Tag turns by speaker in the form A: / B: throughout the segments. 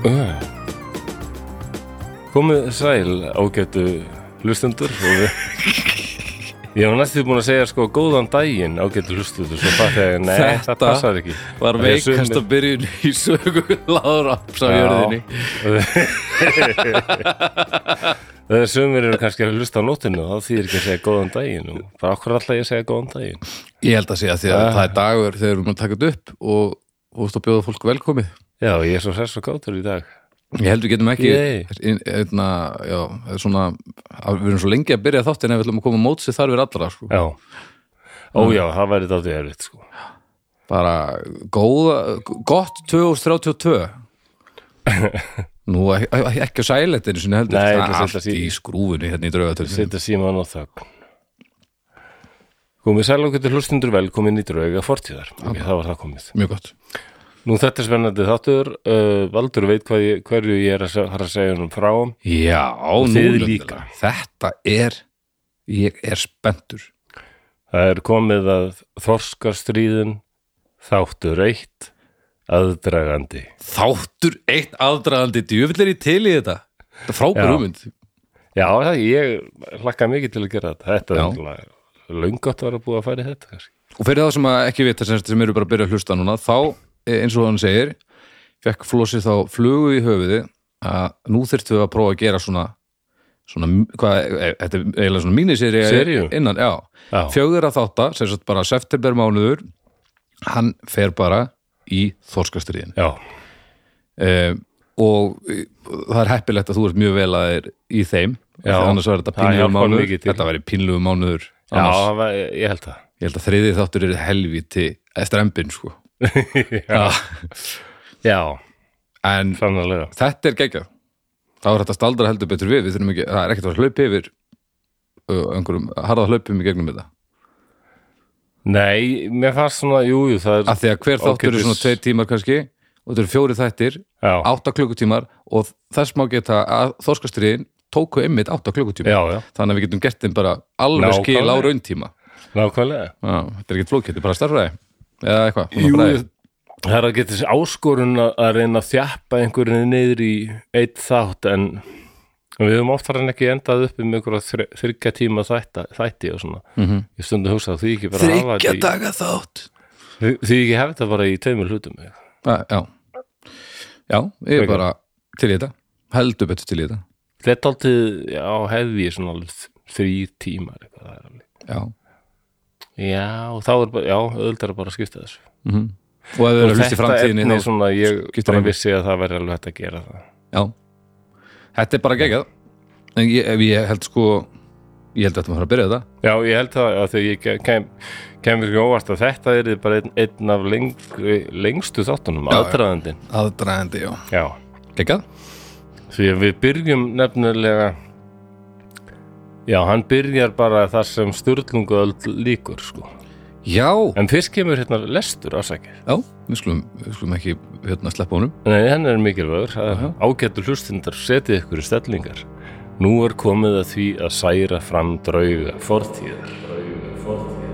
A: Uh. Komið sæl ágætu hlustendur og við Ég var næstu búin að segja sko góðan daginn ágætu hlustendur svo fatt ég, nei,
B: Þetta
A: það passar ekki
B: Var
A: Af því að
B: veikast að byrjun í sögu Láður Apps á
A: Já.
B: jörðinni
A: Það er sömur eru kannski að hlusta á nótinu og þá þýðir ekki að segja góðan daginn og bara okkur alltaf ég að segja góðan daginn
B: Ég held að segja því að það er dagur þegar við erum að taka þetta upp og, og þú bjóða fólk velkomið
A: Já, ég er svo hress og gátur í dag
B: Ég held við getum ekki
A: Yay.
B: ein- einna, hérna, já, það er svona, að við erum svo lengi að byrja þáttinn ef við ætlum að koma mótsið þarfir allra sko.
A: Já, ó já, það væri þáttið erfitt sko
B: bara góða, gott 2032 Nú ek- ekki á sæletinu sinni heldur
A: Nei,
B: það
A: ekki
B: er
A: á
B: allt
A: sælætinu.
B: í skrúfunni hérna í draugatölu
A: setja síman á þögn komið sæl og getur hlustundur velkomin í drauga fortíðar okay, það var það komið
B: Mjög gott
A: nú þetta er spennandi þáttur uh, Valdur veit hvað ég, hverju ég er að, se- har að segja honum frá
B: Já, nú
A: þið
B: nefnilega.
A: líka.
B: Þetta er, ég er spenntur
A: það er komið að þorskastríðin þáttur eitt aðdragandi
B: Þáttur eitt aðdraðandi djöfull er ég til í þetta Þetta er frábær
A: Já.
B: hugmynd
A: já, það, ég hlakka mikið til að gera þetta þetta
B: Já.
A: er náttúrulega löngátt að vera búið að fara í þetta kannski.
B: Og fyrir þá sem að ekki vita sem, sem eru bara að byrja að hlusta núna þá, eh, eins og hann segir fekk Flósi þá flugu í höfuði að nú þyrftum við að prófa að gera svona svona, hvað, eh, þetta er eiginlega svona míniseri
A: Seríu?
B: innan, já,
A: Já.
B: fjögur að þátta sem sagt bara september mánuður hann fer bara í þorskastriðin
A: já,
B: uh, og eh, það er heppilegt að þú ert mjög vel að þér í þeim
A: Já.
B: Því annars var þetta
A: Það
B: pínlegu
A: hjálpar
B: mánuður
A: mikið til.
B: þetta væri pínlegu mánuður
A: já
B: annars,
A: það var- ég held það
B: ég held að þriðið þáttur er helviti eftir embin sko
A: já, já
B: en
A: sannlega
B: þetta er geggjað þá er þetta staldra heldur betur við, við þurfum ekki það er ekkert að fara að hlaupa yfir uh, einhverjum harða hlaupum í gegnum þetta
A: Nei, mér fannst svona, jú, jú, það er
B: af því að hver þáttur
A: Ókeypis.
B: er svona tveir tímar kannski og þetta eru fjóri þættir,
A: já,
B: átta klukkutímar og þess má geta að þorskastriðin tóku einmitt átta klukkutímar
A: já, já,
B: þannig að við getum gert þeim bara alveg
A: Nákvæmlega.
B: skil á rauntíma
A: nákvæmlega
B: Já, þetta er ekkert flókið, þetta er bara starfræði eða eitthvað svona
A: Jú,
B: fræði.
A: það er að geta þessi áskorun að að reyna að þjappa einhverju niður í eitt þátt en en við höfum oftar en ekki endað upp um einhverja þryggja tíma þætta, þætti og svona
B: Mhm.
A: ég stundu hugsa að því ekki bara hafa þetta í-
B: daga þátt
A: því því ekki hafa þetta bara í tveimur hlutum já,
B: ah, Já, já ég
A: Frekar.
B: er bara til í þetta heldur betur til í þetta
A: þetta er alltaf, já, hefði ég svona alveg þrý tímar eitthvað, það er alveg.
B: Já,
A: já, og þá er bara, já, auðvitað bara að skipta þessu
B: mhm Og ef við erum
A: Og
B: að hlusta í framtíðinni
A: efni
B: þá,
A: svona, ég
B: skiptir
A: bara
B: engu.
A: vissi að það væri alveg hægt að gera það
B: Já, þetta er bara geggjað En ég, ef ég held sko Ég held að þetta maður að byrja þetta
A: Já, ég held það að því ég ke- kem, kemur ekki óvart að þetta er bara einn, einn af lengri, lengstu þáttunum,
B: Já, já.
A: aðdraðandinn.
B: Aðdragandi, já
A: Já,
B: Geggjað?
A: því að við byrjum nefnilega, já, hann byrjar bara þar sem sturlunguöld líkur, sko.
B: Já,
A: En fyrst kemur hérna lestur ásækir.
B: já, við skulum, við skulum ekki hérna sleppa honum
A: Nei, henn er mikilvægur, það er ágættu hlustindar, setið ykkur í stellingar. Nú er komið að því að særa fram drauga fortíðar. Drauga fortíðar.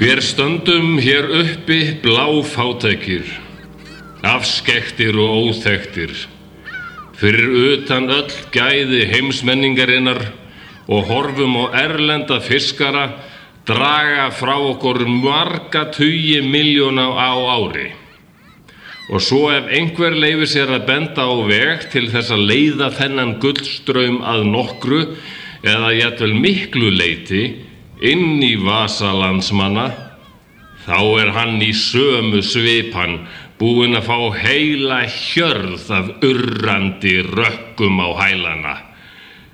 A: Við stöndum hér uppi bláfátækir, afskektir og óþektir, fyrir utan öll gæði heimsmenningarinnar og horfum á erlenda fiskara
C: draga frá okkur marga tugi miljóna á ári. Og svo ef einhver leifir sér að benda á veg til þess að leiða þennan gullströym að nokkru eða jætvel miklu leiti inn í vasalandsmanna, þá er hann í sömu svipan búinn að fá heila hjörð af urrandi rökkum á hælana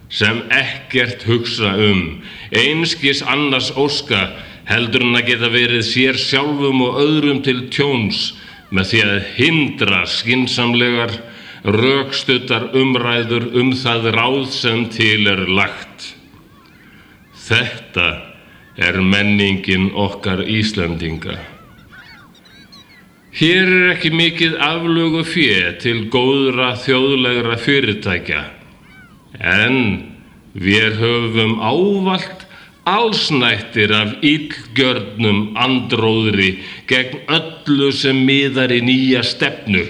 C: sem ekkert hugsa um, einskis annars óska heldur en að geta verið sér sjálfum og öðrum til tjóns með því að hindra skinsamlegar rökstuttar umræður um það ráð sem til er lagt. Þetta er menningin okkar Íslandinga. Hér er ekki mikið aflögu fjö til góðra þjóðlegra fyrirtækja. En við höfum ávalt allsnættir af illgjörnum andróðri gegn öllu sem miðar í nýja stefnu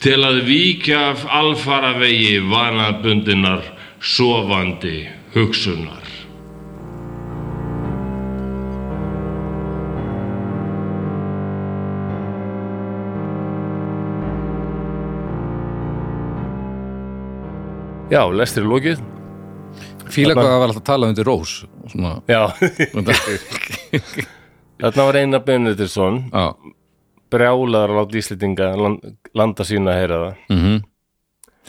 C: til að víkja af alfaravegi vanabundinar sofandi hugsunar.
A: Já, lestir er lokið
B: Fíla
A: Hérna.
B: hvað það var alltaf að tala undir rós svona,
A: Já,
B: já,
A: þarna var Einar Benediktsson brjálaður að láta Íslendinga land, landa sína að heyra það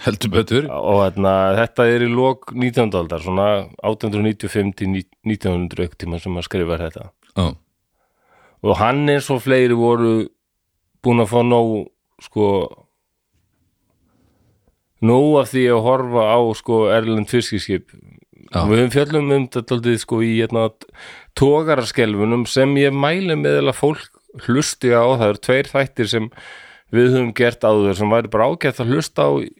B: heldur betur
A: og þarna, þetta er í lok 19. aldar, svona 1895 til 1900 auktíma sem að skrifa þetta
B: já,
A: og hann eins og fleiri voru búin að fá nóg sko nóg af því að horfa á sko Erlend fiskiskip
B: Já.
A: og við höfum fjöllum um þetta aldrei sko í hérna tógaraskelfunum sem ég mæli með að fólk hlusti á það eru tveir þættir sem við höfum gert áður sem væri bara ágætt að hlusta á í-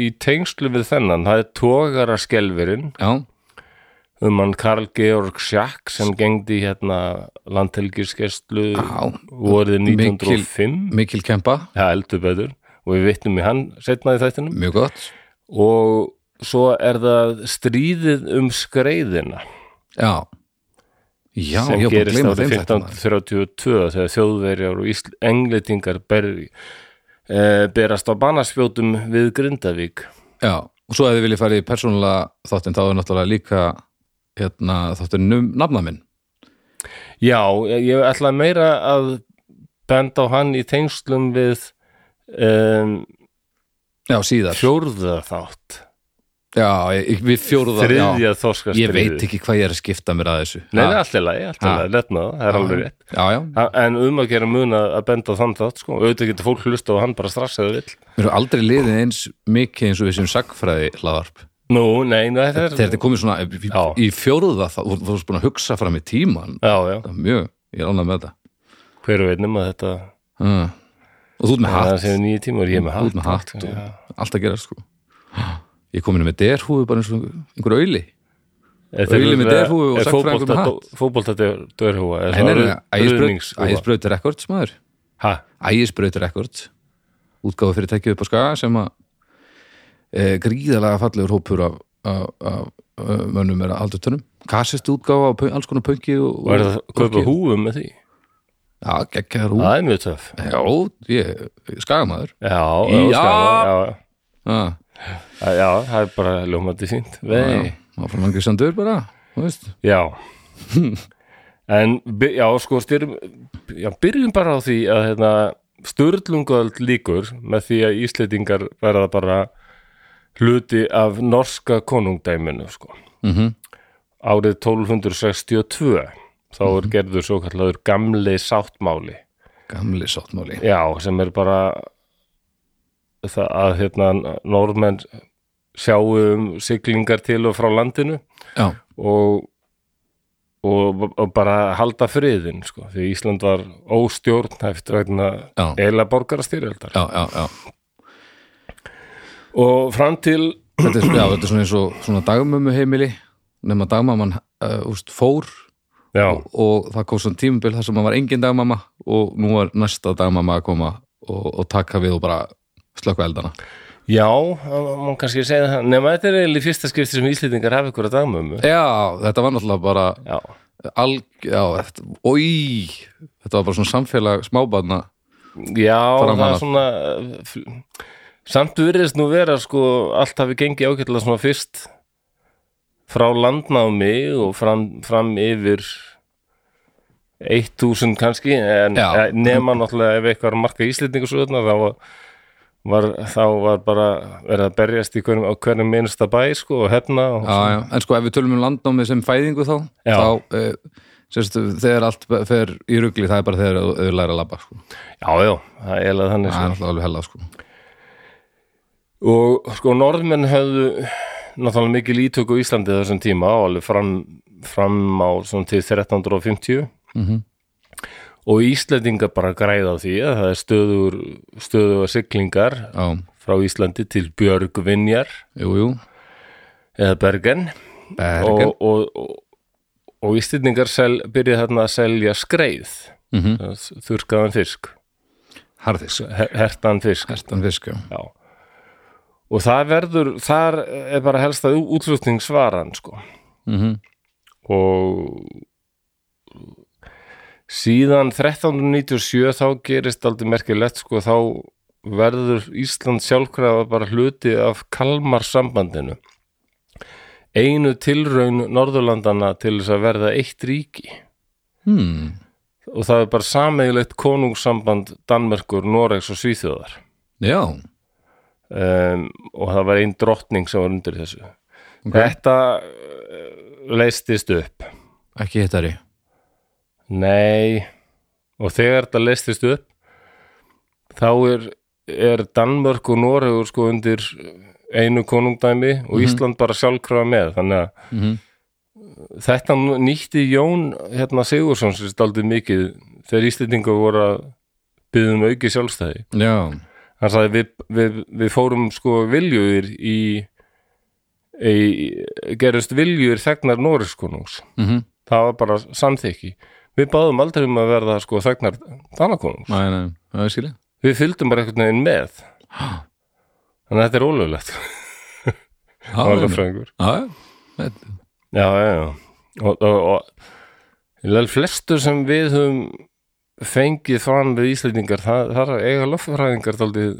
A: í tengslu við þennan það er tógaraskelfurinn
B: já,
A: um hann Karl Georg Schack sem gengdi hérna landhelgiskeslu
B: Já.
A: vorið 1905
B: mikil kempa
A: það heldur betur og við vittum í hann setna í þættinum
B: mjög gott,
A: og svo er það stríðið um skreiðina
B: já já,
A: sem
B: ég var búin að
A: gerist
B: gleyma
A: árið
B: þeim þetta
A: 1532 þegar þjóðverjar og Ísl- englendingar ber, e, berast á banaspjótum við Grindavík
B: já, og svo ef þið viljið fara í persónulega þáttinn þá er náttúrulega líka hérna, þáttinn um nafna minn
A: Já, ég ég ætla meira að benda á hann í tengslum við um,
B: já, síðar,
A: fjórða þátt
B: já, ég, við fjóruða já,
A: þriðja þorskastriði
B: ég veit ekki Ah. hvað ég er að skipta mér að þessu
A: Nei,
B: Ha,
A: það er alltaf lægi, alltaf
B: Ha.
A: lægi, letna það, það er alveg rétt
B: já, já,
A: Ha- En um að gera mun að að benda á þann þátt sko, auðvitað getur fólk hlusta og hann bara strass eða vill
B: mér er aldrei liðið eins mikið eins og við sem sagfræði hlaðarp
A: Nú, nei, nei, það
B: þegar
A: er
B: þetta er komið svona í-
A: Já.
B: í fjóruða þá, þú þú varst búin að hugsa fram í tíman
A: Já, já,
B: Það er mjög, ég er ánægð með þetta
A: hver veit nema þetta
B: uh. og þú ert með
A: Það
B: hatt,
A: séu nýju tímur, ég er með
B: þú
A: hatt sko.
B: ert með hatt sko. og
A: já.
B: allt að gera sko ég kom inn með derhúfu bara eins og einhver auðli
A: Er þeir-
B: Auðli með derhúfu og
A: er
B: sagnfræðingur með
A: fótbolta-
B: hatt.
A: dó- Fótbolta dör- dörhúfa er
B: hérna,
A: svona ruðnings- húfa.
B: ægisbröð rekords maður
A: Ha,
B: ægisbröð rekords útgáðu fyrir tekið upp á skaga sem að e, gríðalega fallegur hópur af, af, af, af mönnum er að aldur tönnum kassist útgáfa og alls konar pönki og,
A: Og er það að kaupa húfu með því?
B: já, geggjaðar hú
A: Það er mjög töff
B: já, ég, skagamaður
A: Já,
B: Já.
A: já, já,
B: ah.
A: já, já, það er bara ljómandi fínt Vei
B: áfram angið sandur bara þú veist.
A: Já En, by- já, sko, styrum, já, byrjum bara á því að hérna, störlungaöld líkur með því að Íslendingar verða bara hluti af norska konungdæminu, sko.
B: Mhm.
A: Árið 1262, þá er gerður svo kallaður gamli sáttmáli.
B: gamli sáttmáli
A: Já, sem er bara það að hérna, normenn sjáu um siglingar til og frá landinu
B: já,
A: og, og, og bara halda friðin sko. því Ísland var óstjórnhæft vegna
B: Já.
A: eila borgarastyrjöldar
B: já, já, já.
A: og fram til
B: Þetta, er, já þetta er svona eins og svona dagmömmu heimili nema dagmaman uh, úst, fór
A: já,
B: og það kom svona tímabil þar sem hann var engin dagmama og nú var næsta dagmama að koma og, og taka við og bara slökka eldana
A: já mann kannski segja það, nema þetta er eiginlega í fyrsta skipti sem Íslendingar hafa ykkur að dagmömmu
B: já, þetta var náttúrulega bara
A: já,
B: alg, já, þetta, oi þetta var bara svona samfélag smábarna
A: Já,
B: Framan
A: það er
B: af.
A: svona eh, fl- samt virðist nú vera sko allt hafi gengið ágætlega svona fyrst frá landnámi og fram, fram yfir 1000 kannski en
B: Já.
A: eh, nema náttúrulega ef eitthvað var að marka íslendingu svo þarna þá var- var, þá var bara verið að berjast í hverjum, á hverjum minnsta bæ sko og hérna og
B: já, já. en sko ef við tölum um landnámið sem fæðingu þá
A: Já.
B: þá, e, sérstu, þegar allt fer í rugli það er bara þegar þau- þau læra að labba sko.
A: já, já, það er eiginlega þannig
B: það er alltaf alveg hella sko.
A: og sko norðmenn höfðu náttúrulega mikil ítök á Íslandi á þessum tíma og alveg fram, fram á svona til 1350 og Íslendingar bara græða á því að það er stöður stöðuga siglingar
B: já,
A: frá Íslandi til Björgvinjar
B: jú, jú
A: eða Bergen,
B: Bergen,
A: og, og, og, og Íslendingar sel, byrja þarna að selja skreið
B: mm -hmm.
A: þurrkaðan fisk,
B: harðis
A: her, hertan fisk
B: hertan fisk, já,
A: Já. Og það verður, þar er bara helsta útlutningsvaran, sko.
B: mm -hmm.
A: Og síðan 1397 þá gerist aldrei merkilegt, sko, þá verður Ísland sjálfkrafa bara hluti af Kalmarsambandinu. Einu tilraun Norðurlandana til þess að verða eitt ríki.
B: Hmm.
A: Og það er bara sameigilegt konungssamband Danmerkur, Noregs og Svíþjóðar.
B: já
A: um, og það var einn drottning sem var undir þessu þetta uh, leistist upp
B: ekki hittari
A: nei og þegar þetta leistist upp þá er, er Danmörk og Noregur sko undir eh, einu konungdæmi og Ísland bara sjálfkrafa með þannig að
B: Mhm.
A: þetta nú- nýtti Jón hérna Sigursson sér staldið mikið þegar Íslendingar voru að byggja um auki sjálfstæði
B: já,
A: hann sagði við, við, við fórum sko viljur í, í gerust viljur þegnar Nóriskonungs
B: mm -hmm.
A: það var bara samþykki við báðum aldrei um að verða sko þegnar Danakonungs,
B: næ, næ, það er skilja
A: við fylgdum bara einhvern veginn með þannig að þetta er ólöflegt málafræðingur
B: já, já,
A: já, já, já og, og, og lel flestu sem við höfum fengið fram við Íslendingar það, það er eiga loftfræðingar daldið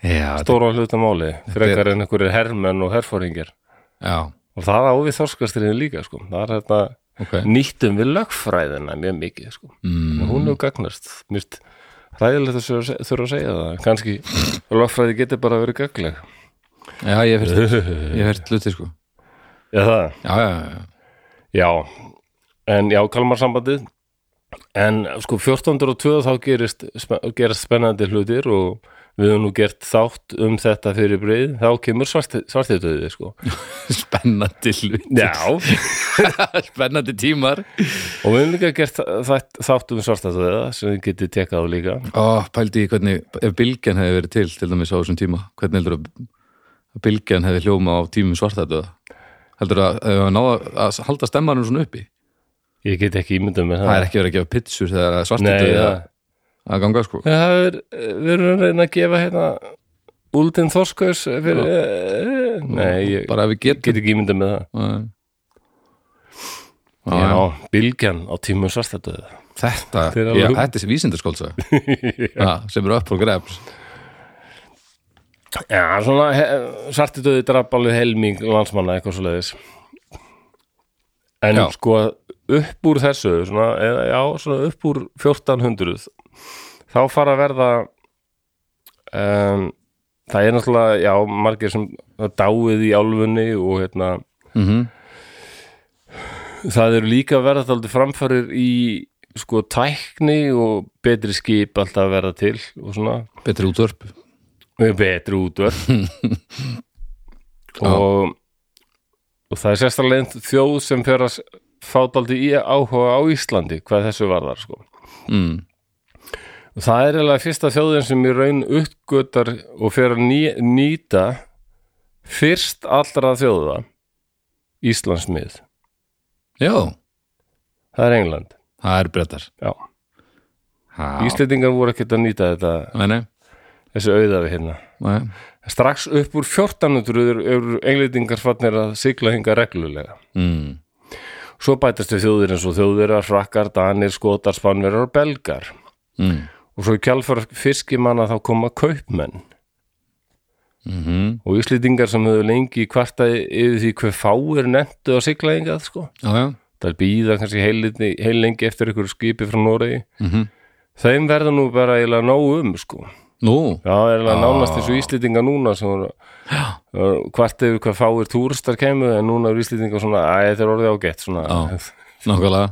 B: já, þetta-
A: stóra hluta máli frekar en einhverjir hermenn og herfóringar
B: já,
A: og það á við þorskastriðin líka sko. það er þetta,
B: ok
A: nýttum við lögfræðina mjög mikið sko.
B: mm.
A: og hún hefur gagnast mjög ræðilegt að sjá- þurfa að segja það kannski lögfræði getur bara verið gagleg
B: Já, ég hef hert, ég hef hert hluti sko
A: já það,
B: Já, já, já,
A: já en já, kalmarsambandið en sko 1402 þá gerist, spe- gerast spennandi hlutir og við höfum nú gert þátt um þetta fyrir breið, þá kemur svartitöðið sko.
B: spennandi hluti
A: já,
B: Spennandi tímar
A: og við höfum líka gert þætt- þátt um svartitöðið sem þið getið tekað á líka
B: Ó, pældi ég hvernig, ef bylgjan hefði verið til til dæmis á þessum tíma, hvernig heldur að að bylgjan hefði hljóma á tímum svartættuða Heldur að, að, að, að halda stemmanum svona uppi
A: Ég get ekki ímyndað með það.
B: Það er ekki verið að gefa pitsur þegar
A: Nei,
B: svartættuði
A: það,
B: að ganga sko
A: Já, það er, við erum að reyna að gefa hérna Úldin Þorskaus fyrir, eh, nei, ég
B: Bara ef við getum
A: get ekki ímyndað með það.
B: Nei.
A: Já, bylgjan á tímum svartadöðu.
B: Þetta,
A: Þetta er alveg
B: já,
A: hugmynd.
B: þetta er vísindaskóldsa sem eru upp og grefs
A: Já, svona he- svartadöðu draf alveg helming landsmanna eitthvað svo leiðis. En
B: Já.
A: sko, upp úr þessu, svona, eða, já, svona upp úr 1400, þá fara að verða, um, það er náttúrulega, já, margir sem dáið í álfunni og hérna,
B: mm
A: það eru líka að verða þáldi framfærir í sko tækni og betri skip alltaf að verða til og svona
B: Betri útvörp
A: og betri útvörf og, og það er sérstaklega þjóð sem fyrir að fá þáldi í áhuga á Íslandi hvað þessu varðar sko
B: mm.
A: og það er eiginlega fyrsta þjóðin sem í raun uppgötar og fyrir að ný, nýta fyrst allra þjóða Íslandsmið,
B: Já,
A: það er England
B: það er brettar
A: Já.
B: Já.
A: Íslendingar voru ekkert að nýta þetta
B: Nei, nei,
A: þessi auðafi hérna
B: nei.
A: strax upp úr 1400 eru englendingar farnir að sigla hinga reglulega
B: Mm.
A: svo bætast við þjóðir eins og þjóðverjar, frakkar, danir, skotar, spanverjar og belgar
B: mm.
A: og svo í kjálfar fiskimanna þá koma kaupmenn
B: Mm
A: og íslýtingar sem höfðu lengi kvartaði yfir því hver fáir nefntu að sigla engað sko
B: Já, já,
A: það er býða kannski heilengi, heilengi eftir ykkur skipi frá Noregi
B: mm
A: þeim verða nú bara eiginlega nóg um sko
B: nú
A: Já, það er alveg
B: Ah.
A: nánast eins og Íslendinga núna sem voru voru hvart yfir hvað fáir túristar kemur en núna er Íslendinga svona, æ, þetta er orðið ágætt svona.
B: Já. Nákvæmlega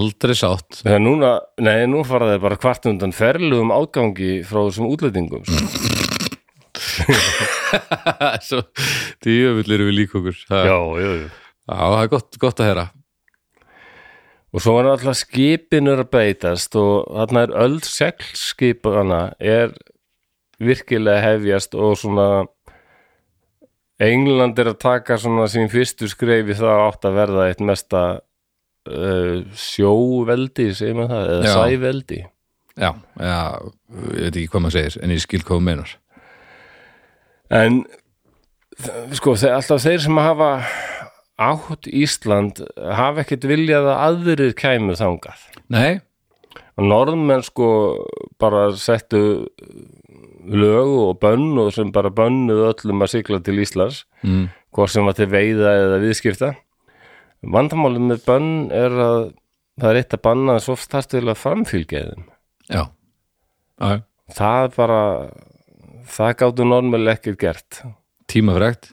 B: Aldrei sátt
A: Þegar núna, nei, nú fara þeir bara hvart undan ferlugum ágangi frá þessum útlendingum sko.
B: Svo djöfull eru við lík okkur Það- Já,
A: já, já
B: það er gott, gott að heyra
A: Og svo er alltaf skipinur að beitast og þarna er öll seglskipana er virkilega hefjast og svona England er að taka svona sín fyrstu skrefi það átt að verða eitt mesta uh, sjóveldi, segir maður það, eða
B: Já.
A: sæveldi.
B: Já, já, ég veit ekki hvað maður segir en ég skil hvað þú meinar
A: En þ- sko, þe- alltaf þeir sem hafa átt Ísland hafa ekkert viljað að aðrir kæmu þangað.
B: Nei,
A: og norðmenn sko bara settu lög og bönn og sem bara bönnuðu öllum að sigla til Íslands
B: mm.
A: hvort sem var til veiða eða viðskipta vandamálið með bönn er að það er eitt að banna en svo þarst til að framfylgja þeim
B: já Já, já.
A: það er bara það gáttu norðmenn ekkert gert
B: tímafrekt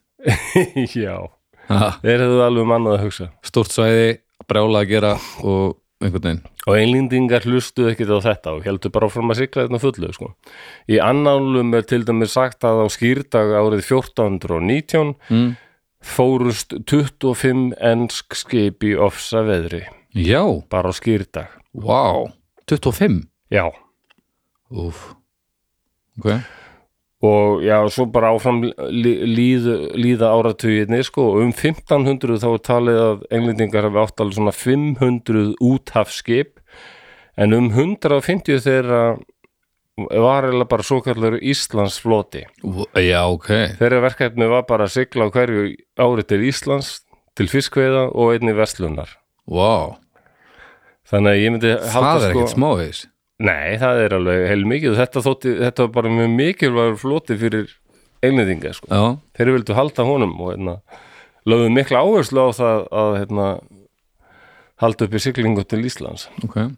A: já,
B: Ha,
A: þeir hefðu alveg mannað að hugsa
B: Stórt svæði, brjála að gera og einhvern veginn
A: og einlendingar hlustuðu ekkert á þetta og heldur bara áfram að sigla þetta fullu sko. í annálum er til dæmis sagt að á skýrdag árið 1419
B: mm.
A: fórust 25 ennsk skip í ofsa veðri
B: Já,
A: bara á skýrdag
B: vá 25
A: já,
B: Úf Ok,
A: og já, svo bara áfram lí, líð, líða áratugirni sko, og um 1500 þá er talið að englendingar hafi átt alveg svona 500 úthafskip en um 150 þeirra var eða bara svo kallur Íslandsfloti
B: Ú, já, ok
A: Þeirra verkefni var bara að sigla á hverju ári til Íslands, til fiskveiða og einni verslunar.
B: Vá,
A: Þannig að ég myndi sko-
B: það er ekkert smávegis
A: Nei, það er alveg heilmikið og Þetta, þótti, þetta var bara mjög mikilvægur floti fyrir einlendinga. Sko.
B: Já,
A: Þeir vildu halda honum og hérna, lögðu mikla áherslu á það að hérna, halda upp í siglingu til Íslands.
B: ok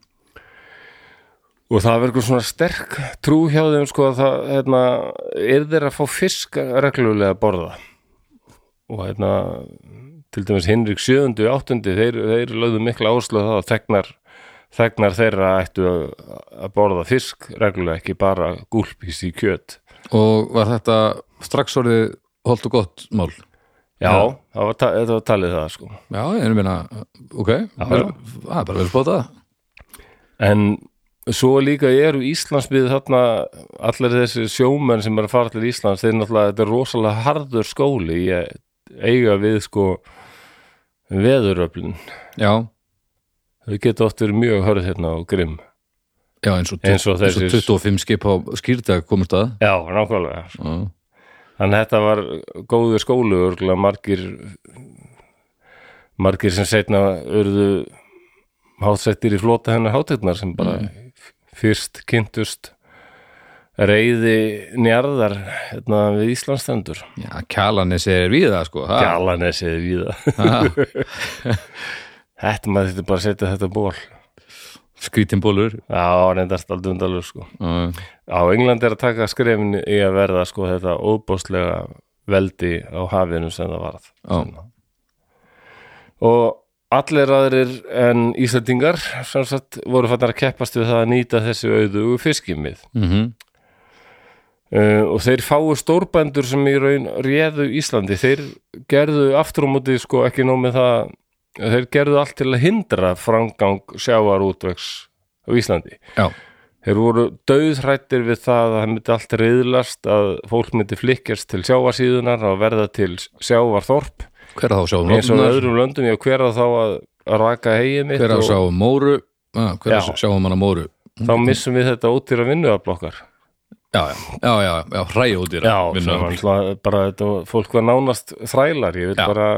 A: Og það verður svona sterk trú hjá þeim sko að það hérna, er þeir að fá fisk reglulega að borða og hérna til dæmis Hinrik 7. og 8. þeir, þeir lögðu mikla áherslu á það að þegnar, þegnar þeirra ættu að að borða fisk reglulega ekki bara gúlpís í kjöt
B: Og var þetta strax orðið holdt og gott mál?
A: Já, það var, ta- þetta var talið það sko
B: Já, ég meina, ok Það
A: já.
B: er bara verið bótað
A: en svo líka eru Íslandsbyð þarna allir þessi sjómenn sem eru að fara til Íslands þeir náttúrulega, þetta er rosalega harður skóli í að eiga við sko veðuröflin
B: Já,
A: þau geta oft verið mjög hörð hérna og grimm
B: já, eins og,
A: Eins og þessir-
B: 25 skip á skýrdag komur stað
A: já, nákvæmlega
B: Já,
A: þannig að þetta var góðu skóli örgulega margir margir sem setna urðu hátsettir í flota hennar hátirnar sem bara fyrst kynntust reyði njarðar hérna við Íslandstendur
B: já kjalanesi er við það, sko ha?
A: Gjalanessið víða
B: Ha,
A: Þetta maður þetta bara að setja þetta ból
B: Skrítin bólur
A: Já, reyndast aldrei undalur sko
B: Já,
A: Á England er að taka skrefin í að verða sko þetta óbóðslega veldi á hafinu sem það varð
B: já,
A: og allir aðrir en Íslandingar sem sagt voru fannar að keppast við það að nýta þessi auðugu fiskimið
B: mhm
A: uh, og þeir fáu stórbændur sem í raun réðu Íslandi, þeir gerðu aftur á móti sko ekki nóg með það þeir gerðu allt til að hindra framgang sjávarútvegs á Íslandi
B: Já,
A: Þeir voru döðhrættir við það að það myndi allt reyðlast að fólk myndi flikkjast til sjávarsíðunar og verða til sjávarþorp
B: hver að þá sjáum
A: eins og í
B: rofnar
A: öðrum löndum, já hver að þá að að raka heið mitt
B: Hver að
A: og
B: þá sjáum móru Já, Hver að
A: Já.
B: sjáum hana móru
A: þá missum við þetta ótýra vinnuaflokkar
B: Já, já, já, já, já hræjóðir
A: sem var náttúrulega bara þetta, var- fólk var nánast þrælar, ég vil
B: Já.
A: bara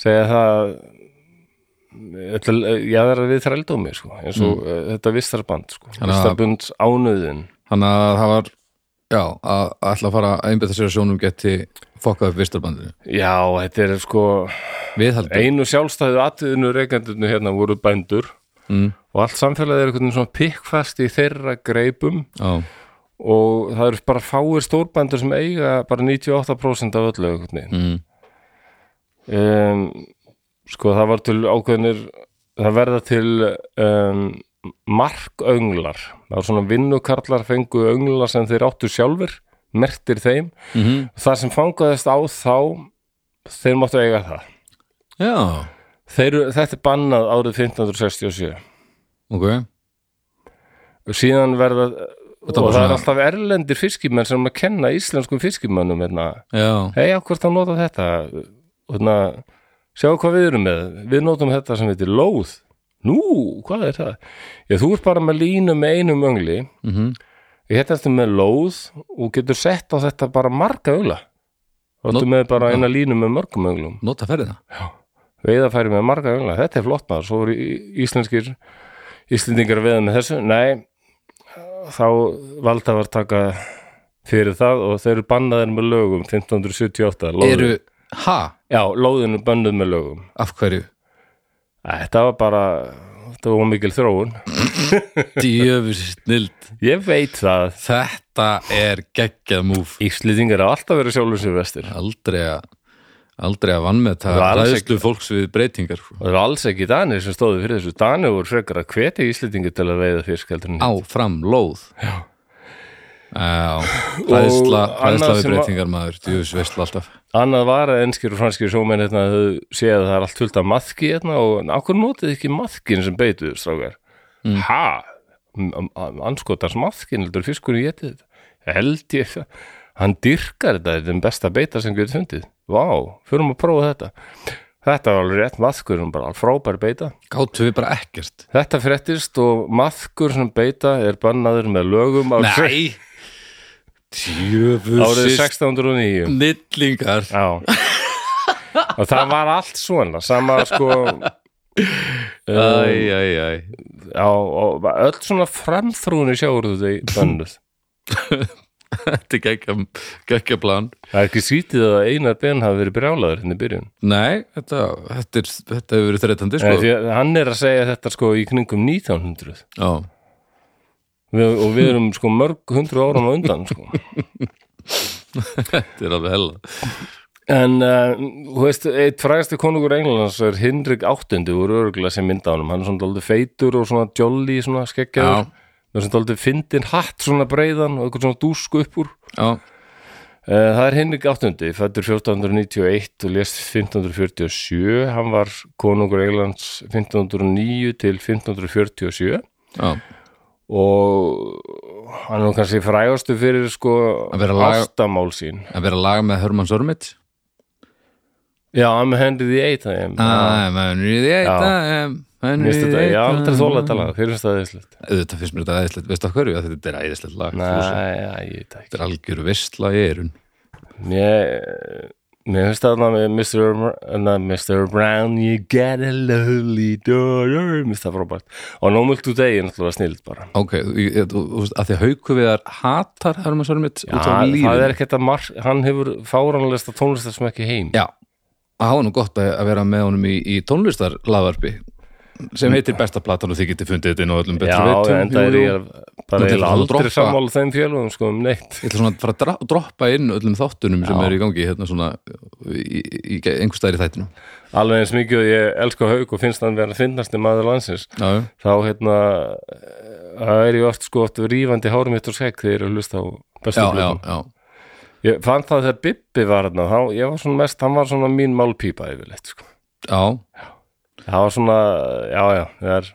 A: segja það þetta- jaðrar við þrældómi sko, eins og mm. þetta vistarband sko,
B: að-
A: vistarbunds ánöðin
B: þannig að það var já, að að ætla að fara að einbetta sér að sjónum geti fokkað upp vistarbandinu
A: já, þetta er sko
B: viðhaldi,
A: einu sjálfstæðu atriðinu reikendurnu hérna voru bændur
B: Mm.
A: og allt samfélagið er einhvern veginn svona pikkfast í þeirra greipum
B: já,
A: og það eru bara fáir stórbændur sem eiga bara 98% af öllu einhvern veginn
B: mm,
A: um, sko það var til ákveðnir það verða til um, markönglar það var svona vinnukarlar fengu öngla sem þeir áttu sjálfur mertir þeim,
B: mm
A: það sem fangaðist á þá þeir máttu eiga það
B: já
A: þeir, eru- þetta er bannað árið 1567
B: ok,
A: og síðan verða og
B: var
A: það er
B: svona-
A: alltaf erlendir fiskimenn sem að kenna íslenskum fiskimennum hérna,
B: já,
A: hei, af hvort hann nota þetta og hérna, sjá hvað við erum með við notum þetta sem heitir lóð nú, hvað er það? Já, þú ert bara með línu með einum öngli
B: mm
A: ég hérna ertu með lóð og getur sett á þetta bara marga öngla og
B: Nú-
A: ertu með bara eina línu með mörgum önglum
B: nota ferðina
A: veiðarfæri með marga öngla, þetta er flott maður svo eru í- íslenskir íslendingar að veiða með þessu, nei þá valda var taka fyrir það og þeir eru bannaðir með lögum 1578 lóðin,
B: eru, ha,
A: já, lóðinu bönnuð með lögum
B: af hverju
A: Æ, þetta var bara þetta var mikil þróun,
B: djöfur snild,
A: ég veit það
B: þetta er geggjað múf
A: íslendingar hafa alltaf verið sjálfum sér vestir
B: aldrei að aldrei að vannmeta
A: Það var alls
B: ræðslu fólks við breytingar sko.
A: og það eru alls ekki danir sem stóðu fyrir þessu danir voru frekar að hveti íslendingar til að veiða fisk heldur en hitt.
B: áfram lóð já
A: Og
B: ræðsla, ræðsla
A: annað
B: við
A: sem var-
B: breytingar maður djöfus veistla alltaf
A: annað var að enskir og franskir sjómenn hérna þau séð að það er allt fullt af maðki hérna og akkur notið þið ekki maðkin sem beituðu strákar mm. ha, M- m- anskotans maðkin heldur fiskurinn getið þetta held ég það hann dyrkar þetta, þetta er den besta beita sem getur fundið vá, förum að prófa þetta þetta var alveg rétt maðkur hún bara frábær beita
B: gáttu við bara ekkert
A: þetta fréttist og maðkur sem beita er bannaður með lögum árið,
B: nei djöfus
A: árið 1609
B: snillingar
A: Já Og það var allt svona Sama sko
B: æj, æj, æj
A: Já, og öll svona framþrúni sjáur þetta bönnuð
B: þetta er geggjað geggja plan
A: Það er ekki sýtið að Einar Ben hafi verið brjálaður hérna í byrjun
B: nei, þetta, þetta, er, þetta hefur verið þreytandi
A: Nei,
B: sko.
A: því að Hann er að segja þetta sko í kringum 1900
B: já,
A: við, og við erum sko mörg hundru árum á undan sko.
B: þetta er alveg hella
A: En uh, þú veist, eitt frægasti konungur Englands er Hinrik VIII úr örgulega sem mynda á honum, hann er svona daldið feitur og svona jolly, svona
B: Já.
A: skeggjaður með svona daldið fyndin hatt svona breiðan og eitthvað svona dúsku upp úr
B: já,
A: Eh, Það er Henrik VIII, fættur 1491 og lést 1547, hann var konungur Englands 1509 til 1547
B: já
A: og hann er nú kannski frægastu fyrir sko
B: Að vera lag-
A: ástamál sín.
B: að vera að laga með Hermann Sörmitt
A: Já, hann með Henry VIII það er.
B: I'm Henry the
A: Já.
B: Eight I'm Henry
A: Mér finnst
B: the
A: þetta,
B: Eight
A: já, þetta er þóla að tala, fyrir þess að það er slutt.
B: auðvitað finnst mér þetta æðislegt, veistu af hverju? Að þetta er æðislegt lag
A: Næ,
B: Fúsi.
A: já, ég veit það
B: þetta
A: ekki.
B: er algjör vistla í erun
A: Mér, mér finnst þarna með Mr. Br- na, Mr. Brown, you got a lovely daughter, mér finnst það frábært. Og No Milk Today er náttúrulega snild bara.
B: ok, ég- ég- þú þú veist, að því að hauku við þar hatar Hermann Sörmitt út á
A: Já, það er
B: lífin
A: ekki þetta mark, hann hefur fáranlegasta tónlistar sem ekki heim
B: já, að hafa nú gott að að vera með honum í, í tónlistarlaðvarpi sem heitir besta platan og þið getið fundið þetta inn á öllum
A: Já,
B: betri veitum
A: en það er
B: Jú, jú.
A: ég bara
B: Nú til
A: eiginlega
B: að
A: aldrei
B: droppa.
A: sammála þeim fjölum sko um neitt
B: Ég ætla svona að fara að dra- droppa inn öllum þáttunum sem
A: Já.
B: eru í gangi hérna svona í, í, í einhver staðar í þættinum
A: alveg eins mikið og ég elska haug og finnst hann vera finnast í maður landsins
B: Já, já.
A: þá hérna það er ég oft sko oft rífandi hárum mitt og skegg þegar ég er að hlusta á bestu
B: já, já,
A: blöðum
B: já,
A: ég fann það þegar Bibbi var hérna þá, ég var svona mest, hann var svona mín málpípa yfirleitt sko
B: já,
A: það var svona, já já það er,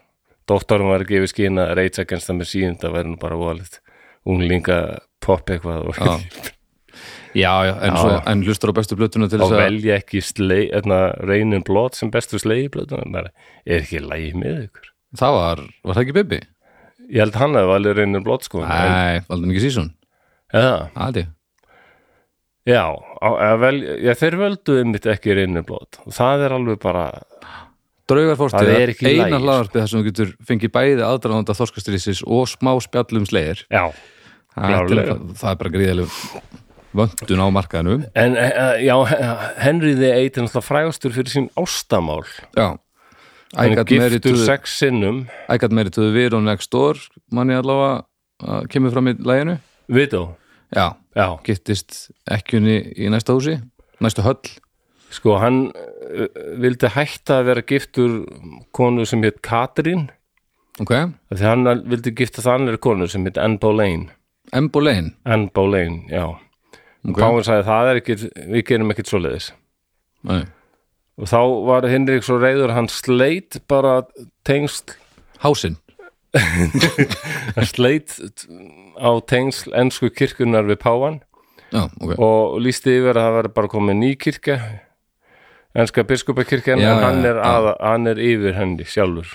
A: doktorum var að gefa skýna Rage Against the Machine, það væri nú bara voðalegt unglinga pop eitthvað og,
B: Já. já, já, en,
A: Já,
B: svo,
A: já.
B: en hlustur á bestu blötuna til
A: og
B: þess að
A: velja ekki slei, etna, Rain and Blood sem bestu sleiðiblöðunum bara, er ekki lægi með ykkur
B: það var, var það ekki Bibi?
A: ég held hann að valið Rain and Blood sko en-
B: Nei, valdur hann ekki sísón
A: eða,
B: Aldi,
A: Já, á, eða vel, já, þeir völdu einmitt ekki reynublót og það er alveg bara
B: Draugar
A: Það
B: fórstíðar,
A: er ekki í
B: eina
A: lagi,
B: hlaðarpið þar sem þú getur fengið bæði aðdraðanda þorskastrýsis og smá spjallum slegir
A: já,
B: það, er
A: Klárlega.
B: til- það er bara gríðaleg vöndun á markaðinu
A: en e, e, já, Henry the Eight er náttúrulega frægastur fyrir sín ástamál
B: Já
A: hann
B: I
A: er
B: got married to
A: giftur
B: the-
A: sex sinnum
B: I got married to the Viron next door manni allavega að kemur fram í læginu
A: Vitó,
B: Já,
A: já,
B: gittist ekkjunni í næsta húsi næstu höll
A: sko hann uh, vildi hætta að vera giftur konu sem hétt Katrín
B: Ok,
A: af því hann vildi gifta það annar konu sem hétt Anne Boleyn
B: M. Boleyn
A: Anne Boleyn, já
B: Ok.
A: okay. Páin sagði það er ekki, við gerum ekkert svoleiðis
B: Nei.
A: og þá var Henrik svo reyður hann sleit bara tengsl
B: Hásinn
A: hann sleit á tengsl ensku kirkunar við Páan
B: Já, ok
A: og lísti yfir að það verður bara komið ný kirkja enska biskupakirkjan
B: Já,
A: en
B: já,
A: hann er,
B: já.
A: að, hann er yfir henni sjálfur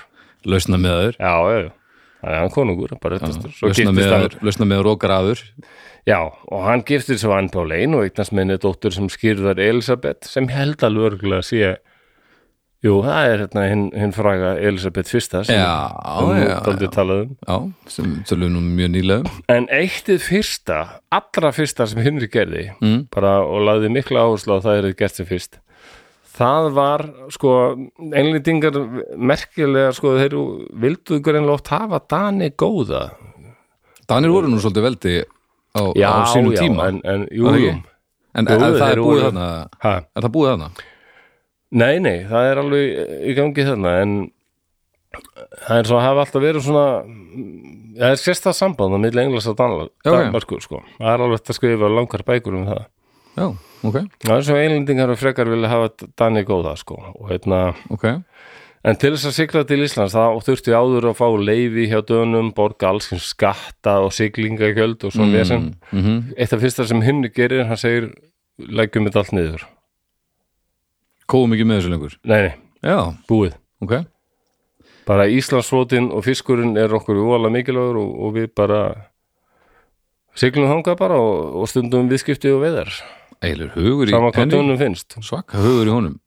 B: Lausna meður
A: já, já, já Það er hann konungur, bara réttastur Svo
B: Lausna
A: giftist hann,
B: meður, lausna meður og graður
A: já, og hann giftist svo Ann Pálein og eignast minni dóttur sem skýrðar Elisabeth sem ég held alveg örgulega sé Jú, það er hérna hinn, hinn fræga Elisabeth fyrsta sem
B: Já,
A: við
B: já, já.
A: daldið talað um
B: Já, sem tölum nú mjög nýlega um.
A: En eittið fyrsta, allra fyrsta sem Henry gerði
B: Mm.
A: bara, og laði mikla áherslu á að það er gert sem fyrst það var sko englendingar merkilega sko þeir vildu greinlega oft hafa Dani góða
B: Danir voru nú svolítið veldi á, á sínum tíma
A: en, en jú,
B: Var
A: jú.
B: það ekki? En,
A: Jú,
B: en það
A: þeir
B: er búið
A: voru-
B: þarna
A: Ha,
B: Er það búið þarna?
A: nei, nei, það er alveg í gangi þarna en það er svo að hafa alltaf verið svona mm, það er sérstað samband á milli englas og Danla-
B: Já, ok.
A: Danmarkur sko, það er alveg hægt að skrifa langar bækur um það
B: Já, ok,
A: Já, eins og einlendingar og frekar vilja hafa Dani góða sko og hérna,
B: ok
A: en til þess að sigla til Íslands þá þurfti áður að fá leifi hjá dönum, borga alls kynns skatta og siglingagjöld og svo mm. vesen
B: mm -hmm.
A: eitt af fyrsta sem hinn gerir, hann segir leggjum þetta allt niður,
B: Kóum ekki með þessu lengur
A: nei nei,
B: Já,
A: búið
B: ok
A: bara Íslandsflotin og fiskurinn er okkur úvalega mikilvægur og, og við bara siglum þangað bara og, og stundum viðskipti og veðar,
B: Eilur hugur í
A: saman hvað
B: henni
A: dönum finnst
B: Svaka hugur í honum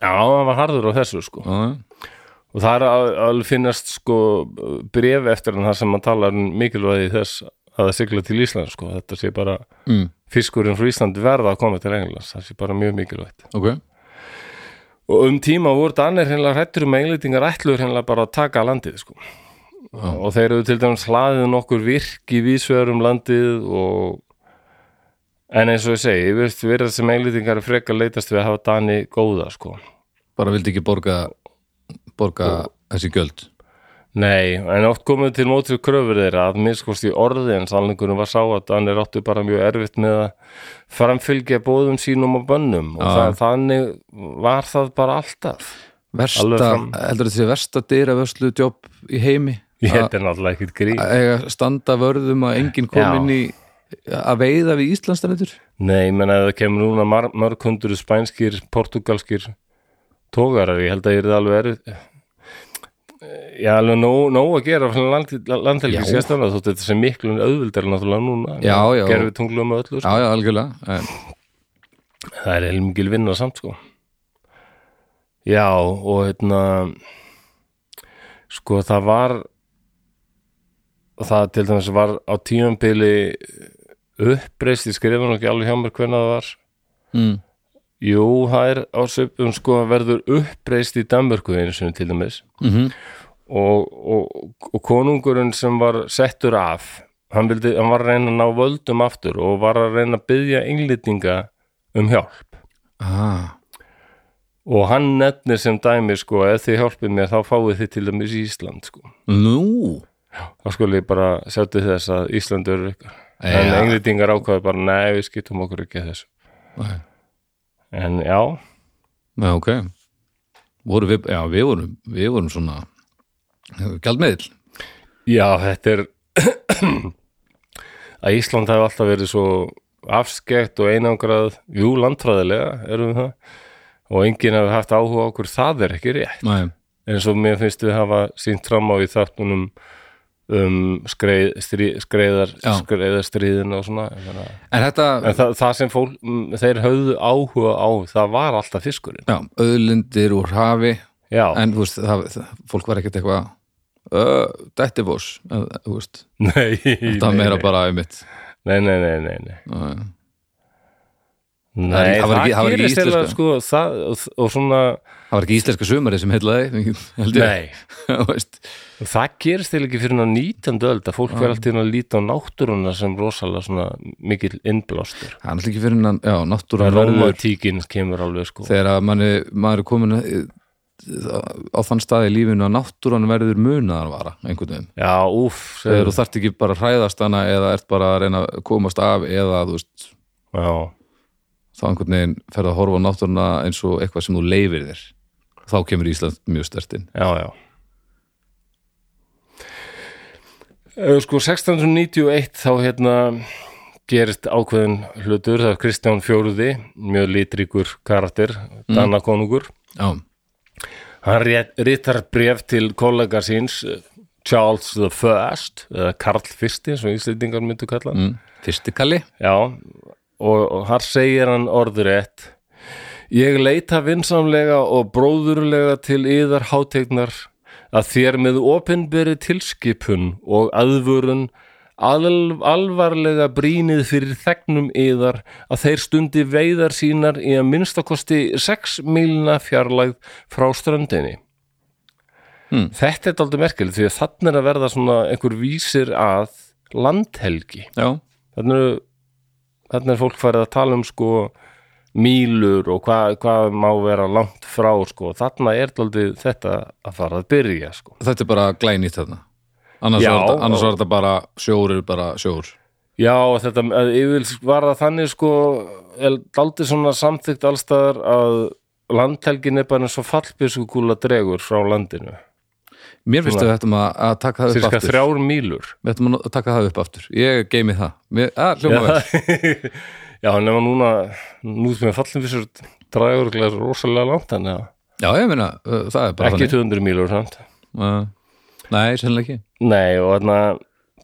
A: já, hann var harður á þessu sko
B: Já,
A: og það er að, að finnast sko bref eftir hann þar sem hann talar um mikilvægi þess að það sigla til Ísland sko, þetta sé bara
B: mm,
A: fiskurinn frá Íslandi verða að koma til Englands það sé bara mjög mikilvægt
B: ok
A: og um tíma voru Danir hennilega hrættur um að englendingar ætluður hennilega bara að taka landið sko og þeir eru til dæmis hlaðið nokkur virki vísvegar um landið og en eins og ég segi, ég veist verða sem englendingar er frekar leitast við að hafa Dani góða sko
B: Bara vildi ekki borga borga þessi gjöld
A: Nei, en oft komið til móts við kröfur þeirra að minnskost í orði en sannleikunum var sá að hann er áttu bara mjög erfitt með að framfylgja bóðum sínum og bönnum og
B: Já.
A: það, þannig var það bara alltaf. Alveg
B: Versta,
A: fram-
B: heldur þetta sé versta dyravörslu jobb í heimi
A: Ég
B: Að-
A: þetta er náttúrulega ekkit grín.
B: að eiga standa vörðum að enginn kom
A: Já.
B: inn í að veiða við Íslandsdæmitur
A: Nei, menn að það kemur núna mar mörg hundru spænskir, portugalskir tógarar, ég held að ég er það alveg erfitt. Já, alveg nóg, nóg að gera frá land, landhelgi
B: Já.
A: sérstæðan þótt þetta sem miklu auðvildar náttúrulega núna.
B: Já, já.
A: Gerfi tunglum og öllu.
B: Já, já, algjörlega en,
A: Það er heilmikil vinna samt sko Já og hérna sko það var það til dæmis var á tíumbili uppreist, ég skrifa nú ekki alveg hjá mér hvernig það var
B: mm,
A: Jú, það er á söpum sko verður uppreist í Danmörku einu sinni til dæmis
B: mm
A: og, og, og konungurinn sem var settur af hann, vildi, hann var að reyna að ná völdum aftur og var að reyna að byggja englýtinga um hjálp
B: ah,
A: og hann nefnir sem dæmi sko ef þið hjálpið mér þá fáið þið til dæmis í Ísland sko
B: Nú
A: þá skulle ég bara setja þess að Ísland eru ykkar en
B: Já.
A: englendingar ákvaði bara nei við skiptum okkur ekki að þessu
B: Nei.
A: en já,
B: Já, ok voru við, Já, við vorum, við vorum svona gjaldmiðl
A: já þetta er að Ísland hefur alltaf verið svo afskekt og einangrað jú landfræðilega erum við það og enginn hefur haft áhuga á okkur það er ekki rétt
B: Nei,
A: eins og mér finnst við hafa sínt fram á í þáttunum um skreið, strí, skreiðar
B: Já.
A: skreiðarstríðin og svona ég meina.
B: en þetta,
A: en það, það sem fólk, mm, þeir höfðu áhuga á það var alltaf fiskurinn
B: já, öðlindir úr hafi
A: já,
B: en þú veist, það, það, fólk var ekkert eitthvað uh, þetta er vós þú veist,
A: nei,
B: það var
A: nei,
B: meira bara einmitt
A: nei, nei, nei, nei, nei.
B: uh,
A: Nei,
B: það
A: það,
B: var ekki- það var ekki
A: gerist
B: íslenska.
A: eða sko það, og, og svona,
B: það var ekki íslenska sömari sem heillaði held ég,
A: nei
B: þú veist
A: það gerist eða ekki fyrir hann 19. öld að fólk verður alltaf inn að líta á náttúruna sem rosalega svona mikill innblástur
B: það er náttúrulega ekki fyrir hann, já, náttúran verður
A: romantíkinn kemur alveg sko
B: þegar að manni, maður er komin í- á þann stað í lífinu að náttúran verður munaðarvara einhvern veginn
A: já, úff
B: þegar þú þarft ekki bara að hræðast hana eða ert bara að reyna að komast af eða þú veist,
A: já,
B: þá einhvern veginn ferð að horfa á náttúruna eins og eitthvað sem þú leifir þér þá kemur Ísland mjög stertinn
A: já, já Eh, sko 1691 þá hérna gerist ákveðin hlutur það er Kristján Fjóruði mjög litríkur karakter Danakonungur
B: já,
A: Hann rét- ritar bref til kollega síns eh, Charles the First eða Karl Fyrsti, svo íslendingar myndu kalla hann.
B: mm. fyrstikalli
A: Já, og, og hann segir hann orðurétt Ég leita vinsamlega og bróðurlega til yðar hátegnar að þér með opinberi tilskipun og aðvörun alv alvarlega brýnið fyrir þegnum yðar að þeir stundi veiðar sínar í að minnstakosti 6 milna fjarlægð frá ströndinni.
B: Hmm.
A: Þetta er dálítið merkilegt því að þannig er að verða svona einhver vísir að landhelgi
B: já,
A: þannig er, þannig er fólk farið að tala um sko mýlur og hvað, hvað má vera langt frá sko, þannig er daldið þetta að fara að byrja sko.
B: þetta er bara glænýtt þarna annars,
A: Já,
B: var, þetta, annars
A: og-
B: var þetta bara sjór er bara sjór
A: Já, og þetta að yfir var það þannig sko, er daldið svona samþykkt allstaðar að landhelgin er bara eins og fallbyrskukúla dregur frá landinu,
B: mér finnst að við ættum að, að taka það upp
A: cirka
B: aftur
A: þrjár mýlur
B: við ættum að taka það upp aftur, ég geimi það mér, að, hljóma vel,
A: Já, nema núna nú sem við fallum fyrir dragur rosalega langt, þannig að
B: já ég meina uh, það er bara
A: ekki 200 mýlur samt
B: uh, nei, sennilega ekki
A: Nei og þarna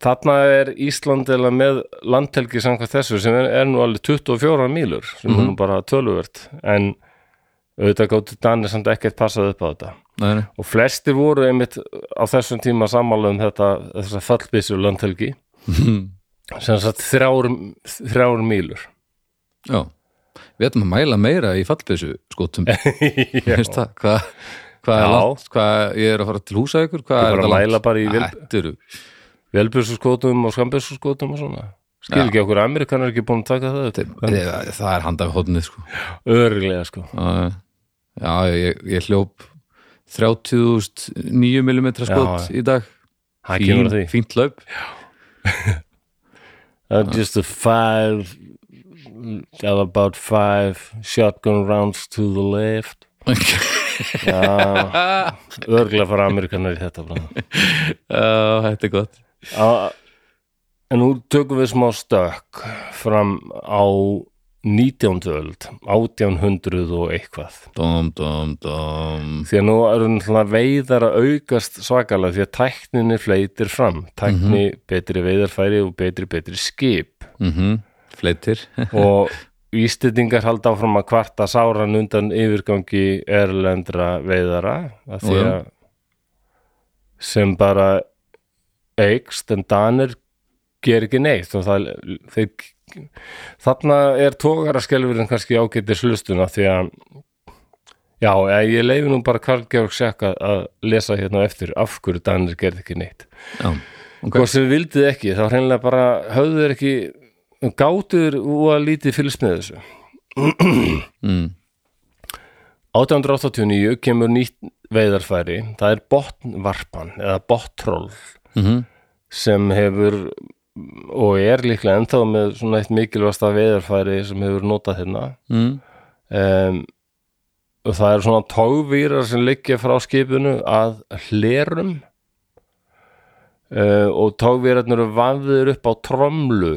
A: þarna er Ísland eða með landhelgi samkvæmt þessu sem er, er nú alveg 24 mýlur sem er nú bara töluvert en auðvitað gáttu Danir samt ekkert passað upp á þetta
B: nei, nei.
A: og flestir voru einmitt á þessum tíma sammála um þetta þessa fallbyssu landhelgi sem sagt þrjár, þrjár mýlur
B: já við ættum að mæla meira í fallbyssu skotum Veist það, hvað hva er
A: Já.
B: langt, hvað ég er að fara til húsa ykkur,
A: Ég
B: hvað er
A: bara
B: þetta langt
A: mæla bara í vél-
B: Þetta eru-
A: velbyssu skotum og skambyssu skotum og svona skil ekki okkur Amerikanar ekki búin að taka það upp.
B: Eða, það er handa við hóðnið sko.
A: örglega sko
B: já, já, ég, ég hljóp 30.009 mm skot
A: Já,
B: í dag
A: Það kemur að því.
B: fínt laup
A: Uh, just the five, uh, about five shotgun rounds to the left. Já, örglega fara Amerikanar í þetta bara.
B: Já, þetta er gott
A: Á- En nú tökum við smá stökk fram á 19. öld, 1800 og eitthvað.
B: dom, dom, dom.
A: Því að nú eru náttúrulega veiðar að aukast svakalega því að tækninni fleitir fram. Tækni betri veiðarfæri og betri, betri skip.
B: Mm fleitir
A: og Ístendingar halda áfram að kvarta sáran undan yfirgangi erlendra veiðara að því
B: Nú, já.
A: að sem bara eikst en danir ger ekki neitt og það, þeir, þarna er tógaraskelfurinn kannski ágættir slustuna því að já, ég- ég leifi nú bara Karl Georg Sjakk að- að lesa hérna á eftir af hverju danir gerði ekki neitt
B: já, ok
A: hvort sem við vildið ekki þá hreinlega bara höfðu þeir ekki gátur og að lítið fylgst með þessu
B: mm.
A: 1889 kemur nýtt veiðarfæri það er botnvarpan eða bottroll
B: Mm
A: sem hefur og er líklega ennþá með svona eitt mikilvægasta veiðarfæri sem hefur notað hérna
B: mm.
A: um, og það eru svona tógvírar sem liggja frá skipinu að hlerum uh, og tógvírarnir eru vafðir upp á tromlu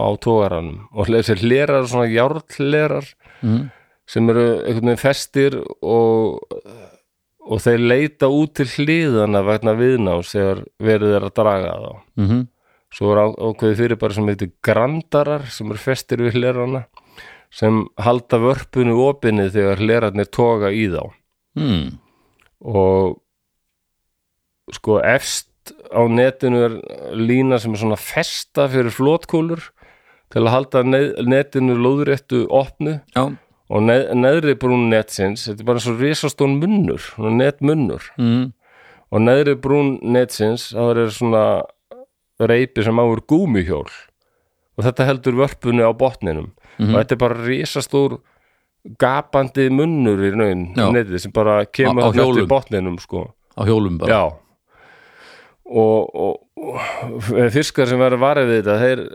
A: á tógaranum og hle- þessi hlerar eru svona járnhlerar
B: Mm.
A: sem eru einhvern veginn festir og og þeir leita út til hliðana vegna viðnáms þegar verið er að draga þá
B: mm -hmm.
A: svo er á- ákveðið fyrir bara sem heitir grandarar sem eru festir við hlerana sem halda vörpunni opinni þegar hlerarnir toga í þá
B: Mm.
A: og sko efst á netinu er lína sem er svona festa fyrir flótkúlur til að halda ne- netinu lóðréttu opnu
B: Já,
A: og ne neðri brún netsins þetta er bara svo risastón munnur svona netmunnur
B: mm.
A: og neðri brún netsins það er svona reypi sem áur gúmihjól og þetta heldur vörpunni á botninum
B: Mhm.
A: og þetta er bara risastór gapandi munnur í raun
B: Já.
A: netið sem bara kemur
B: Á- á
A: þarna eftir
B: hjólum.
A: botninum sko
B: á hjólum bara
A: Já og, og, og fiskar sem verður varið við þetta þeir,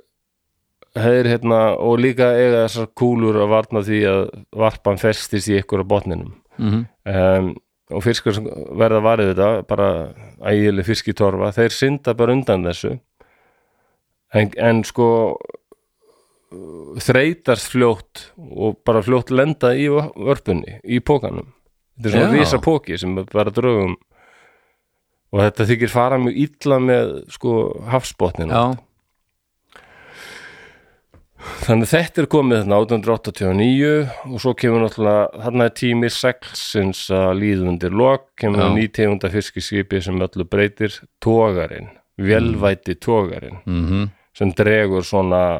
A: þeir hérna og líka eiga þessar kúlur að varna því að varpan festist í ykkur á botninum
B: Mhm.
A: um, og fiskar sem verða varið við þetta bara ægileg fiskitorfa þeir synda bara undan þessu en, en sko uh, þreytast fljótt og bara fljótt lenda í vö- vörpunni, í pókanum þetta er svona
B: Já.
A: risa póki sem er bara draugum og þetta þykir fara mjög illa með sko hafsbotninu
B: Já,
A: þannig að þetta er komið þarna 1889 og svo kemur náttúrulega þarna er tími seglsins að líða undir lok, kemur
B: Já.
A: nýtegunda fiskiskipi sem öllu breytir tógarinn, velvæti tógarinn
B: mhm.
A: sem dregur svona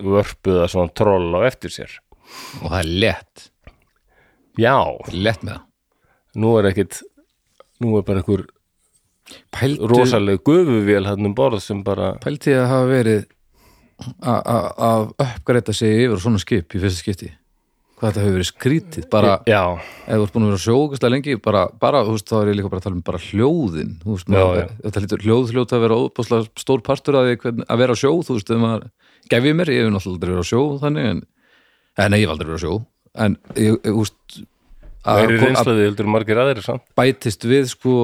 A: vörpuða svona troll á eftir sér
B: og það er lett
A: já,
B: lett með það
A: nú er ekkit nú er bara einhver
B: Pældu,
A: rosaleg gufuvél hann um borð sem bara
B: pældi að hafa verið a- a- að uppgreita sig yfir á svona skip í fyrsta skipti hvað þetta hefur verið skrítið bara,
A: já,
B: ef þú ert búin að vera sjókastlega lengi bara, bara, þú veist, þá er ég líka bara að tala um bara hljóðin þú veist,
A: Já,
B: maður,
A: já.
B: þetta lítur hljóð hljóta að vera óbúslega stór partur að, hvern, að vera á sjó, þú veist, þegar maður gefið mér, ég hef náttúrulega aldrei verið á sjó þannig, en, en nei, ég hef aldrei verið á sjó en, ég, ég, þú veist að,
A: meiri
B: kom- að
A: reynslaði heldur en margir aðrir samt
B: bætist við sko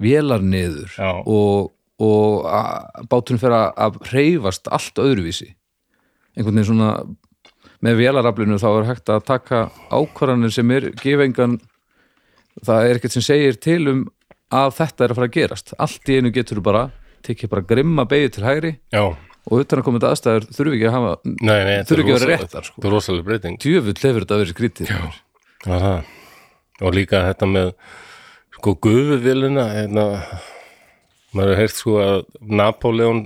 B: vélar niður
A: Já.
B: og, og að, bátunum fer að- að hreyfast allt öðruvísi einhvern veginn svona með vélaraflinu þá er hægt að taka ákvarðanir sem er gefengan það er ekkert sem segir til um að þetta er að fara að gerast allt í einu getur bara, tekið bara grimma beigju til hægri
A: já,
B: og utan að koma þetta aðstæður þurfi ekki að hafa
A: nei, nei, þetta
B: Þurfi
A: er
B: ekki að vera
A: rosaleg-
B: réttar, sko.
A: þetta er rosaleg breyting
B: djöfull hefur þetta verið skrítið Já.
A: Já, það. og líka þetta með sko gufuviluna hérna, maður hefði sko að Napoleon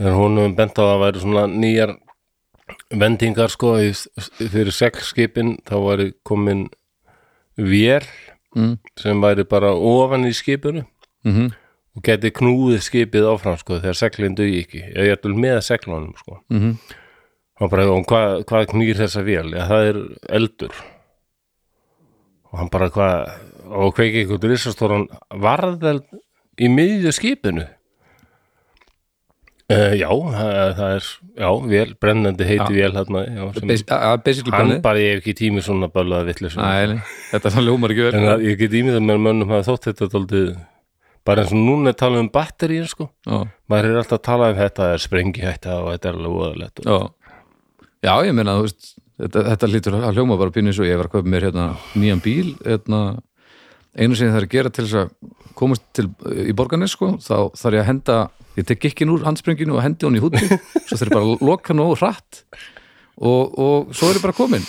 A: þegar honum bent á að væri svona nýjar vendingar sko í, fyrir seglskipin þá væri komin vél
B: Mm.
A: sem væri bara ofan í skipinu
B: Mm -hmm.
A: og geti knúið skipið áfram sko þegar seglinn dugi ekki eða ég ætlum með seglunum sko
B: Mm -hmm.
A: hann bara, og hvað, hvað knýr þessa vél já, það er eldur og hann bara, hvað og kveiki einhvern risastóran varðeld í miðju skipinu Uh, já, það, það er já, vél, brennandi heiti vél hérna, já, sem,
B: basically
A: hann
B: planið
A: bara, ég hef ekki tími svona bölaða vitleysu
B: Nei, nei, þetta er það ljómar ekki
A: en
B: verið
A: það, ég get ímyndað mér að mönnum hafa þótt þetta daldið, bara eins og núna er talað um batteríin, sko,
B: Já.
A: maður er alltaf að tala um þetta, er sprengi hætta og þetta er alveg voðalegt og,
B: Já, já ég meina þú veist, þetta, þetta lítur að hljóma bara pínu eins og ég var að köpa mér hérna nýjan bíl hérna, einu sem það er að gera til þess að komast til í borganes sko, þá þarf ég að henda ég tek ekki úr handspringinu og hendi hún í húti svo þarf ég bara að loka nógu hratt og, og svo er ég bara komin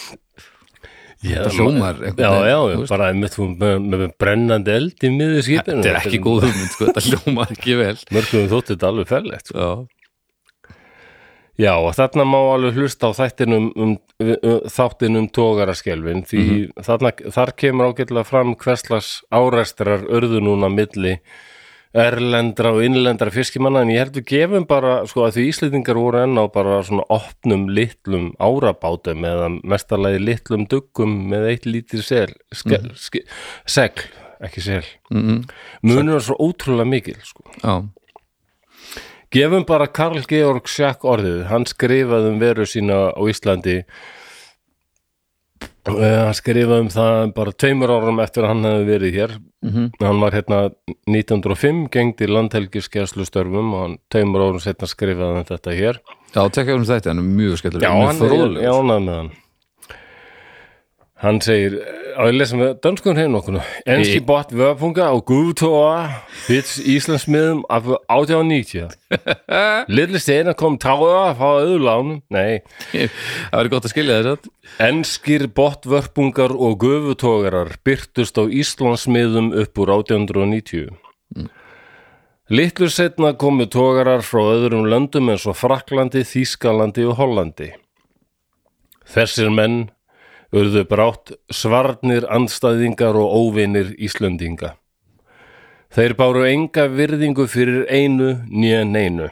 A: Já,
B: Þetta hljómar einhvern
A: já,
B: veginn,
A: já,
B: þú
A: já,
B: veist.
A: bara einmitt hún með, með brennandi eld í miður skipinu
B: þetta er ekki góð hugmynd, sko, þetta hljómar ekki vel
A: mörgum þótti þetta alveg ferlegt sko.
B: Já,
A: já, og þarna má alveg hlusta á þættinum um, um, þáttinum tógaraskelvin því þarna, þar kemur ágætlega fram hverslas áræstrar örðu núna milli erlendra og innlendra fiskimanna en ég held við gefum bara, sko að því Íslendingar voru enn á bara svona opnum litlum árabátum eða mestalagi litlum duggum með eitt lítið sel, ske, ske, segl ekki sel,
B: mm
A: munur er svo ótrúlega mikil sko
B: já,
A: Gefum bara Karl Georg Schack orðið, hann skrifaði um veru sína á Íslandi Eh, hann skrifaði um það bara tveimur árum eftir að hann hefði verið hér
B: Mhm.
A: hann var hérna 1905 gengdi landhelgiskeslu störfum og hann tveimur árum setna skrifaði hann þetta hér
B: já tekja um þetta, hann er mjög skellur
A: Já, hann er ánægð með hann Hann segir, á ég lesa með dönskun hreinu okkur. Enski bótt vörfunga og guðtóa vits Íslandsmiðum af 1890. Lilli stena kom táa frá auðlánum. Nei,
B: það verður gott að skilja þess
A: enskir bottvörpungar og gufutógarar byrtust á Íslandsmiðum upp úr 1890. Litlu setna komu tógarar frá öðrum löndum eins og Fraklandi, Þískalandi og Hollandi. Þessir menn urðu brátt svarnir andstæðingar og óvinir Íslendinga. Þeir báru enga virðingu fyrir einu nýja neinu.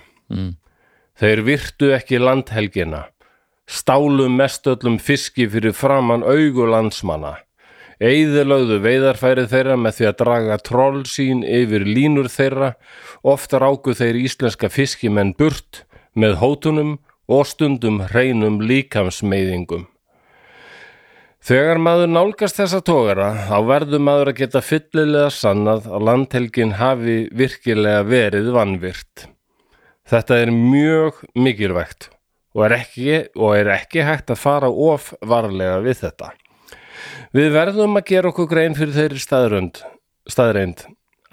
A: Þeir virtu ekki landhelgina, stálu mest öllum fiski fyrir framann augu landsmanna. Eðilögðu veiðarfæri þeirra með því að draga troll sín yfir línur þeirra, ofta ráku þeir íslenska fiskimenn burt með hótunum og stundum hreinum líkamsmeiðingum. Þegar maður nálgast þessa tógara þá verður maður að geta fyllilega sannað að landhelgin hafi virkilega verið vannvirt. Þetta er mjög mikilvægt og er ekki, og er ekki hægt að fara of varlega við þetta. Við verðum að gera okkur grein fyrir þeirri staðrönd, staðreind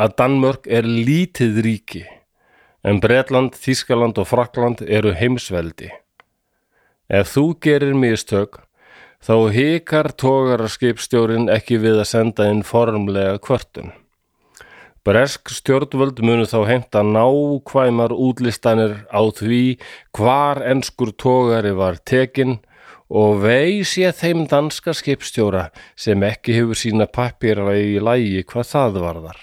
A: að Danmörk er lítið ríki en Bretland, Þískaland og Frakland eru heimsveldi. Ef þú gerir mistök þá hikar tógararskipstjórin ekki við að senda inn formlega kvörtun. Bresk stjórnvöld munu þá heimta nákvæmar útlistanir á því hvar enskur tógari var tekin og veis ég þeim danska skipstjóra sem ekki hefur sína pappýra í lægi hvað það varðar.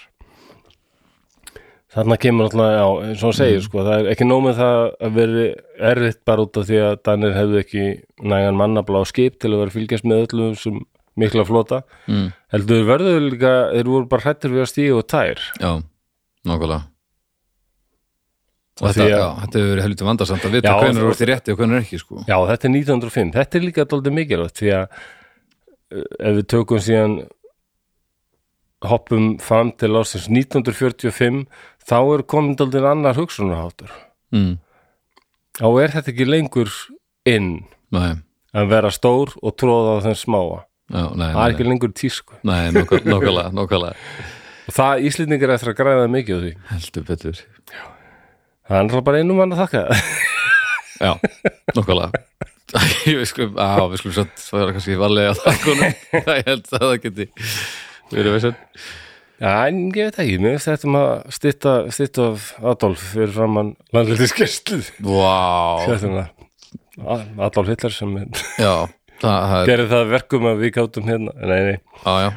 A: Þarna kemur alltaf, já, eins og hann segir, sko, það er ekki nómið það að veri erfitt bara út af því að Danir hefðu ekki nægan mannabla á skip til að vera að fylgjast með öllum sem mikla flota. Mm. Heldur verður líka, þeir voru bara hrættir við að stíga og tær.
B: Já, nákvæmlega Og
A: Af
B: þetta,
A: því að-
B: já, þetta hefur verið helviti vandarsamt að vita
A: Já,
B: hvernig
A: þú-
B: er orðið rétti og hvernig er ekki sko.
A: Já, þetta er 1905. Þetta er líka daldið mikilvægt því að uh, ef við tökum síðan hoppum fram til ásins 1945 þá er komin daldið annar hugsunarháttur.
B: mm.
A: Þá er þetta ekki lengur inn
B: Nei,
A: að vera stór og tróða á þeim smáa.
B: já, nei,
A: Það er
B: nei,
A: ekki lengur tísku.
B: nei, nei nákvæ- nákvæmlega, nákvæmlega
A: Og það Íslendingar eftir að græða mikið á því.
B: Heldur betur
A: Það er náttúrulega bara einum mann að þakka.
B: Já, nákvæmlega Við skulum, á, við skulum satt það er kannski varlega að það konum ég held að það geti verið veist
A: Já, en ég veit ekki, mér finnst þetta maður að stytta, stytta af Adolf fyrir framann landlítiskerslu.
B: Vá,
A: Hérna, Adolf Hitler sem
B: já, það, það er
A: gerði það að verkum að við gáttum hérna. Nei, nei,
B: á, já.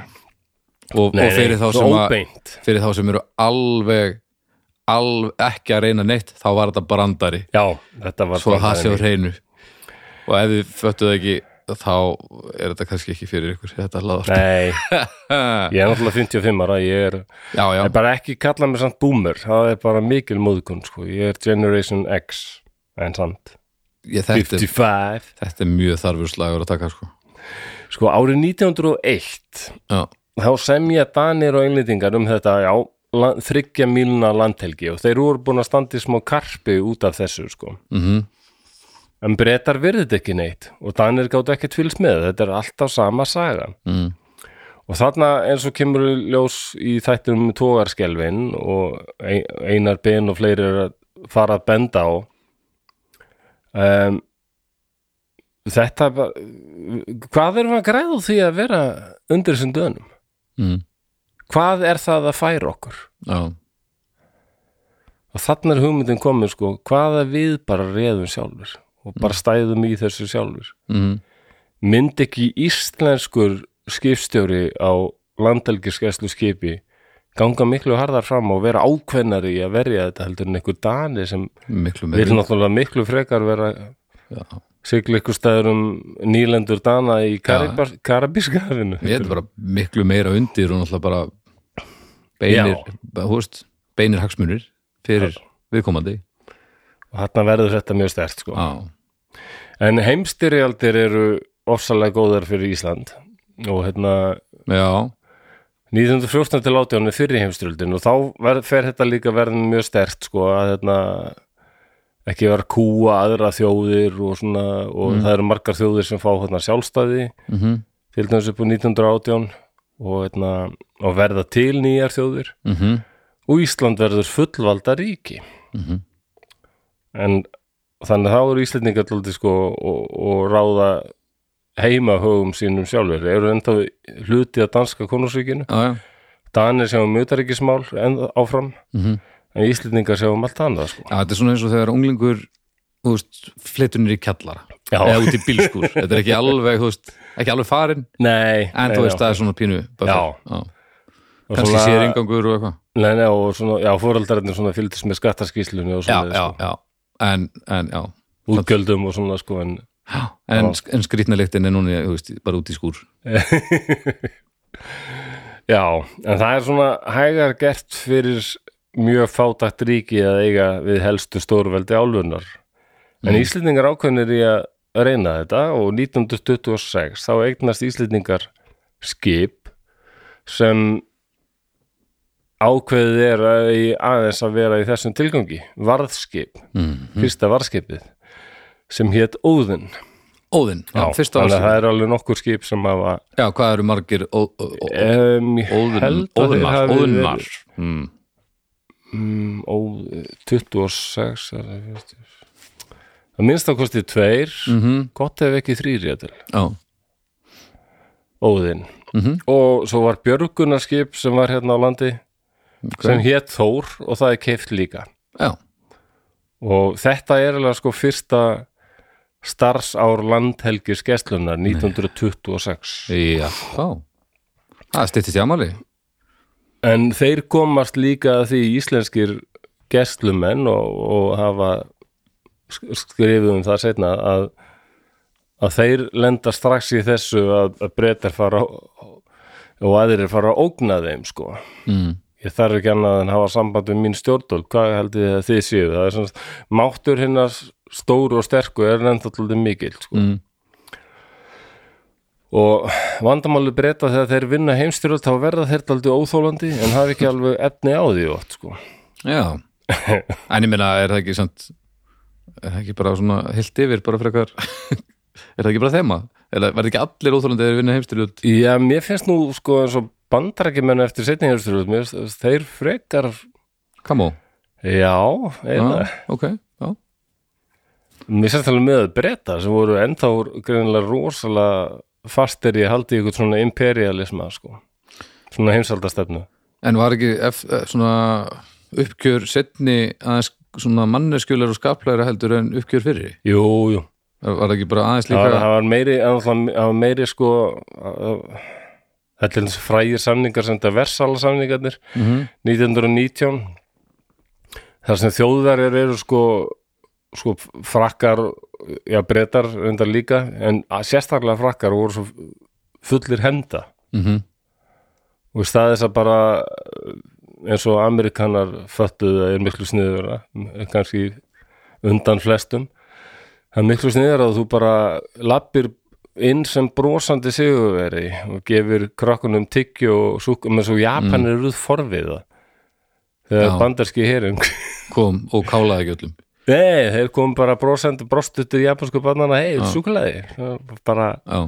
B: Og,
A: nei,
B: og fyrir þá
A: svo
B: sem að
A: óbeint.
B: fyrir þá sem eru alveg alveg ekki að reyna neitt þá var þetta brandari
A: Já, þetta var
B: svo að það
A: brandarinn.
B: sé á hreinu og ef þið föttu það ekki þá er þetta kannski ekki fyrir ykkur þetta laður
A: Nei, ég er náttúrulega 55 ára, ég er,
B: já, já,
A: ég bara ekki kalla mig samt boomer, það er bara mikil móðkun, sko, ég er Generation X, en samt.
B: ég, þetta, er,
A: 55.
B: þetta er mjög þarfur slagur að taka sko.
A: Sko, árið 1901,
B: já,
A: þá semja Danir og englendingar um þetta, já, la- þriggja mílna landhelgi og þeir voru búin að standa í smá karpi út af þessu, sko.
B: mhm,
A: En breytar virðið ekki neitt og Danir gáttu ekkert fylgst með, þetta er alltaf sama sagan.
B: mhm,
A: Og þarna eins og kemur í ljós í þættum tógarskelvin og Ei- Einar Ben og fleiri er að fara að benda á um, Þetta er bara- hvað erum við að græða úr því að vera undir þessum dönum?
B: mhm,
A: Hvað er það að færa okkur?
B: já
A: Og þarna er hugmyndin komin sko, hvaða við bara reðum sjálfur og bara stæðum í þessu sjálfur
B: mhm,
A: mynd ekki íslenskur skipstjóri á landhelgiskeslu skipi ganga miklu harðar fram og vera ákvennari í að verja þetta heldur en einhver dani sem
B: miklu
A: vil
B: meiri
A: náttúrulega miklu frekar vera
B: Já.
A: sigla ykkur staður um nýlendur dana í Karibar, Karabíska hafinu
B: ég er bara miklu meira undir og náttúrulega bara beinir, bara, þú veist, beinir hagsmunir fyrir viðkomandi
A: og þarna verður þetta mjög stert sko.
B: já,
A: en heimstyrjaldir eru ofsalega góðar fyrir Ísland og hérna
B: já
A: 1914 til 18 er fyrir heimstyrjöldin og þá ver, fer þetta líka verðin mjög stert sko að hérna ekki vera að kúa aðra þjóðir og svona og það eru margar þjóðir sem fá hérna sjálfstæði
B: mhm,
A: til dæmis upp á 1918 og, eitna, og verða til nýjar þjóðir
B: mm -hmm.
A: og Ísland verður fullvalda ríki
B: Mhm.
A: en þannig að þá eru Íslendingar alltaf sko og, og ráða heimahögum sínum sjálfur eru ennþá hluti að danska konungsvíkinu
B: já, já.
A: Danir sjáum mjötaríkismál en áfram
B: Mhm.
A: en Íslendingar sjáum allt annað sko
B: Já, þetta er svona eins og þegar unglingur þú veist, flytunir í kjallara
A: Já.
B: eða út í bílskúr, þetta er ekki alveg þú veist, ekki alveg farin,
A: Nei,
B: en
A: nei,
B: þú
A: já.
B: veist það er svona pínu buffet.
A: Já.
B: já.
A: Og
B: kannski
A: svona-
B: sér ingangur og eitthvað
A: Nei, nei, og svona, já, fóraldararnir svona fylgdist með skattaskíslunni og
B: já,
A: svona
B: já,
A: sko,
B: já, en, en já
A: útgjöldum og svona sko en
B: en, en skrýtna lyktin er núna þú veist, bara út í skúr
A: Já, en það er svona hægar gert fyrir mjög fátækt ríki að eiga við helstu stórveldi álfunnar.
B: Mm.
A: En Íslendingar ákveðnir í að reyna þetta og 1926 þá eignast Íslendingar skip sem ákveðið er að í aðeins að vera í þessum tilgangi, varðskip,
B: Mhm.
A: fyrsta varðskipið sem hétt Óðinn.
B: Óðinn, já, fyrsta
A: þannig að
B: ásinn
A: það er alveg nokkur skip sem hafa
B: já, hvað eru margir ó, ó, ó,
A: um, ég
B: óðun,
A: held að þeir
B: óðunar,
A: hafi
B: óðunar
A: verið-
B: mm.
A: Mm, ó, 26 er það 40. að minnst þá kosti tveir gott ef ekki þrýr ég til
B: já,
A: óðinn og svo var björgunarskip sem var hérna á landi sem hétt Þór og það er keift líka
B: já,
A: og þetta er alveg sko fyrsta starfsár landhelgis gæslunar 1926
B: já já. það styttist í amali
A: En þeir komast líka að því íslenskir gæstlumenn og, og hafa sk- skrifið um það setna að, að þeir lenda strax í þessu að, að breytar fara og og aðrir fara að ógna þeim sko.
B: mm.
A: Ég þarf ekki annað en hafa samband við mín stjórnvöld, hvað held ég að þið séu? Það er svona, máttur hérna stóru og sterku er ennþá til mikill sko.
B: Mm.
A: Og vandamáli breyta þegar þeir vinna heimstyrjöld þá verða þeir daldið óþólandi en hafa ekki alveg efni á því oft sko.
B: Já, en ég meina er það ekki samt, er það ekki bara svona heilt yfir bara frekar er það ekki bara þema? Er það verður ekki allir óþólandi að vinna heimstyrjöld?
A: Já, mér finnst nú sko eins og bandarækjumenn eftir setni heimstyrjöld, mér finnst þeir frekar
B: Come on,
A: já, eða,
B: já, ok já.
A: mér sérst alveg með breyta sem voru ennþá greinilega rosalega fastir í að halda í ykkur svona imperialisma sko. svona heimsaldastefnu.
B: En var ekki ef, eh, svona uppgjör setni aðeins svona manneskjölar og skaplæra heldur en uppgjör fyrri?
A: Jú, jú.
B: Var það ekki bara aðeins
A: Það var,
B: líka?
A: það var meiri, en náttúrulega- það var meiri sko uh, þetta er eins og frægir samningar sem þetta versala samningarnir
B: Mhm.
A: 1919 þar sem þjóðverjar eru sko, sko frakkar já breytar reyndar líka en að- sérstaklega frakkar voru svo fullir henda
B: Mhm.
A: og í staðis að bara uh, eins og amerikanar föttuðu að er miklu sniður kannski undan flestum það er miklu sniður að þú bara lappir inn sem brosandi sigurveri og gefur krakkunum tyggju og súk, menn svo Japan mm. eruð forviða þegar
B: Já.
A: bandarski herum
B: Kom og kálaði ekki öllum
A: nei, þeir kom bara brosandi brostutur japansku bannana, hei, súkulæði bara,
B: Já,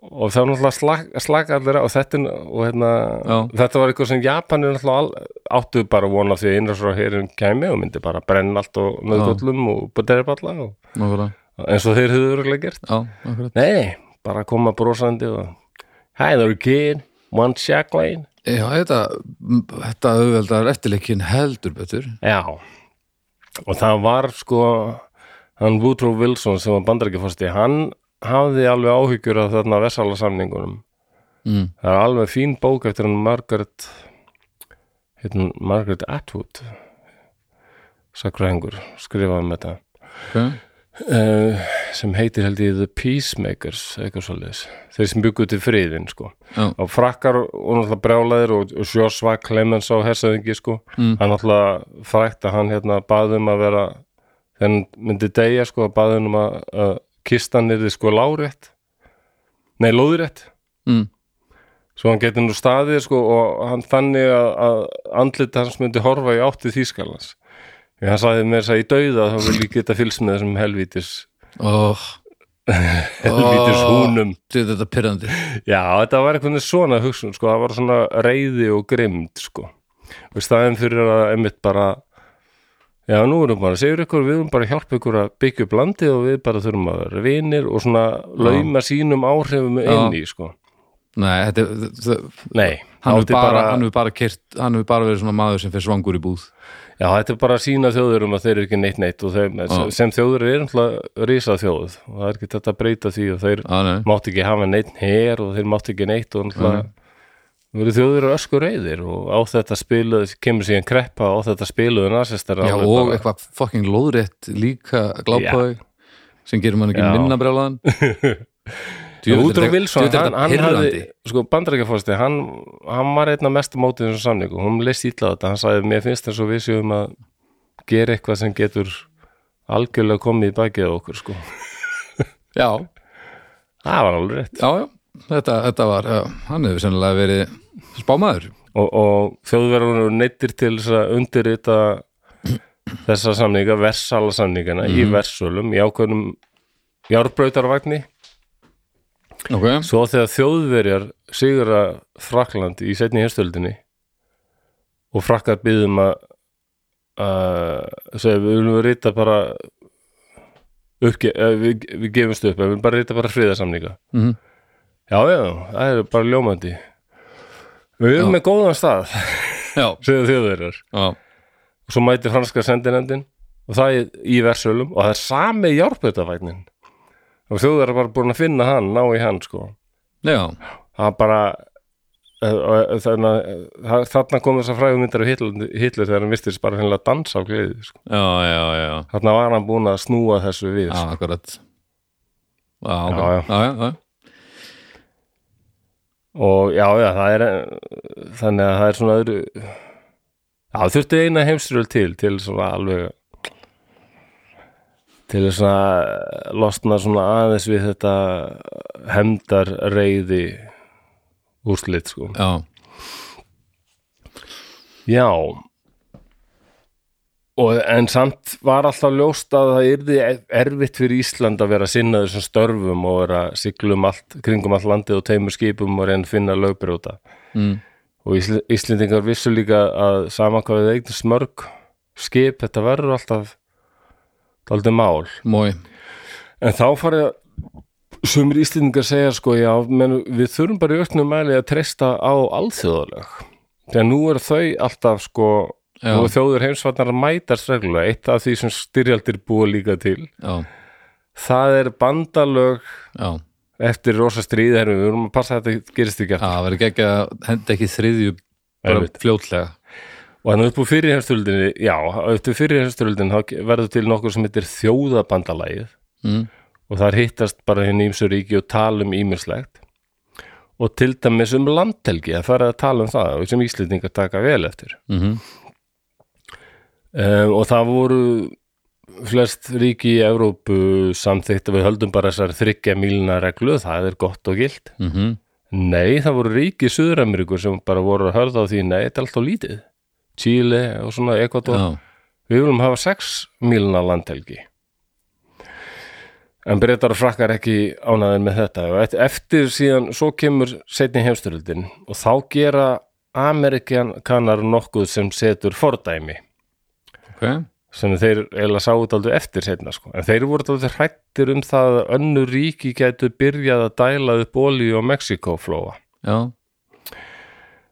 A: og það er náttúrulega slak, slaka allir á og þetta, er nú- og hérna,
B: Já.
A: þetta var eitthvað sem Japan er náttúrulega all, áttu bara von á því að innræsra herum kæmi og myndi bara brenna allt og nöðgöllum og bara derpa alla og
B: nákvæmlega
A: eins og þeir höfðu örgulega gert
B: Já, nákvæmlega
A: Nei, bara koma brosandi og Hi there kid, one shack lane
B: Já, þetta, þetta auðveldar eftirleikin heldur betur
A: Já Og það var sko hann Woodrow Wilson sem var bandarækjafosti hann hafði alveg áhyggjur af þarna versala samningunum
B: mm.
A: Það er alveg fín bók eftir hann Margaret hérna Margaret Atwood sakræðingur skrifaði um þetta
B: okay.
A: uh, sem heitir held ég The Peacemakers eitthvað svoleiðis, þeir sem byggu til friðin sko,
B: Já.
A: og frakkar og náttúrulega brjálæðir og, og Joshua Clemens á hersaðingi sko,
B: Mm.
A: hann náttúrulega frækt að hann hérna baðum að vera þegar hann myndi deyja sko að baðum að, að kistan er þið sko lárétt nei lóðrétt
B: Mm.
A: svo hann getur nú staðið sko og hann þannig að, að andlit hans myndi horfa í átti Þýskalans Ég hann sagði mér þess að í dauða þá vil ég geta fylgst með þessum helvítis
B: Oh,
A: helvítis húnum
B: Þetta er þetta pyrrandi
A: Já, þetta var eitthvað svona hugsun sko, það var svona reyði og grimd sko, og í staðin fyrir að einmitt bara já, nú erum bara, segjur ykkur, við erum bara að hjálpa ykkur að byggja upp landið og við bara þurfum að vera vinir og svona lauma sínum áhrifum inn í, sko
B: Nei, þetta er það-
A: Nei,
B: Hann hefur
A: átti
B: bara, bara, hann hefur bara, keyrt- hann hefur bara verið svona maður sem fyrir svangur í búð
A: Já, þetta er bara að sína þjóðurum að þeir eru ekki neitt neitt og þeim,
B: Já.
A: sem þjóður eru náttúrulega rísa þjóð og það er ekki þetta að breyta því og þeir
B: Já, nei,
A: mátt ekki hafa neitt hér og þeir mátt ekki neitt og náttúrulega
B: Mhm.
A: voru þjóður öskur reyðir og á þetta spiluð kemur síðan kreppa og á þetta spiluðu nasistar
B: Já, og eitthvað fucking lóðrétt líka glápaði sem gerir mann ekki
A: Já.
B: minna brjálaðan
A: Útrú Vilsson, hann,
B: hann,
A: hann hafði
B: hafði
A: sko, bandarækjafósti, hann, hann var einna mest á mótið þessum samningu, hún leist ítla þetta hann sagði, mér finnst þess að við séum að gera eitthvað sem getur algjörlega komið í bakið á okkur sko.
B: Já,
A: það var alveg rétt
B: já, já, þetta, þetta var já, hann hefur sennilega verið spámaður
A: og, og þjóðverðunum voru neittir til þess að undirrita þessa samninga, versala samningana í versölum, í ákveðnum járbrautarvagni
B: okay.
A: svo þegar þjóðverjar sigura Frakland í setni hérstöldinni og frakkar byggðum að að segja við viljum rita bara uppge, eh, við, við gefumst upp, við viljum bara rita bara friðarsamninga
B: Mhm.
A: já, já, það er bara ljómandi við erum með góðan stað
B: Já,
A: segja þjóðverjar
B: já,
A: og svo mæti franska sendinendin og það er í versölum og það er sami járpötavagninn og þjóðverjar bara búin að finna hann, ná í hann sko
B: já,
A: það bara eh, og þarna, eh, þarna kom þess að fræðu myndar af Hitler, Hitler þegar hann virtist bara hennilega dansa á gleði sko.
B: já, já, já.
A: þarna var hann búin að snúa þessu við
B: Já,
A: sko.
B: akkurat Já,
A: Já,
B: ok.
A: já.
B: já, já, já.
A: og já, já, það er eh, þannig að það er svona öðru já, þurfti eina heimsröld til til svona alveg til þess að losna svona aðeins við þetta hemdar reyði úrslit sko
B: já.
A: Já og en samt var alltaf ljóst að það yrði e- erfitt fyrir Ísland að vera að sinna þessum störfum og vera að sigla um allt, kringum allt landið og teimur skipum og reyna að finna lögbrjóta
B: Mm.
A: og Ísl Íslendingar vissu líka að saman hvað við eign smörg skip, þetta verður alltaf daldið mál
B: Mói,
A: en þá farið að sumir Íslendingar segja sko já, menn, við þurfum bara í auknum mæli að treysta á alþjóðaleg þegar nú eru þau alltaf sko
B: Já.
A: nú er þjóður heimsvarnar að mætast reglulega eitt af því sem styrjaldir búa líka til
B: já,
A: það er bandalög
B: já
A: eftir rosa stríðherfi, við vorum að passa að þetta gerist ekki
B: Já,
A: aftur.
B: það verður ekki að henda ekki þriðju bara
A: Einmitt.
B: fljótlega
A: og þannig upp úr fyrir heimstöldinni já, upp úr fyrir heimstöldinni þá verður til nokkur sem heitir þjóðabandalagið
B: mm.
A: og þar hittast bara hinn ímsu ríki og tala um ímislegt og til dæmis um landhelgi að fara að tala um það og sem Íslendingar taka vel eftir
B: Mm
A: um, og það voru flest ríki í Evrópu samþykkt að við höldum bara þessar þryggja mílna reglu, það er gott og gilt
B: mhm,
A: nei, það voru ríki Suður-Ameríkur sem bara voru að hörða á því nei, þetta er alltaf lítið Chile og svona Ekvator
B: Já,
A: Við viljum hafa 6 míluna landhelgi. En breytar og frakkar ekki ánaðin með þetta. Og eft- Eftir síðan, svo kemur setni heimsturöldin og þá gera Amerikanar nokkuð sem setur fordæmi
B: ok
A: sem þeir eiginlega sáu þetta aldrei eftir setna sko. En þeir voru aldrei hrættir um það að önnur ríki gætu byrjað að dæla upp olíu á Mexikóflóa.
B: Já,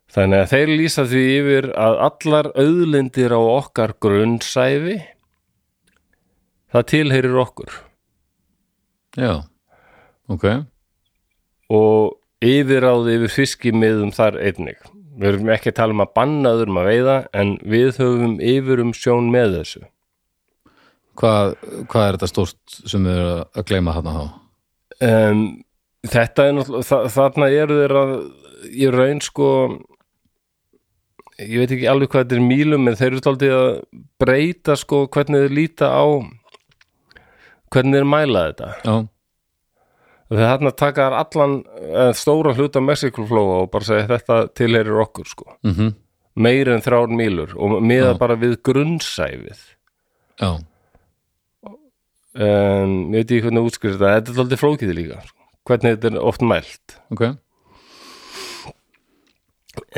A: Þannig að þeir lýsa því yfir að allar auðlindir á okkar grunnsæfi það tilheyrir okkur
B: já, ok
A: og yfirráði yfir fiskimiðum þar einnig. Við erum ekki að tala um að banna öðrum að veiða en við höfum yfir um sjón með þessu.
B: Hvað, hvað er þetta stórt sem við erum að gleyma þarna þá?
A: Um, þetta er náttúrulega, þa- þarna eru þeir að í raun sko ég veit ekki alveg hvað þetta er mýlum en þeir eru þáldið að breyta sko hvernig þeir líta á hvernig þeir mæla þetta.
B: Já,
A: Þegar þarna taka þær allan eh, stóra hluta Mexikoflóa og bara segja þetta tilherir okkur sko.
B: mm
A: Meir en þrjár mílur og miða
B: Já.
A: bara við grunnsæfið.
B: já,
A: um, ég veit ekki hvernig að útskýra þetta þetta er alltaf flókið líka sko. hvernig þetta er oft mælt
B: ok,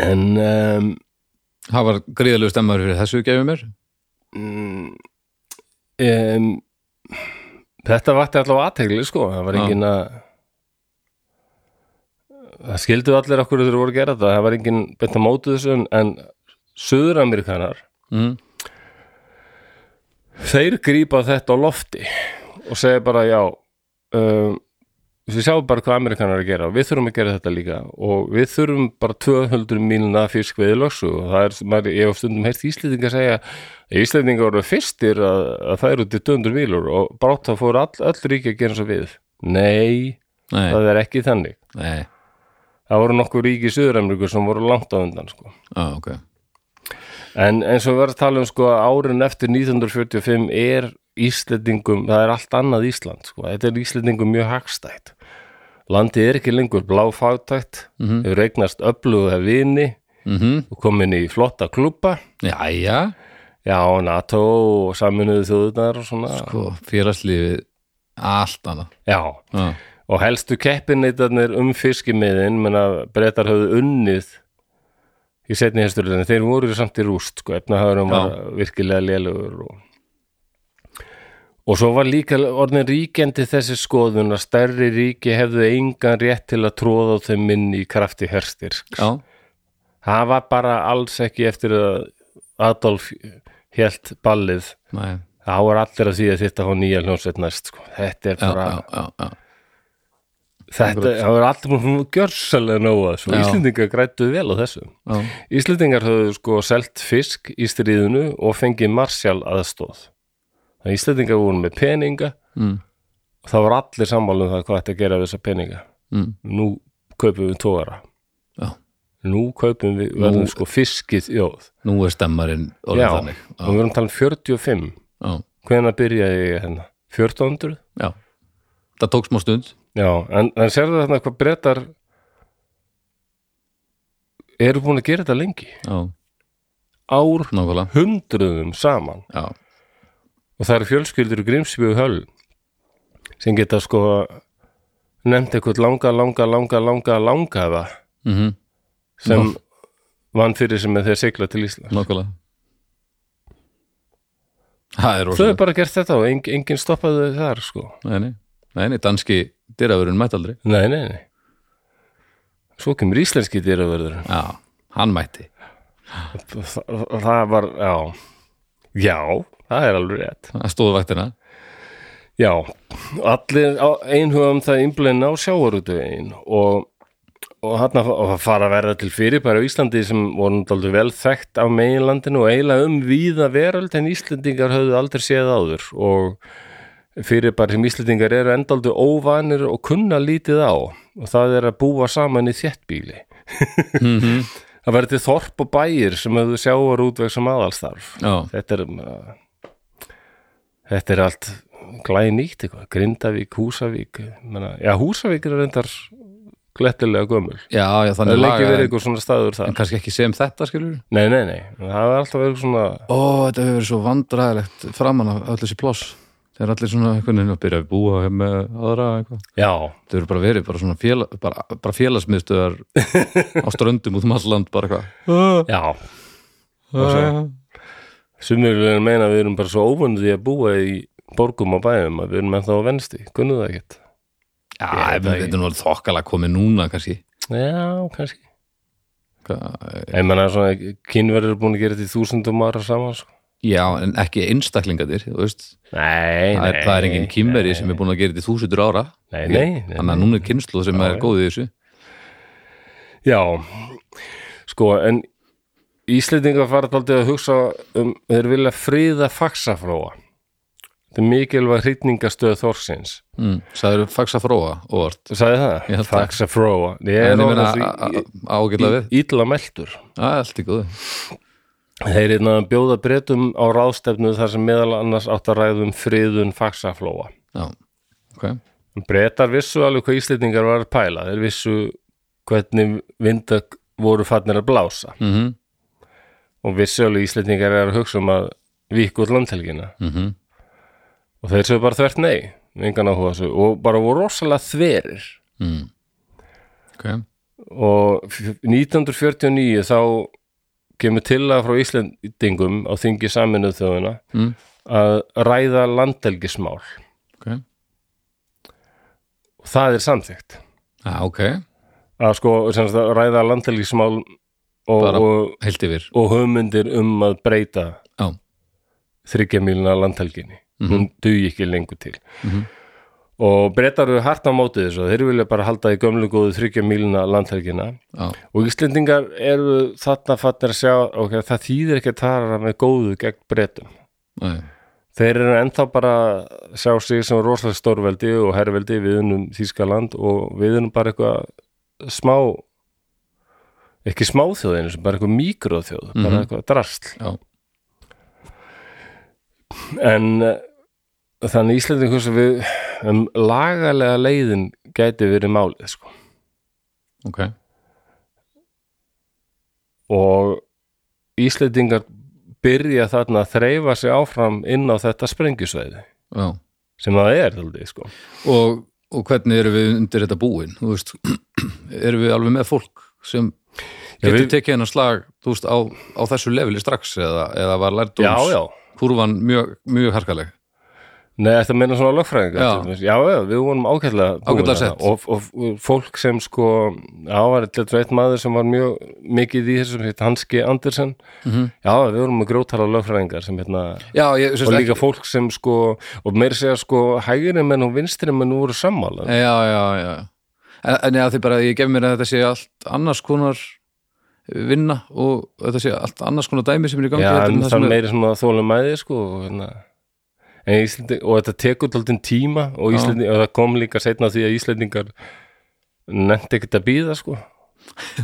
A: en um,
B: það var gríðalegu stemmar fyrir þessu gefið mér
A: um, þetta vakti allavega aðtegli sko, það var
B: Já.
A: engin að það skildu allir okkur þeir voru að gera þetta, það var engin beint að mótu þessu en, en Suður-Amerikanar
B: mm.
A: þeir grípa þetta á lofti og segja bara já um, við sjáum bara hvað Amerikanar er að gera og við þurfum að gera þetta líka og við þurfum bara 200 mínuna fisk við lögsu og það er, maður, ég hef stundum heyrt Íslendinga segja að Íslendinga voru fyrstir að, að það eru til 200 mílur og brátt það fóru all, all ríki að gera eins og við nei,
B: nei,
A: það er ekki þannig
B: nei,
A: það voru nokkur ríki í Suður-Ameríku sem voru langt á undan sko
B: ah, ok
A: En eins og við verðum að tala um sko að árin eftir 1945 er Íslendingum, það er allt annað Ísland sko, þetta er Íslendingum mjög hagstætt landið er ekki lengur bláfátætt, mm -hmm. hefur eignast öfluga vini
B: mm
A: og komin í flotta klúpa
B: jæja,
A: já, NATO og saminuðu þjóðunar og svona,
B: sko, félagslífið allt annað
A: já
B: ah.
A: og helstu keppinleitarnir um fiskimiðin, menna breytar höfðu unnið í setni hesturleginni, þeir voru samt í rúst sko, efnahagurum
B: Já.
A: var virkilega lélugur og, og svo var líka orðin ríkjandi þessi skoðun að stærri ríki hefðu engan rétt til að tróða á þeim minn í krafti herstyrk
B: já,
A: það var bara alls ekki eftir að Adolf hélt ballið
B: nei,
A: þá var allir að því að þetta á nýja hljónsveit næst sko. þetta er
B: já,
A: bara
B: já, já, já.
A: Þetta, það var alltaf mjög gjörsalega nóga svo
B: Já.
A: Íslendingar grættu vel á þessu
B: Já.
A: Íslendingar höfðu sko selt fisk í stríðinu og fengið marsjál aðstóð þannig að Íslendingar voru með peninga
B: Mm.
A: og það var allir sammála um það hvað ætti að gera við þessa peninga
B: Mm.
A: nú kaupum við tógara
B: Já.
A: nú kaupum við, verðum sko fiskið jóð
B: nú er stemmarinn orðin
A: Já,
B: þannig
A: og við erum talað um 45
B: já,
A: hvenær byrjaði ég hérna? 1400?
B: já, það tók smá stund
A: Já, en, en sérðu þarna hvað brettar eru búin að gera þetta lengi
B: já,
A: ár
B: nákvæmlega
A: hundruðum saman
B: já,
A: og það eru fjölskyldur í Grímsby og Höll sem geta sko nefnt eitthvað langa, langa, langa, langa, langaða
B: mm
A: sem vann fyrir sem þeir sigla til Ísland
B: nákvæmlega það er
A: Þau hefur
B: rosalega
A: bara gert þetta og eng, enginn stoppaði þau þar sko
B: nei, nei, nei, nei, danski dyravörun mætt aldrei
A: Nei, nei, nei Svo kemur íslenski dyravörður
B: já, hann mætti
A: það, það var, já Já, það er alveg rétt
B: það stóðu vaktina
A: Já, allir á- einhuga um það innblinn á sjávarútvegin og, og hann að fara að verða til fyrirbæri á Íslandi sem voru náttúrulega vel þekkt af meginlandinu og eiginlega um víða veröld en Íslendingar höfðu aldrei séð áður og fyrirbæri sem Íslendingar eru endaldu óvanir og kunna lítið á og það er að búa saman í þéttbíli. það verður til þorp og bæir sem höfðu sjávarútveg sem aðalstarf
B: já,
A: þetta er uh, þetta er allt glæði nýtt eitthvað, Grindavík, Húsavík menna, já, Húsavík er reyndar glettilega gömul
B: já, já
A: það
B: þannig
A: er lengi
B: lagað,
A: verið eitthvað svona staður
B: en
A: þar
B: kannski ekki sem þetta skilur
A: nei, nei, nei, það er alltaf verið svona
B: Ó, þetta hefur verið svo vandræðilegt framan af öll þessi pláss. Þegar allir svona einhvern veginn að byrja að búa með aðra eitthvað.
A: já,
B: Þetta hefur bara verið bara svona féla, bara, bara félagsmiðstöðar á ströndum út um all land bara eitthvað.
A: já, sumir vilja meina að við erum bara svo óvunni því að búa í borgum og bæðum að við erum ennþá á vensti, kunnu það ekkert
B: Já,
A: Ég veit
B: ég
A: það
B: veit
A: ekki.
B: þetta er nú alveg þokkala komið núna kannski.
A: já, kannski
B: Hvað-
A: ég menna svona, kynverður er búin að gera þetta í þúsundum ára saman sko.
B: Já, en ekki einstaklingadir, þú veist.
A: nei,
B: Það er,
A: nei,
B: það er engin kimmeri sem er búin að gera þetta í þúsundur ára.
A: nei, nei, nei,
B: Þannig að núna er kynslu sem er góð í þessu.
A: Já, sko, en Íslendingar fara taldið að hugsa um, þeir vilja friða faksaflóa. Þetta er mikilvæg hrýtningastöð Þorsins.
B: Mm. Sæður faxa fróa óvart.
A: Sæði það?
B: Ég held það.
A: Faxaflóa. Ég
B: En ég
A: er
B: meina
A: orðið
B: ágætla við.
A: ítla meldur.
B: Æ, Allt í góðu.
A: Þeir eru að bjóða breytum á ráðstefnu þar sem meðal annars átt að ræðum friðun faksaflóa.
B: Já, ok.
A: Breytar vissu alveg hvað Íslendingar var að pæla. Þeir vissu hvernig vindak voru farnir að blása.
B: mhm,
A: og við sölu Íslendingar er að hugsa um að vík út landhelgina
B: mhm,
A: og þeir sögðu bara þvert nei engan áhuga á þessu og bara voru rosalega þverir
B: ok,
A: og f- 1949 þá kemur til að frá Íslendingum á þingi saminuð þjóðina
B: Mm.
A: að ræða landelgismál og
B: ok já, það...
A: það er samþykkt
B: ok,
A: að sko sem sagt, að ræða landelgismál og,
B: Bara-
A: og,
B: heilt yfir
A: og höfundir um að breyta
B: já,
A: þryggja míluna landhelginni hún dugi ekki lengur til og breytar eru hart á móti þessu þeir vilja bara halda í gömlu góðu þryggja míluna landhelgina
B: já,
A: og Íslendingar eru þarna fattir að sjá ok, það þýðir ekki að tala með góðu gegn breytum
B: já,
A: þeir eru ennþá bara að sjá sig sem rosalega stórveldi og herrveldi við unum Þýskaland og við unum bara eitthvað smá ekki smáþjóðinu sem bara eitthvað mikróþjóð bara eitthvað drasl
B: já,
A: en eh, þannig Íslendingur sem við um, lagalega leiðin gæti verið málið sko
B: ok
A: og Íslendingar byrja þarna að þreyfa sig áfram inn á þetta sprengjusveiði
B: já.
A: sem það er þaldið sko
B: Og, og hvernig erum við undir þetta búin þú veist, erum við alveg með fólk sem getur
A: við-
B: tekið hennar slag þú veist, á, á þessu leveli strax eða, eða var lærdóms
A: já, já,
B: kurvan mjög, mjög harkaleg
A: nei þetta meina svona lögfræðingar
B: Já.
A: til dæmis. já, já, við vorum ágætlega búin
B: Ágætlega
A: þarna.
B: sett.
A: og, og, og fólk sem sko já, var eitthvað eitt maður sem var mjög mikið í þessum, hétt Hanski Andersen
B: Mhm.
A: já, við vorum með grótala lögfræðingar sem hérna
B: já, ég,
A: og
B: sem sagt,
A: líka fólk sem sko og meir segja sko hægri menn og vinstri menn voru sammála
B: já, já, já. En, en já, því bara að ég gef mér að þetta sé allt annars konar vinna og þetta sé allt annars konar dæmi sem er í gangi
A: Já,
B: heldur
A: en
B: en það
A: það er
B: sem er-
A: meiri svona þólumæði sko, og hérna. en Íslandi, og þetta tekur tóltin tíma og,
B: Já.
A: Íslandi, og það kom líka seinna því að Íslendingar nefndi ekkert að býða sko.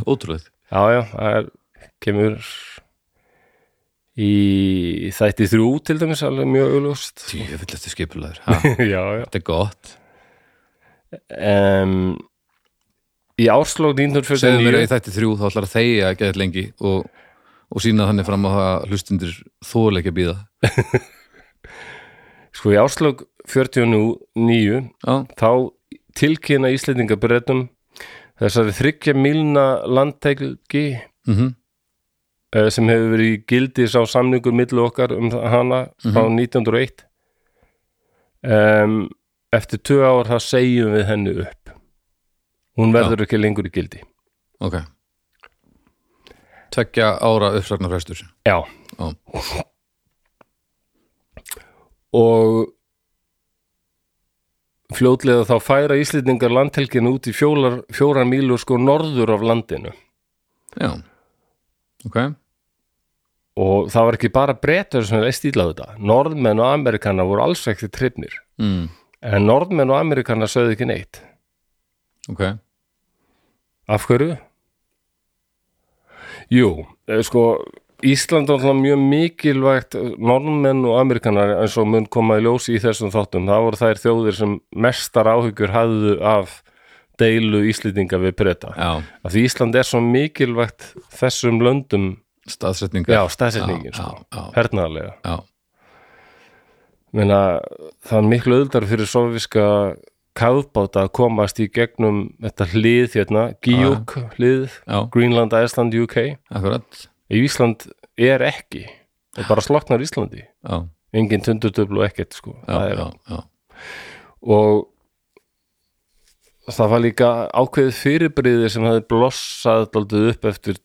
B: ótrúlega
A: já, já, það er, kemur í þætti þrjú til dæmis alveg mjög auðlust
B: Jú, ég vil eftir skipulaður, ha,
A: já, já
B: þetta er gott
A: um, í áslók
B: segðu mér að
A: 1949
B: í þætti þrjú þá ætlar að þeia að geða lengi og, og sína þannig fram á það að hlustundir þóleik að býða
A: sko í áslók 49
B: já,
A: þá tilkynna Íslendingabrettum þessari þryggja milna landtækki
B: mhm,
A: eh, sem hefur verið í gildi sá samningur millu okkar um það- hana frá 1901 um, eftir tvö ár þá segjum við henni upp hún verður ekki lengur í gildi
B: ok tveggja ára uppsagnarfrestur
A: já
B: Já.
A: og fljótlega þá færa Íslendingar landhelgin út í fjólar, fjóra mílu sko norður af landinu
B: já, ok
A: og það var ekki bara brettur sem leist íla á þetta norðmenn og amerikanar voru alls ekki trippnir
B: mm,
A: en norðmenn og amerikanar sögðu ekki neitt
B: ok,
A: af hverju? Jú, eh, sko Ísland er alltaf mjög mikilvægt eh, norðmenn og amerikanar eins og mun koma í ljós í þessum þáttum það voru þær þjóðir sem mestar áhyggjur hafðu af deilu Íslendinga við breyta
B: já,
A: af því Ísland er svo mikilvægt þessum löndum
B: staðsetningar
A: já, staðsetningin,
B: já,
A: sko,
B: já, já,
A: hernaðarlega
B: já,
A: Meina, það er miklu auðvitað fyrir soviska kafbáta að komast í gegnum þetta hlið hérna, Gíuk hlið,
B: já,
A: Greenland, Iceland, UK
B: akkurat
A: í Ísland er ekki það bara sloknar Íslandi
B: já,
A: engin tundutöflu og ekkert sko.
B: já,
A: Það er-
B: já, já,
A: og það var líka ákveðið fyrirbriði sem hafði blossað daldið upp eftir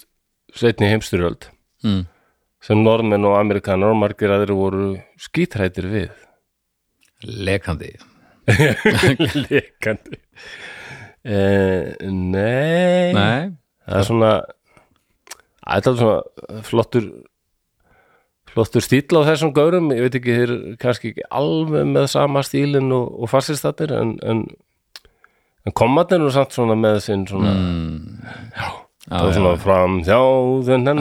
A: setni heimstyrjöld
B: mm.
A: sem normenn og amerikanar og margir aðri voru skítrætir við
B: lekandi
A: lekandi eh, nei,
B: nei,
A: það er svona það er dálítið svona flottur flottur stíl á þessum gaurum ég veit ekki, þeir eru kannski ekki alveg með sama stílinn og, og fascistattir en, en, en komatinn er samt svona með sinn svona,
B: mm. já,
A: það er
B: já,
A: svona fram þjáðin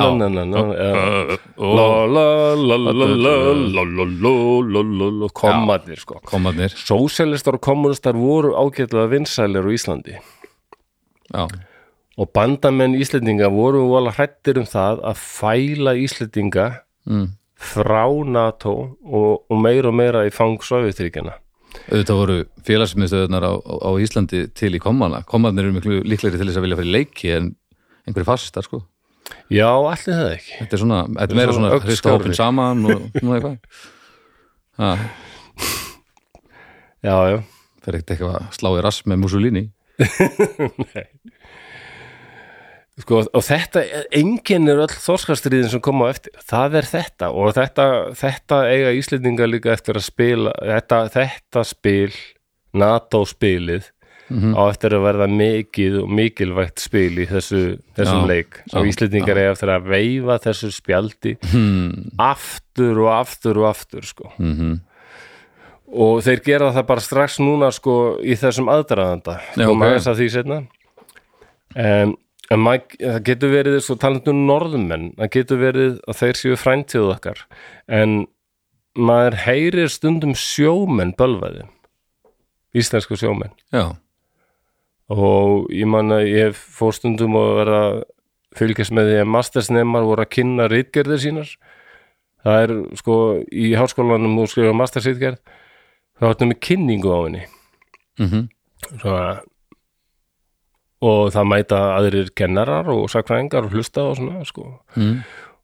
A: hennan komatinn sko
B: komarnir
A: Sósialistar og kommunistar voru ágætlega vinsælir á Íslandi
B: já,
A: og bandamenn Íslendinga voru vola hrættir um það að fæla Íslendinga
B: mm.
A: frá NATO og, og meira og meira í fang Sovjetríkjana
B: auðvitað voru félagsmiðstöðunar á, á á Íslandi til í kommana kommanir eru miklu líklegri til þess að vilja fyrir leiki en einhverju fastar sko
A: Já, allir það ekki
B: þetta er svona, þetta er meira
A: Svona
B: svona hrista
A: öxskári.
B: hópin saman og svona eitthvað ha,
A: Já, já
B: fer ekkert eitthvað að slá í rass með Mussolini
A: Sko, og þetta, enginn er öll þorskastriðin sem koma á eftir, það er þetta og þetta, þetta eiga Íslendinga líka eftir að spila þetta, þetta spil, NATO-spilið
B: Mhm. Mm.
A: á eftir að verða mikið og mikilvægt spil í þessu, þessum
B: Já,
A: leik og
B: já,
A: Íslendingar eiga eftir að veifa þessu spjaldi aftur og aftur og aftur sko.
B: Mhm.
A: og þeir gera það bara strax núna sko, í þessum aðdraðanda
B: Já,
A: og
B: ok.
A: maður þess að því setna en, en maður, það getur verið sko, talandum norðmenn, það getur verið að þeir séu fræntíðu okkar en maður heyrir stundum sjómenn bölvaði íslensku sjómenn
B: já,
A: og ég man að ég fór stundum að vera að fylgjast með því að mastersnemar voru að kynna rítgerðir sínar það er sko í háskólanum þú skrifa mastersrítgerð þá áttum við kynningu á henni
B: mhm,
A: svona og það mæta aðrir kennarar og sakfræðingar og hlusta og svona sko.
B: mm.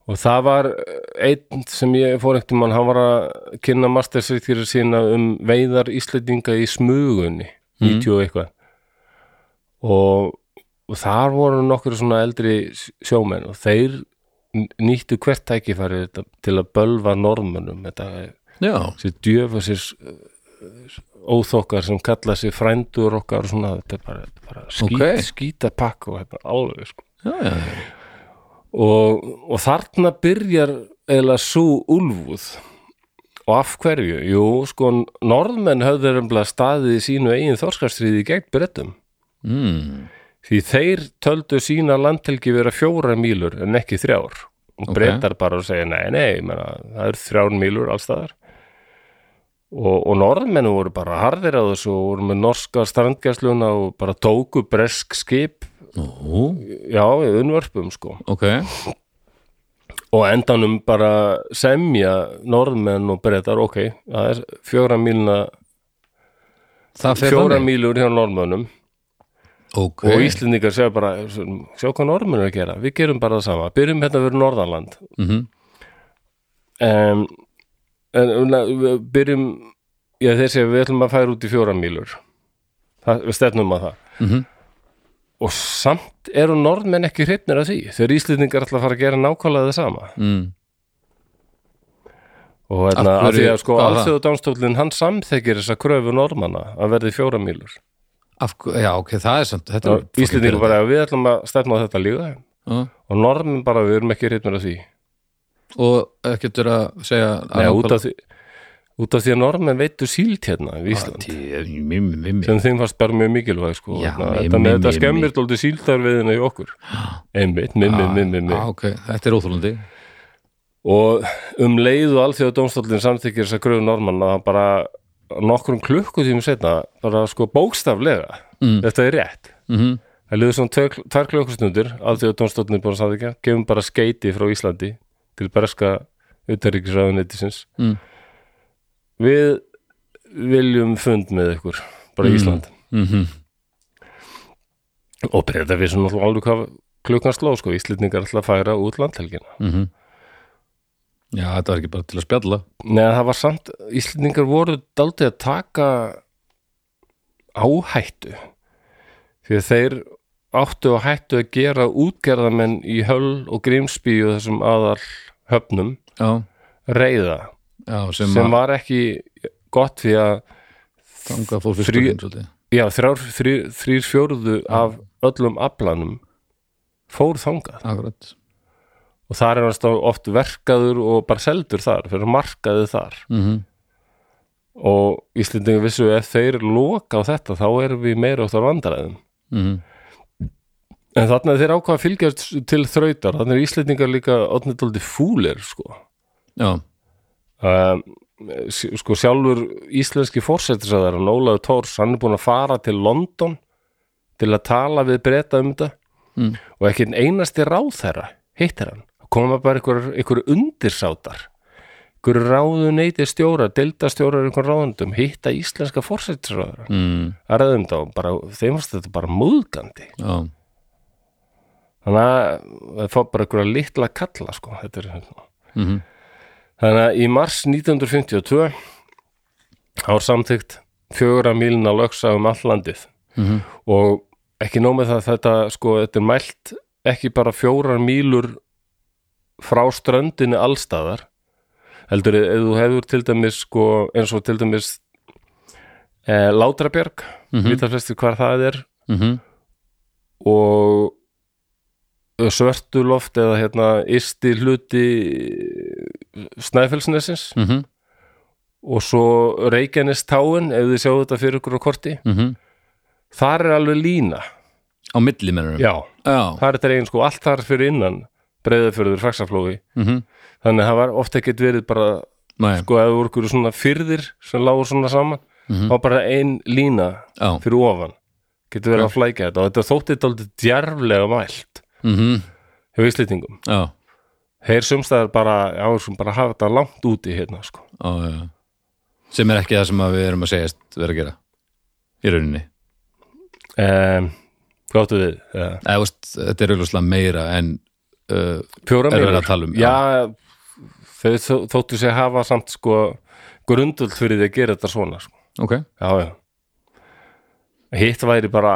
A: og það var eh, einn sem ég fór ekkert um hann var að kynna mastersrítgerðir sína um veiðar íslendinga í smugunni 90 og eitthvað og, og þar voru nokkur svona eldri s- sjómenn og þeir n- nýttu hvert tækifæri þetta til að bölva normunum þetta er
B: já,
A: sér djöfa sér óþokkar sem kalla sér frændur okkar og svona þetta er bara, þetta er bara skít,
B: Ok.
A: skýta pakk og þetta er alveg sko
B: já, já, já.
A: og, og þarna byrjar eða svo úlfúð og af hverju? Jú, sko, norðmenn höfðu reymblega staðið í sínu eigin þorskastriði gegn brettum
B: Mm.
A: því þeir töldu sína landhelgi vera fjóra mílur en ekki þrjár og
B: Ok.
A: breytar bara að segja nei, nei, menna, það er þrjár mílur allstaðar og, og norðmennu voru bara harðir á þessu og voru með norska strandgæsluna og bara tóku bresk skip
B: Nú,
A: já, við unnvörpum sko
B: ok
A: og á endanum bara semja norðmenn og breytar, ok það er fjóra mílna
B: það fer
A: fjóra
B: þannig
A: mílur hjá norðmennum
B: ok,
A: og Íslendingar segja bara sjá hvað norðmenn er að gera, við gerum bara það sama byrjum hérna að vera norðanland
B: mhm,
A: um, en um, við byrjum já þeir segja við ætlum að færa út í fjóra mílur það, við stefnum að það
B: Mhm.
A: og samt eru norðmenn ekki hreifnir af því þegar Íslendingar ætla að fara að gera nákvæmlega það sama
B: mm.
A: og hérna
B: Af
A: að því að
B: hverju-
A: sko
B: hvað var það?
A: alþjóðdánstólinn hann samþekir þessa kröfu norðmanna að verði fjóra mílur
B: Af, hver- já, ok, það er samt þetta er
A: og Íslendingar bara við ætlum að stefna á þetta líka
B: Já.
A: og norðmenn bara við erum ekki hreifnir af því
B: og ekkert er að segja að
A: Nei, út
B: nákvæmlega- Ah,
A: af því út af því að norðmenn veitu síld hérna í Ísland
B: Tí- mim, mim, mim.
A: sem þeim fannst bara mjög mikilvæg sko.
B: Já,
A: Þarna,
B: mimmi,
A: þetta með þetta
B: mimmi.
A: skemmir dóldi síldarveðina í okkur einmitt, mimmi, mimmi, mimmi
B: ah, ok, þetta er óþólandi
A: og um leið og alþjóða dómstólinn samþykir þess að gröðu normann að bara nokkrum klukkutími setna bara sko bókstaflega þetta er rétt
B: mm
A: það liður svona tvær- tvær klukkustundur alþjóða dómstólinn búin að samþykja gefum bara skeiti frá Íslandi til berska utanríkisraðuneytisins
B: Mm.
A: við viljum fund með ykkur
B: Mm.
A: bara Ísland
B: mhm,
A: og breyta við sem náttúrulega alveg hvað klukkan sló sko, Íslendingar ætla að færa út landhelgina
B: mhm. já, þetta var ekki bara til að spjalla
A: neðan það var samt, Íslendingar voru daldið að taka áhættu því að þeir áttu og hættu að gera útgerðamenn í höll og grímsby og þessum aðal höfnum
B: já,
A: reyða
B: já sem,
A: sem,
B: sem að
A: var ekki gott því að
B: þanga fór
A: Þrjú-
B: fiskurinn svolítið
A: já, þrjár, þrýr, þrýr fjórðu af öllum aflanum fór þangað
B: akkurat
A: og þar er hann stá- oft verkaður og bara seldur þar, fyrir markaðu þar
B: mm
A: og Íslendingar vissu ef þeir loka á þetta þá erum við meira áttar vandaræðum
B: mhm.
A: en þarna þeir ákvað að fylgjast til þrautar þannig er Íslendingar líka átnitóldi fúlir sko
B: já,
A: um, s- sko sjálfur íslenski fórsetisæðar Ólaður Tórs, hann er búin að fara til London til að tala við breyta um þetta
B: Mm.
A: og ekki einn einasti ráð þeirra hittir hann, koma bara ykkur, ykkur undirsátar einhver ráðuneyti stjóra, deildastjórar einhver ráðundum, hitta íslenska fórsættisráður
B: mm,
A: að ræðum þá, bara, þeim varst þetta bara múðgandi
B: já,
A: þannig að það fá bara einhverja litla kalla sko, þetta er hérna
B: mhm,
A: Þannig að í mars 1952 þá er samþygt fjögurra mílina lögsa um all landið
B: mhm,
A: og ekki nómið það að þetta sko, þetta er mælt ekki bara fjórar mílur frá ströndinni allstaðar heldur ef þú hefur til dæmis sko, eins og til dæmis e, Látrabjörg mm
B: Mhm.
A: -hmm. vita flestir hvar það er
B: mhm,
A: og svörtuloft eða hérna ysti hluti snæfellsnesins
B: mhm,
A: og svo Reykjanestáin ef þið sjáu þetta fyrir ykkur á korti
B: mhm
A: þar er alveg lína
B: á milli mennurum
A: já,
B: já,
A: þar er þetta eigin sko allt þar fyrir innan breyðafjörður, faxaflói
B: mhm,
A: þannig að það var oft ekkert verið bara
B: næ,
A: sko eða voru ykkur svona fyrðir sem lágur svona saman
B: Mhm.
A: þá var bara ein lína
B: já,
A: fyrir ofan getur verið að flækja þetta og þetta þótti þetta aldrei djarflega mælt
B: mhm,
A: hjá íslýtingum
B: já,
A: þeir sumstaðar bara, já, við skulum bara hafa þetta langt úti hérna sko
B: já, já já. sem er ekki það sem að við erum að segjast vera að gera í rauninni
A: um, hvað áttu við? Uh,
B: Eða, þú veist, þetta er auðvitað meira en uh,
A: fjóra
B: er
A: mínútur?
B: verið að tala um
A: já, þau þó- þóttu sig hafa samt sko grundvöld fyrir því að gera þetta svona sko.
B: ok,
A: já, já hitt væri bara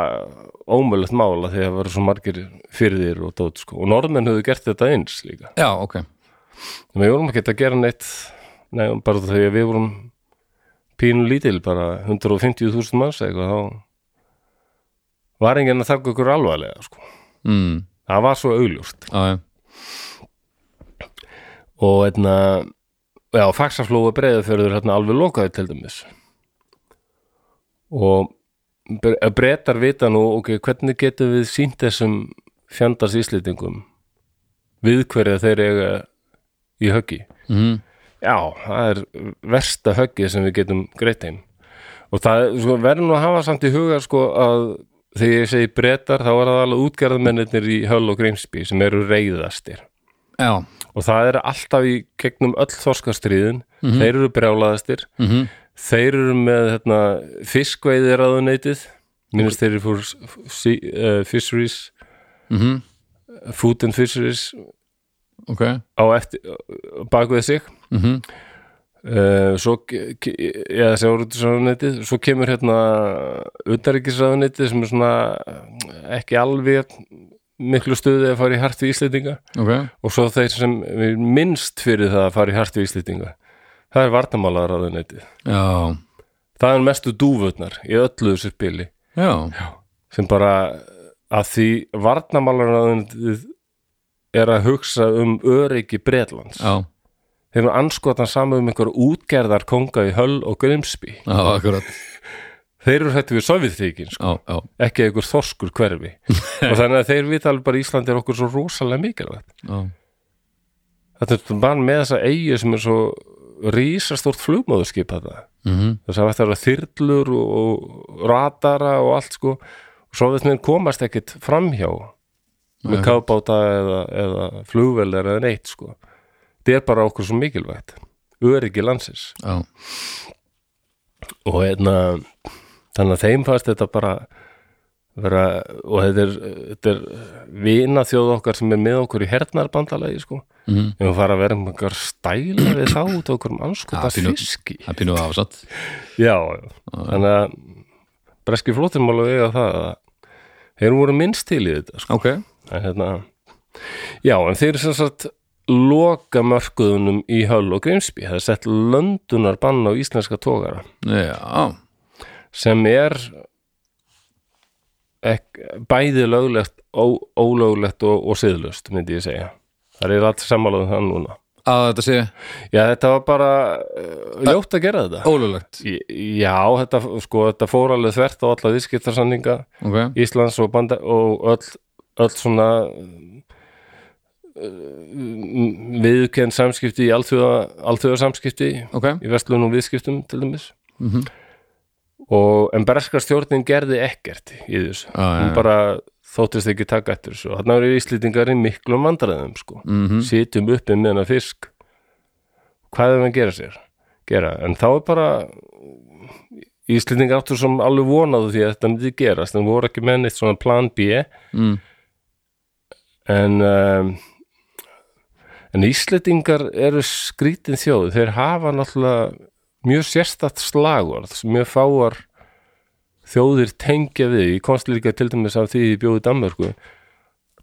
A: ómöðlegt mála því að það voru svo margir fyrir og dót sko og norðmenn höfðu gert þetta eins líka
B: já, ok
A: en við vorum ekki að gera neitt nei, bara því að við vorum pínu lítil bara 150.000 manns eða eitthvað þá var enginn að taka ykkur alvarlega sko
B: mm,
A: það var svo augljóst
B: já, já,
A: og einna já, faksaflóa breyðafjörður hérna alveg lokaði til dæmis og bre- breytar vita nú, ok, hvernig getum við sínt þessum fjandars íslýtingum við hverja þeir eiga í höggi
B: mhm,
A: já, það er versta höggið sem við getum greitt heim og það er, sko, verður nú að hafa samt í huga sko að þegar ég segi breytar þá er það alveg útgerðmennir í Höll og Grímsby sem eru reyðastir
B: já,
A: og það er alltaf í gegnum öll þorskastriðin, þeir eru brjálaðastir
B: mhm,
A: þeir eru með hérna, fiskveiðiráðuneytið minnst þeir eru fór sí, uh, fisheries
B: mhm
A: food and fisheries
B: ok,
A: á eftir bakveð sig
B: mhm,
A: uh, svo ke- ke- eða sjáurútisráðuneytið svo kemur hérna utanríkisráðuneytið sem er svona eh, ekki alveg miklu stuði að fara í hart við Íslendinga
B: ok
A: og svo þeir sem er minnst fyrir það að fara í hart við Íslendinga það er vartamálaráðuneytið
B: já,
A: það er mestu dúfutnar í öllu þessu spili
B: já,
A: sem bara að því vartamálaráðuneytið er að hugsa um öryggi Bretlands
B: já
A: þeir eru anskotan saman um einhver útgerðar konga í Höll og Grimsby
B: já, akkurat,
A: þeir eru hættu við Sovjetríkin sko.
B: já, já
A: ekki einhver þorskur hverfi og þannig að þeir vita alveg bara Ísland er okkur svo rosalega mikilvægt
B: já,
A: Þetta er bara með þessa eigi sem er svo rísastórt flugmóðurskip þetta.
B: mhm,
A: Þess að þetta eru þyrlur og, og radara og allt sko og svo þetta komast ekkit framhjá með kafbáta eða, eða flugvelar eða neitt sko. Þetta er bara okkur svo mikilvægt. Öryggi landsins.
B: já,
A: Og hérna, þannig að þeim fannst þetta bara vera, og þetta er, þetta er vina þjóð okkar sem er með okkur í hernarbandalagi sko.
B: mhm
A: Ef við fara að vera með einhver stæla við þá út á okkur um anskota
B: Já, pínu-
A: fiski.
B: það er pínuð afsatt
A: Já, já. þannig að breski flóttir mála vega það að þeir voru minnst til í þetta. Sko.
B: ok,
A: En, hérna, já, en þeir sem sagt loka mörkuðunum í Höll og Grimsby. Það er sett löndunar bann á íslenska tókara
B: já,
A: sem er ek, bæði löglegt, ó, ólöglegt og, og siðlust, myndi ég segja. Það er allt sammálaðum það núna.
B: að þetta sé
A: Já, þetta var bara uh, ljótt að gera þetta.
B: ólöglegt
A: Í- Já, þetta, sko, þetta fór alveg þvert á alla viðskiptarsanninga
B: ok,
A: Íslands og, banda, og öll, öll svona viðkenn samskipti í alþjóða, alþjóða samskipti
B: ok,
A: í vestlun og viðskiptum til dæmis og en breska stjórnin gerði ekkert í þessu
B: Ah, já,
A: hún
B: já.
A: bara þóttist ekki taka eftir þessu þarna eru íslýtingar í miklum vandræðum sko.
B: mhm,
A: sitjum uppi með hana fisk hvað er að gera sér gera, en þá er bara Íslendinga áttur sem alveg vonaðu því að þetta myndi gerast en voru ekki með neitt svona plan B
B: Mm.
A: en um, en Íslendingar eru skrítin þjóð, þeir hafa náttúrulega mjög sérstætt slagorð sem mjög fáar þjóðir tengja við, ég komst líka til dæmis af því ég bjóði í Danmörku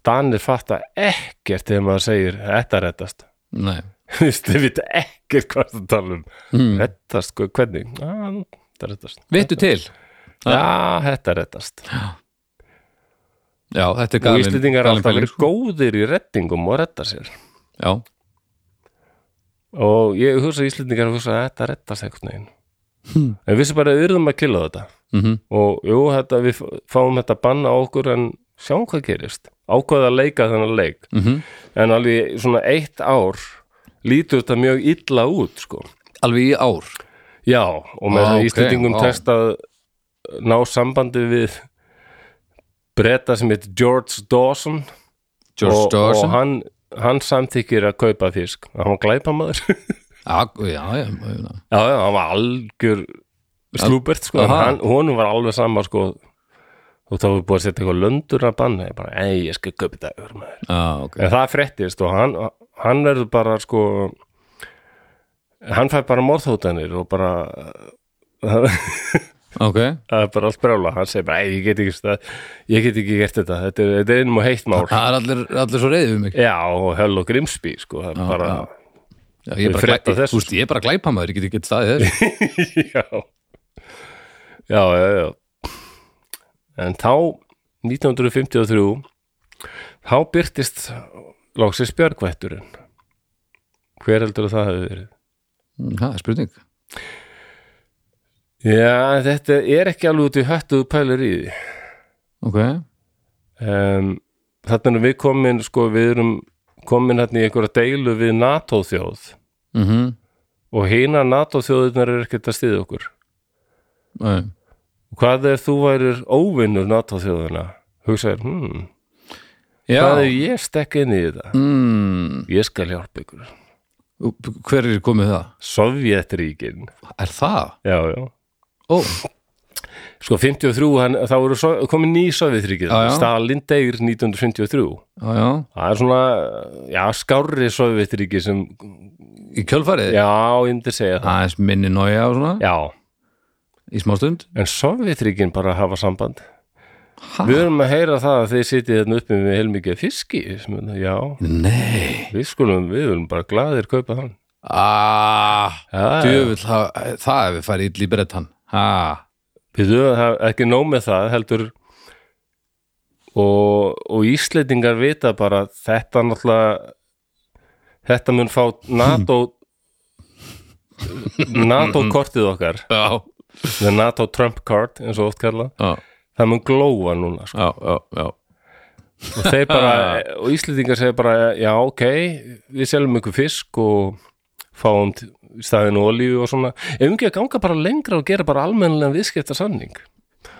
A: Danir fatta ekkert þegar maður segir þetta reddast
B: Nei.
A: þú veist, þið vita ekkert hvað það tala um
B: Mm.
A: reddast, hvað- hvernig? Ah, þetta reddast
B: Vittu til
A: Já, þetta reddast
B: Já, þetta er
A: og
B: galin
A: Íslendingar er
B: galin
A: alltaf
B: pæling,
A: verið góðir í reddingum og redda sér
B: Já,
A: og ég hugsa að Íslendingar hugsa að þetta reddast eitthvað neginn
B: Hmm.
A: en við sem bara yrðum að killa þetta
B: mm
A: og jú, þetta, við fáum þetta banna á okkur en sjáum hvað gerist ákvaða að leika þennan leik
B: Mhm.
A: en alveg svona eitt ár lítur þetta mjög illa út sko.
B: alveg í ár
A: já, og með
B: Á,
A: ah,
B: ok,
A: Íslendingum
B: á.
A: tekst að ná sambandi við bretta sem heitir George Dawson
B: George
A: og,
B: Dawson
A: og hann, hann samþykir að kaupa fisk hann var glæpamaður já,
B: Já, já, já, já.
A: já, hann var algjör slúbert sko, en
B: Aha.
A: hann, honum var alveg sama sko, og þá var búið að setja eitthvað löndur að banna, ég bara, ei, ég skal kaupa þetta örmaður,
B: já ok
A: en það fréttist og hann, hann verður bara sko hann fær bara morðhótanir og bara
B: Ok,
A: það er bara allt brjála, hann segir bara, ei, ég get ekki stað, ég get ekki gert þetta, þetta er, þetta er einum og heitt mál
B: það er allir, allir svo reyðið við mig
A: já, og höll og grimsby sko, það er bara,
B: já. já, Ég er bara,
A: frétt af
B: glæ,
A: þessu.
B: þú veist, ég er bara glæpa maður, ég get ekki staðið þess
A: já já, já, já en þá 1953 þá byrtist loksins björgvætturinn hver heldur að það hefur verið
B: Það er spurning
A: já, þetta er ekki alveg út í höttu pælur í því
B: Ok,
A: um, þarna erum við komin sko, við erum komin hérna í einhverja deilu við NATO þjóð
B: mm
A: og hina NATO þjóðirnar er ekkert að stiða okkur
B: Nei.
A: hvað er þú værir óvinnur NATO þjóðina hugsaðir, hmm
B: Já
A: hvað er ég stekk inn í þetta
B: mm,
A: ég skal hjálpa ykkur
B: Hver er komið það?
A: Sovjetríkin
B: Er það?
A: já, já.
B: Ó,
A: sko 53, hann, þá eru so komin ný Sovjetríkin,
B: Já, já.
A: Stalin degir 1953
B: já, já
A: það er svona, já, skárri Sovjetríki sem,
B: Í kjölfarið?
A: já, ég myndi segja það
B: Aðeins minni nája og svona
A: já,
B: Í smá stund
A: en Sovjetríkin bara hafa samband
B: Ha?
A: við erum að heyra það að þið sitið þarna uppi með heilmikið fiski sem, já,
B: Nei
A: við skulum, við erum bara gladir kaupa hann
B: Ah,
A: Já,
B: djöfull, það, það hefur farið illa í brettan Ha,
A: Við höfum ekki nóg með það heldur og, og Íslendingar vita bara þetta náttúrulega þetta mun fá NATO NATO kortið okkar
B: já,
A: the NATO Trump card eins og oft kalla
B: já,
A: það mun glóa núna sko.
B: já, já, já.
A: og þeir bara, og Íslendingar segir bara já ok, við seljum ykkur fisk og fáum t- í staðinu olíu og svona ef við ekki að ganga bara lengra og gera bara almennilega viðskiptarsanning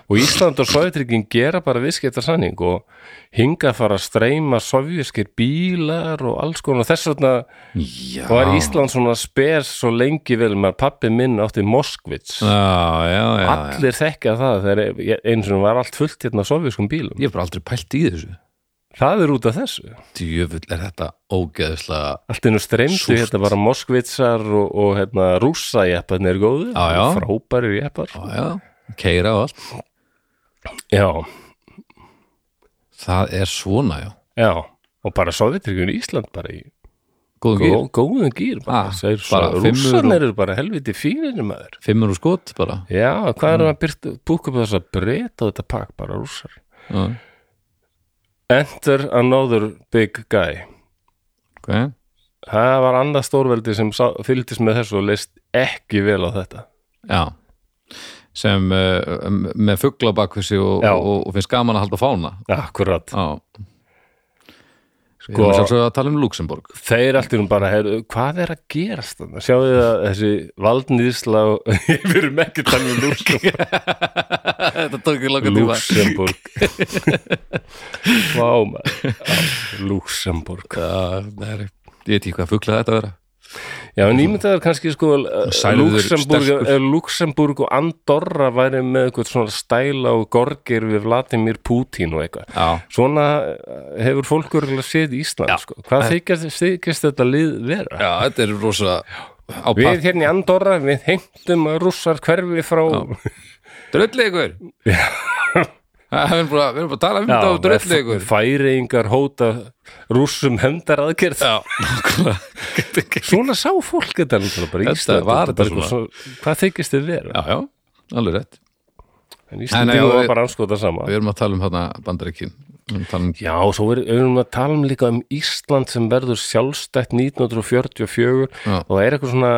A: og Ísland og Sovjetryggin gera bara viðskiptarsanning og hinga fara að streyma sovjískir bílar og alls konar og þess vegna
B: Já,
A: var Ísland svona spes svo lengi vel með að pappi minn átti Moskvits
B: já, já, já, já.
A: allir þekka það þegar eins og var allt fullt hérna af sovjískum bílum
B: Ég hef bara aldrei pælt í þessu
A: það er út af þessu
B: Djöfull er þetta ógeðslega
A: Allt innu streymdu,
B: Súrt.
A: hérna bara moskvitsar og, og hérna rúsa jepparnir góðu,
B: Já, já.
A: frábæri jeppar.
B: Já, já, keira og allt
A: Já,
B: Það er svona, já
A: já, og bara sovjetryggjum í Ísland bara í
B: Góðum
A: gó,
B: gýr,
A: góðum gýr.
B: Ah,
A: Bara, ah,
B: bara
A: bara
B: fimmur og-
A: Rússanir eru bara helviti fínir maður.
B: fimmur og skot bara
A: Já, hvað
B: Mm.
A: er að byrta, búka upp þess að breyta þetta pakk bara rússar?
B: já,
A: Enter another big guy.
B: Ok,
A: Það var annað stórveldi sem sá, fylgdist með þessu og leist ekki vel á þetta.
B: já sem uh, m- með fugla bakvissi og,
A: Já.
B: og, og, finnst gaman að halda fána
A: Akkurat.
B: Já, við
A: Sko-
B: erum sjálfsögðu að tala um Luxemburg
A: þeir allt erum bara heru, hvað er að gerast þannig sjáu þið að þessi valdnýðsla við erum ekki talað um Luxemburg
B: Þetta tók ekki langa tíma
A: Luxemburg Vá maður Já, Luxemburg
B: Já, það er- Ég veit ekki hvað fugla þetta vera
A: Já, en ímyndaður kannski sko
B: Særður
A: Luxemburg,
B: stelpur.
A: ef Luxemburg og Andorra væri með eitthvað svona stæla og gorgir við Vladimir Putin og eitthvað
B: Já.
A: Svona eh, hefur fólk örgulega séð Ísland sko. Hvað þykjast, þykjast þetta lið vera?
B: Já, þetta er rosa á
A: Við
B: pakk
A: hérna í Andorra, við heimtum að rússar hverfi frá
B: Dröllleikur Það er bara, við erum bara að tala um þetta á dröllleikur
A: færeingar hóta rússum hendar aðgerð
B: Já, nákvæmlega.
A: Svona sá fólk þetta náttúrulega bara í
B: Þetta
A: Ísland
B: var
A: bara
B: þetta
A: eitthvað svo- Hvað þykjast þið vera?
B: já, já, alveg rétt
A: En Íslandi
B: nei,
A: var
B: við-
A: bara anskoða sama
B: Við erum að tala um hérna bandaríkin Við erum að tala um
A: Já, svo er- erum við að tala um líka um Ísland sem verður sjálfstætt 1944
B: Já.
A: og það er eitthvað svona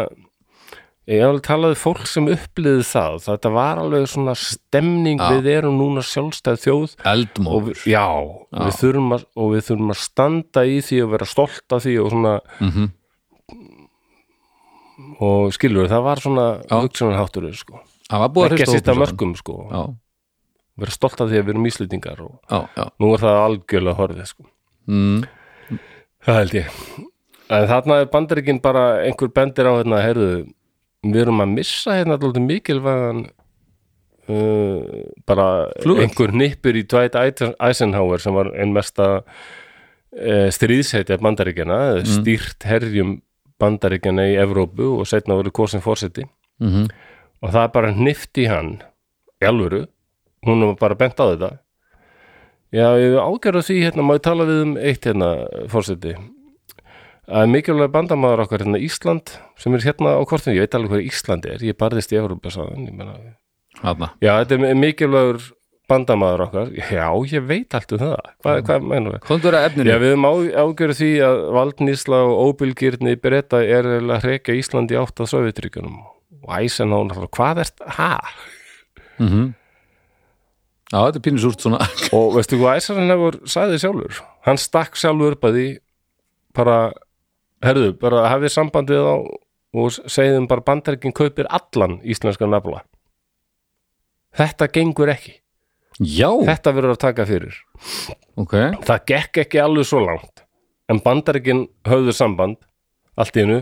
A: ég hafði talaði fólk sem upplýði það þetta var alveg svona stemning við erum núna sjálfstætt þjóð og
B: eldmóð
A: við, já, Við þurfum að, og við þurfum að standa í því og vera stolt af því og svona
B: Mhm.
A: og skilur það var svona hugsunarháttur sko.
B: Það var búið að
A: ekki að
B: hrista
A: sitta
B: hópinn saman.
A: mörgum sko.
B: Já,
A: vera stolt af því að við erum íslendingar og
B: já, já
A: nú er það algjörlega horfið sko.
B: Mm.
A: Það held ég. En þarna er bandaríkin bara einhver bendir á hérna, heyrðu, við erum að missa hérna alltaf mikilvægan uh, bara
B: Flugvöll.
A: einhver nippur í Dwight Eisen- Eisenhower sem var einn mesta uh, stríðsæti af bandaríkjana, stýrt herjum bandaríkjana í Evrópu og setna voru kosin fórseti
B: mhm.
A: og það er bara hnift í hann í alvöru, hún var bara bent á þetta já, ég ágjörðu því hérna, má ég tala við um eitt hérna, fórseti að mikilvæg bandamaður okkar hérna Ísland sem er hérna á kortinu, ég veit alveg hvað Ísland er ég barðist í Európa sáðan, ég meina
B: Þarna.
A: já, þetta er mikilvægur bandamaður okkar, já, ég veit allt um það, hvað, hvað mennum við
B: Komdu vera að
A: Já,
B: efninu
A: við höfum ágjörðu því að valdnýsla og óbylgirni breyta er eiginlega að hrekja Íslandi átt að Sovjetryggjunum og Eisenhower, hvað ert, hæ?
B: Mhm. Já, þetta er pínu súrt svona
A: og veistu hvað Eisenhower sagði sjálfur hann stakk sjálfur upp að því bara, herðu, bara hafið sambandið á og segiðum bara bandaríkin kaupir allan íslenskan nafla þetta gengur ekki
B: Já,
A: þetta verður að taka fyrir
B: ok
A: það gekk ekki alveg svo langt en bandaríkin höfðu samband allt í hennu,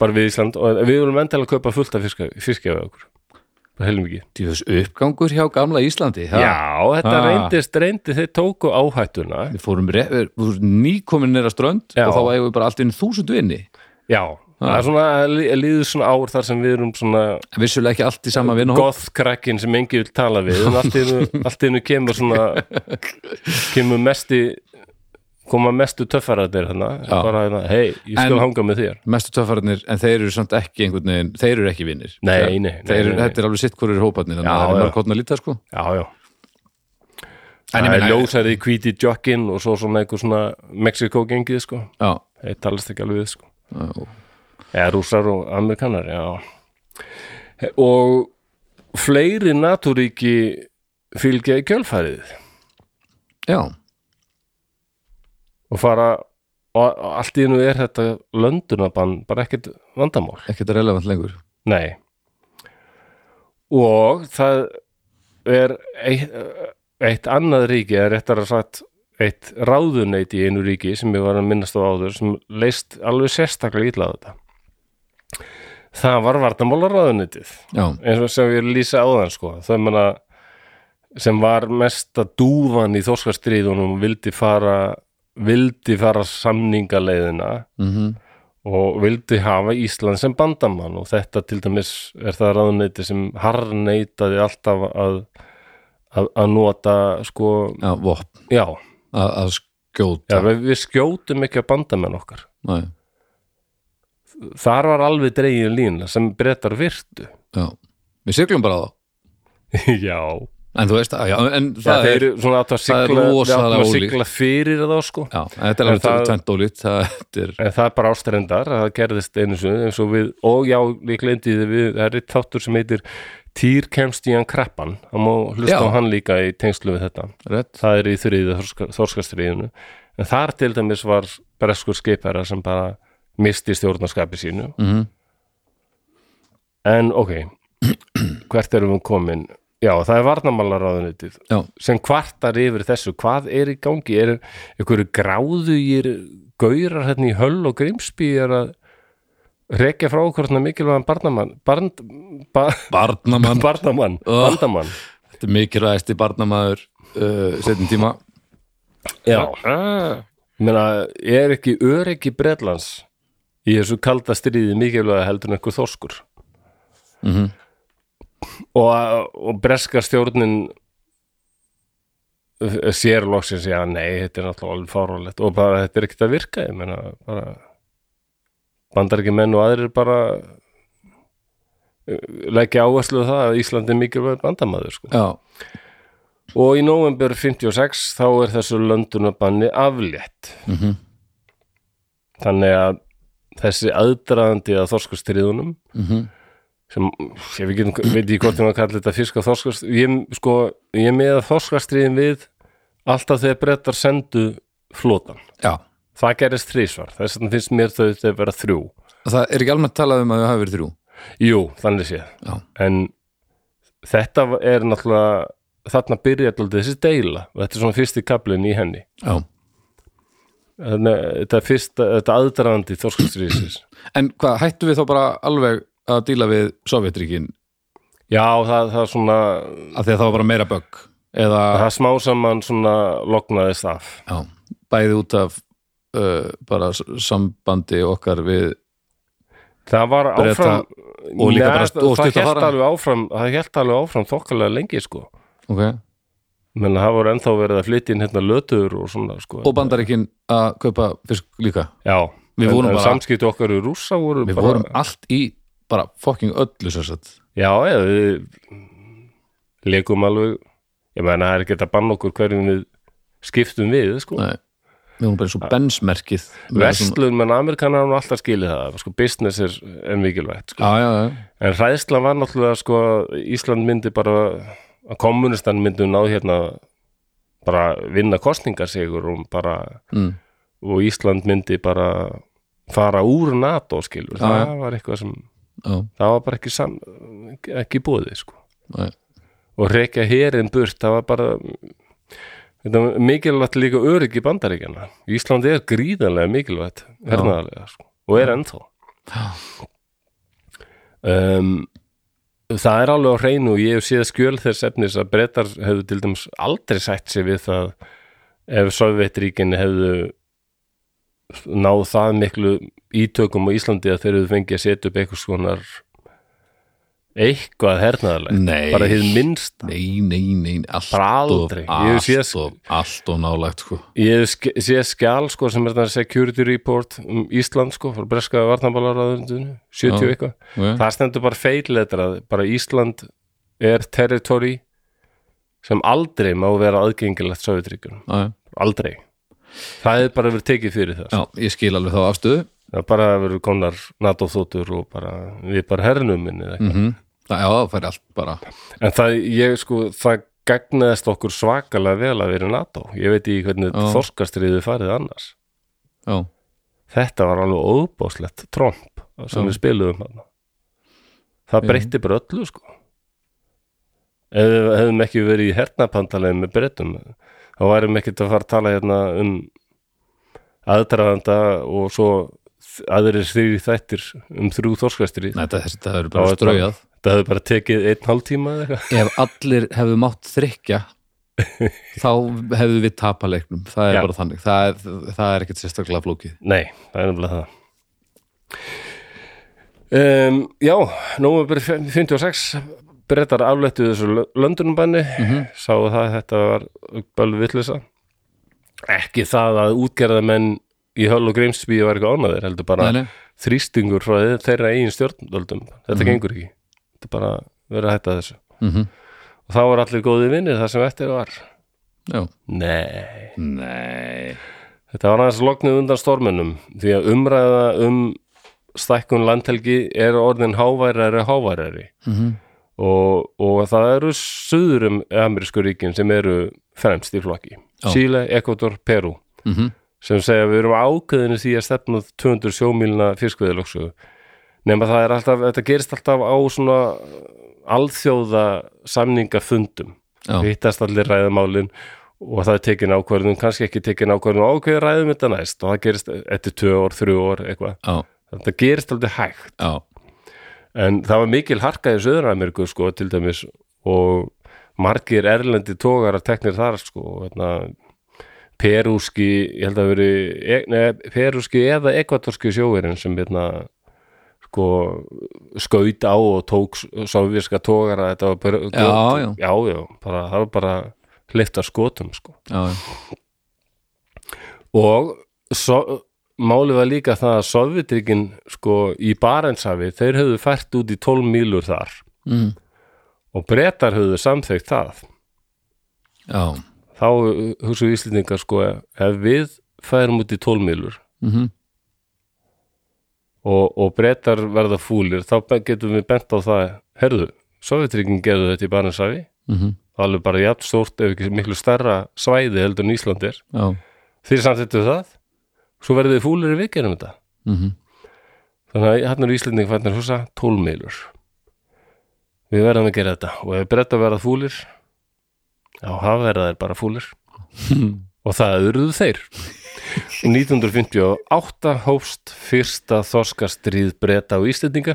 A: bara við Ísland og við vorum endilega að kaupa fullt af fiska, fiskja við okkur, bara heilum ekki
B: Tífus uppgangur hjá gamla Íslandi ha?
A: Já, þetta
B: Ah.
A: reyndist, reyndi þeir tóku áhættuna
B: Við fórum, re- við fórum nýkomin nýra strönd
A: Já.
B: og þá eigum við bara allt inn þúsund vinni
A: Já, það er svona lí- líður svona ár þar sem við erum svona
B: Vissulega ekki allt í sama vinna
A: gothkrakkin sem engi vil tala við en allt í einu, allt í einu kemur svona kemur mesti koma mestu töffaratir hérna
B: Já.
A: bara hérna, hei, ég skal
B: En-
A: hanga með þér
B: mestu töffararnir en þeir eru samt ekki einhvern veginn, þeir eru ekki vinnir
A: Nei,
B: Þeir-
A: nei, nei,
B: þeir,
A: nei,
B: eru-
A: nei.
B: þetta er alveg sitt hverju hóparnir þannig
A: Já,
B: að það
A: já.
B: er mörg hóttn að líta sko
A: Já, já,
B: En
A: það
B: ég
A: er
B: meina-
A: ljósæri hvíti jokkin og svo svona eitthvað svona Mexiko gengið sko,
B: já,
A: þeir talast ekki alveg við sko
B: já,
A: eða rússar og amerikanar já. og fleiri natúríki fylgja í kjölfærið
B: já,
A: og fara og og allt í hennu er þetta löndunabann bara ekkert vandamál
B: ekkert relevant lengur
A: nei og það er eitt, eitt annað ríki eða réttar að sagt eitt ráðuneyti í einu ríki sem ég var að minnast á áður sem leist alveg sérstaklega illa á þetta það var vartamála ráðuneytið
B: já,
A: eins og sem ég er að lýsa áðan sko það meina sem var mesta dúfan í þorskastriðunum og vildi fara vildi fara samningaleiðina
B: mhm
A: og vildi hafa Ísland sem bandamann og þetta til dæmis er það ráðuneyti sem harneitaði alltaf að, að, að nota sko,
B: já, vopn,
A: já,
B: að, að
A: já
B: skjóta
A: við, við skjótum ekki að bandamenn okkar
B: Nei,
A: þar var alveg dregin lína sem brettar virtu
B: já, við siglum bara á þá
A: já,
B: en þú veist, já, en
A: já
B: það
A: þeir
B: er
A: eru svona aftur að
B: það er
A: sigla, við
B: rosalega
A: áttum að
B: ólíkt.
A: sigla fyrir þá sko
B: já, en þetta er
A: En
B: alveg
A: það-
B: tvendt ólít það er,
A: En það er bara ástrendar, það gerðist einu sinni eins og við, og já, ég gleymdi því við, það er eitt þáttur sem heitir Týr kemst í hann kreppan, það má hlusta
B: Já.
A: á hann líka í tengslu við þetta.
B: rétt
A: Það er í þriðið þorska, þorskastriðinu, en þar til dæmis var breskur skeipæra sem bara misti stjórnarskapi sínu.
B: mm
A: En ok, hvert erum við komin? Já, það er varnamallaráðunitið
B: já,
A: sem kvartar yfir þessu hvað er í gangi, er einhverju gráðugir gaurar hérna í höll og grimsby er að rekja frá okkur svona mikilvæðan barnamann barnd, ba,
B: Barnamann,
A: barnamann,
B: Oh.
A: bandamann
B: þetta er mikilvægasti barnamaður uh, setjum tíma
A: já, meina er ekki öryggi bretlands í þessu kalda stríði mikilvæða heldur en eitthvað þorskur -hmm. og, og breska stjórnin eh, sér loksins já nei, þetta er náttúrulega alveg fárálegt og bara þetta er ekkert að virka ég meina bara bandar ekki menn og aðrir bara eh, leggja áherslu á það að Íslandi er mikilvæg bandamaður sko.
B: Já,
A: og í november 56 þá er þessu löndunabanni aflétt
B: Mhm.
A: þannig að þessi aðdraðandi að þorskustriðunum
B: Mhm.
A: sem ég veit ekki, veit ekki hvort ég maður kalli þetta fiska þorskast ég, sko, ég meða þorskastriðin við alltaf þegar brettar sendu flotan
B: já
A: það gerist þrísvar, þess að finnst mér þau þetta að vera þrjú
B: Það er ekki almennt talað um að þau hafi verið þrjú
A: Jú, þannig séð
B: Já.
A: en þetta er náttúrulega þarna byrja alltaf þessi deila og þetta er svona fyrsti kaplinn í henni
B: Já
A: þannig að þetta er fyrsta, þetta aðdraðandi þorskustrísis
B: En hvað, hættu við þá bara alveg að díla við Sovjetríkin
A: já, það, það er svona
B: af því að það var bara meira bögg eða,
A: það smá saman svona loknaðist af
B: já, bæði út af uh, bara s- sambandi okkar við
A: það var
B: Breta
A: áfram
B: og líka
A: það,
B: bara-
A: það
B: og stutt að
A: hélt
B: fara.
A: alveg áfram það hélt alveg áfram þokkalega lengi sko
B: okay.
A: menn það voru ennþá verið að flytja inn hérna lötur og svona sko
B: og bandaríkin að kaupa fisk líka
A: já,
B: Við
A: en,
B: vorum
A: en
B: bara-
A: samskipti okkar í rússa voru
B: Við
A: bara
B: vorum allt í bara fucking öllu sér satt
A: Já, já, við leikum alveg ég meina það er ekki hægt að banna okkur hverjum við skiptum við, sko
B: Nei, við vorum bara eins og bensmerkið með svona-
A: Verslun menn Amerikanar hann alltaf skilið það sko, business er en mikilvægt sko.
B: Já, já, já,
A: en hræðslan var náttúrulega sko, að Ísland myndi bara að kommunistan myndi ná hérna bara vinna kostningarsegur og bara
B: mm.
A: og Ísland myndi bara fara úr NATO skilur
B: Já,
A: það var eitthvað sem
B: já,
A: það var bara ekki, sam, ekki búið sko.
B: Nei.
A: og reykja herin burt það var bara þetta, var mikilvægt líka öryggi bandaríkjana Íslandi er gríðanlega mikilvægt hernaðarlega sko, og er ennþá um, það er alveg á hreinu og ég hef séð skjöl þess efnis að brettar hefðu til dæmis aldrei sætt sér við það ef Sovjetríkin hefðu náð það miklu ítökum á Íslandi að þeir eru fengið að setja upp eitthvað skonar eitthvað hernaðarlegt
B: Nei.
A: bara hið minnsta
B: nei, nei, nei allt
A: Bara
B: of,
A: aldrei. Ég hef séð-
B: allt of, allt of nálægt sko.
A: ég hef ske- sé skjál sko sem er þetta security report um Ísland sko frá breska varnabalaráðundinu 70
B: Já.
A: eitthvað,
B: Já.
A: það stendur bara feilletrað bara Ísland er territory sem aldrei má vera aðgengilegt Sovjetryggjum,
B: Já, já.
A: aldrei það hefur bara verið tekið fyrir það
B: já, ég skil alveg þá afstöðu
A: það bara hefur verið konar NATO þóttur og bara, við bara hernum minni mm.
B: mm -hmm. Já, það fær allt bara
A: en það, ég sko, það gagnaðist okkur svakalega vel að vera í NATO ég veit í hvernig
B: Já.
A: þorskastriðu farið annars
B: Já,
A: þetta var alveg óbáslegt tromp sem
B: Já.
A: við spiluðum hann það breytti bara öllu sko ef við hefðum ekki verið í hernapantalegin með breytum þá værum ekkert að fara að tala hérna um aðdraðanda og svo þ- aðrir þrýri þættir um þrjú þorskastri
B: Nei, þetta, þetta verður
A: Já,
B: bara
A: þetta-
B: straujað
A: það hefði bara tekið einn hálftíma eða eitthvað
B: Ef allir hefðu mátt þrykja þá hefðu við tapa leiknum það er
A: Já.
B: bara þannig, það er, það er ekkert sérstaklega flókið
A: Nei, það er nefnilega það um, Já, nómur 56 brettar afléttu þessu löndunumbanni
B: Mhm.
A: mm -hmm. sáu það að þetta var bölvi villisa ekki það að útgerðamenn í höll og greimsbíu var eitthvað ánaðir heldur bara
B: Nei, nei.
A: þrýstingur frá þeirra eigin stjórnvöldum þetta
B: Mhm.
A: gengur ekki, þetta er bara verið að hætta þessu
B: mm
A: og þá var allir góði vinnir það sem eftir var
B: Já,
A: Nei
B: nei
A: Þetta var aðeins loknuð undan storminum því að umræða um stækkun landhelgi er orðin háværari háværari
B: Mhm.
A: og, og það eru suðurum amerísku ríkin sem eru fremst í flokki Chile, Ecuador, Peru
B: mm
A: sem segja við erum ákveðinu því að stefna 200 sjómílna fiskveðilöksu nema það er alltaf, þetta gerist alltaf á svona alþjóða samningafundum
B: Já.
A: hittast allir ræðamálin og það er tekin ákvörðun, kannski ekki tekin ákvörðun og ákveður ræðum þetta næst og það gerist eftir tvö ár, þrjú ár, eitthvað
B: Já,
A: þetta gerist aldrei hægt
B: já,
A: en það var mikil harka í Söður-Ameríku sko, til dæmis og margir erlendi tógar að teknir þar sko, og hérna perúski, ég held að veri e, neð, perúski eða ekvatorski sjóverinn sem hérna sko, skaut á og tók sovjíska tógara þetta var bara,
B: Já, já.
A: já, já, bara, það var bara hlifta skotum sko
B: já,
A: og so, málið var líka það að Sovjetrikin sko í Barentshafi þeir höfðu fært út í 12 mílur þar
B: mm.
A: og brettar höfðu samþygt það
B: já.
A: þá hugsaðu Íslendingar sko ef við færum út í 12 mílur
B: Mm
A: og, og brettar verða fúlir þá be- getum við bent á það herðu, Sovjetrikin gerðu þetta í Barentshafi
B: Mhm.
A: það er alveg bara jafn stórt ef ekki miklu stærra svæði heldur en Ísland er
B: já.
A: þeir samþyktu það svo verðu þið fúlir ef við gerum þetta
B: Mm
A: Þannig að hann eru Íslending fætnar húsa 12 meilur. Við verðum að gera þetta og ef breytta verða fúlir já, hafa verða þeir bara fúlir og það eruðu þeir. 1958 hófst fyrsta þorskastríð breyta á Íslendinga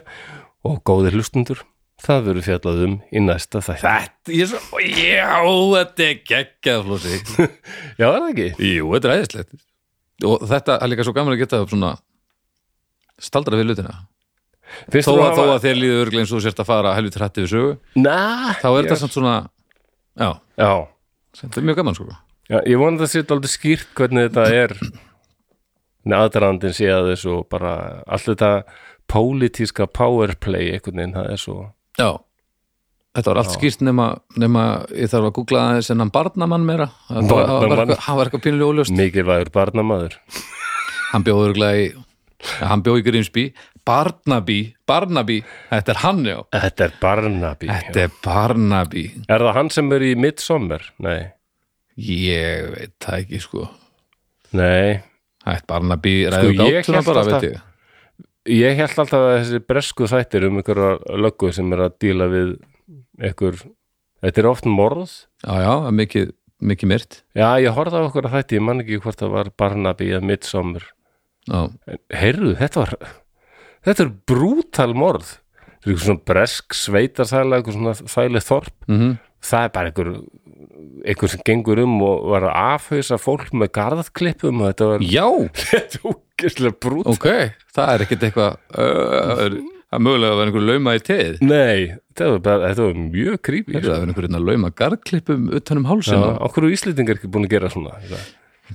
A: og góðir hlustundur, það verður fjallað um í næsta þætt.
B: Þetta, ég er svo, já, þetta er geggjað flósi
A: Já, er það ekki?
B: Jú, þetta er æðislegt Og þetta er líka svo gaman að geta upp svona staldra við lutina
A: Finnst
B: þó
A: þú
B: að, þó að þér líður örglega eins og þú sért að fara helviti hrætti við sögu
A: Næ,
B: þá er þetta samt svona, já,
A: Já,
B: þetta er mjög gaman sko
A: Já, ég vona að það sé aldrei skýrt hvernig þetta er aðdraðandinn sé að þessu og bara allt þetta pólitíska powerplay einhvern veginn, það er svo
B: Já, þetta var allt skýrt nema, nema ég þarf að googla aðeins en hann barnamann meira Það var- það var
A: Barnamann.
B: eitthvað- hann var eitthvað pínulega óljóst
A: mikilvægur barnamaður
B: hann bjóð örglega í ja, hann bjóð í Grímsby, Barnaby Barnaby, þetta er hann já
A: Þetta er Barnaby
B: þetta er Barnaby
A: Er það hann sem er í Midsommar? Nei,
B: ég veit það ekki sko
A: nei
B: Hætt Barnaby
A: Sko,
B: ræður
A: ég
B: gátuna
A: hélt
B: bara,
A: alltaf-
B: veit ég
A: Ég held alltaf að þessi bresku þættir um einhverja löggu sem er að díla við einhver, þetta er oft morð
B: Já, já, það er mikið, mikið myrt
A: Já, ég horfði á okkur að þætti, ég man ekki hvort það var Barnaby eða Midsommar
B: Já,
A: heyrðu, þetta var þetta er brútal morð þetta er eitthvað svona bresk sveitarsæla eitthvað svona þælið þorp
B: mhm
A: það er bara einhver einhver sem gengur um og var að afhauðsa fólk með garðklippum og þetta var
B: Já,
A: þetta er ógeðslega brútal
B: ok, það er ekkert eitthvað uh, er- það er mögulega að vera einhver lauma í teð
A: nei, þetta var, bara, þetta var mjög creepy
B: Það er einhver einhver lauma um gargklippum utanum hálsina
A: Já, okkur á Íslendingar ekki búin að gera svona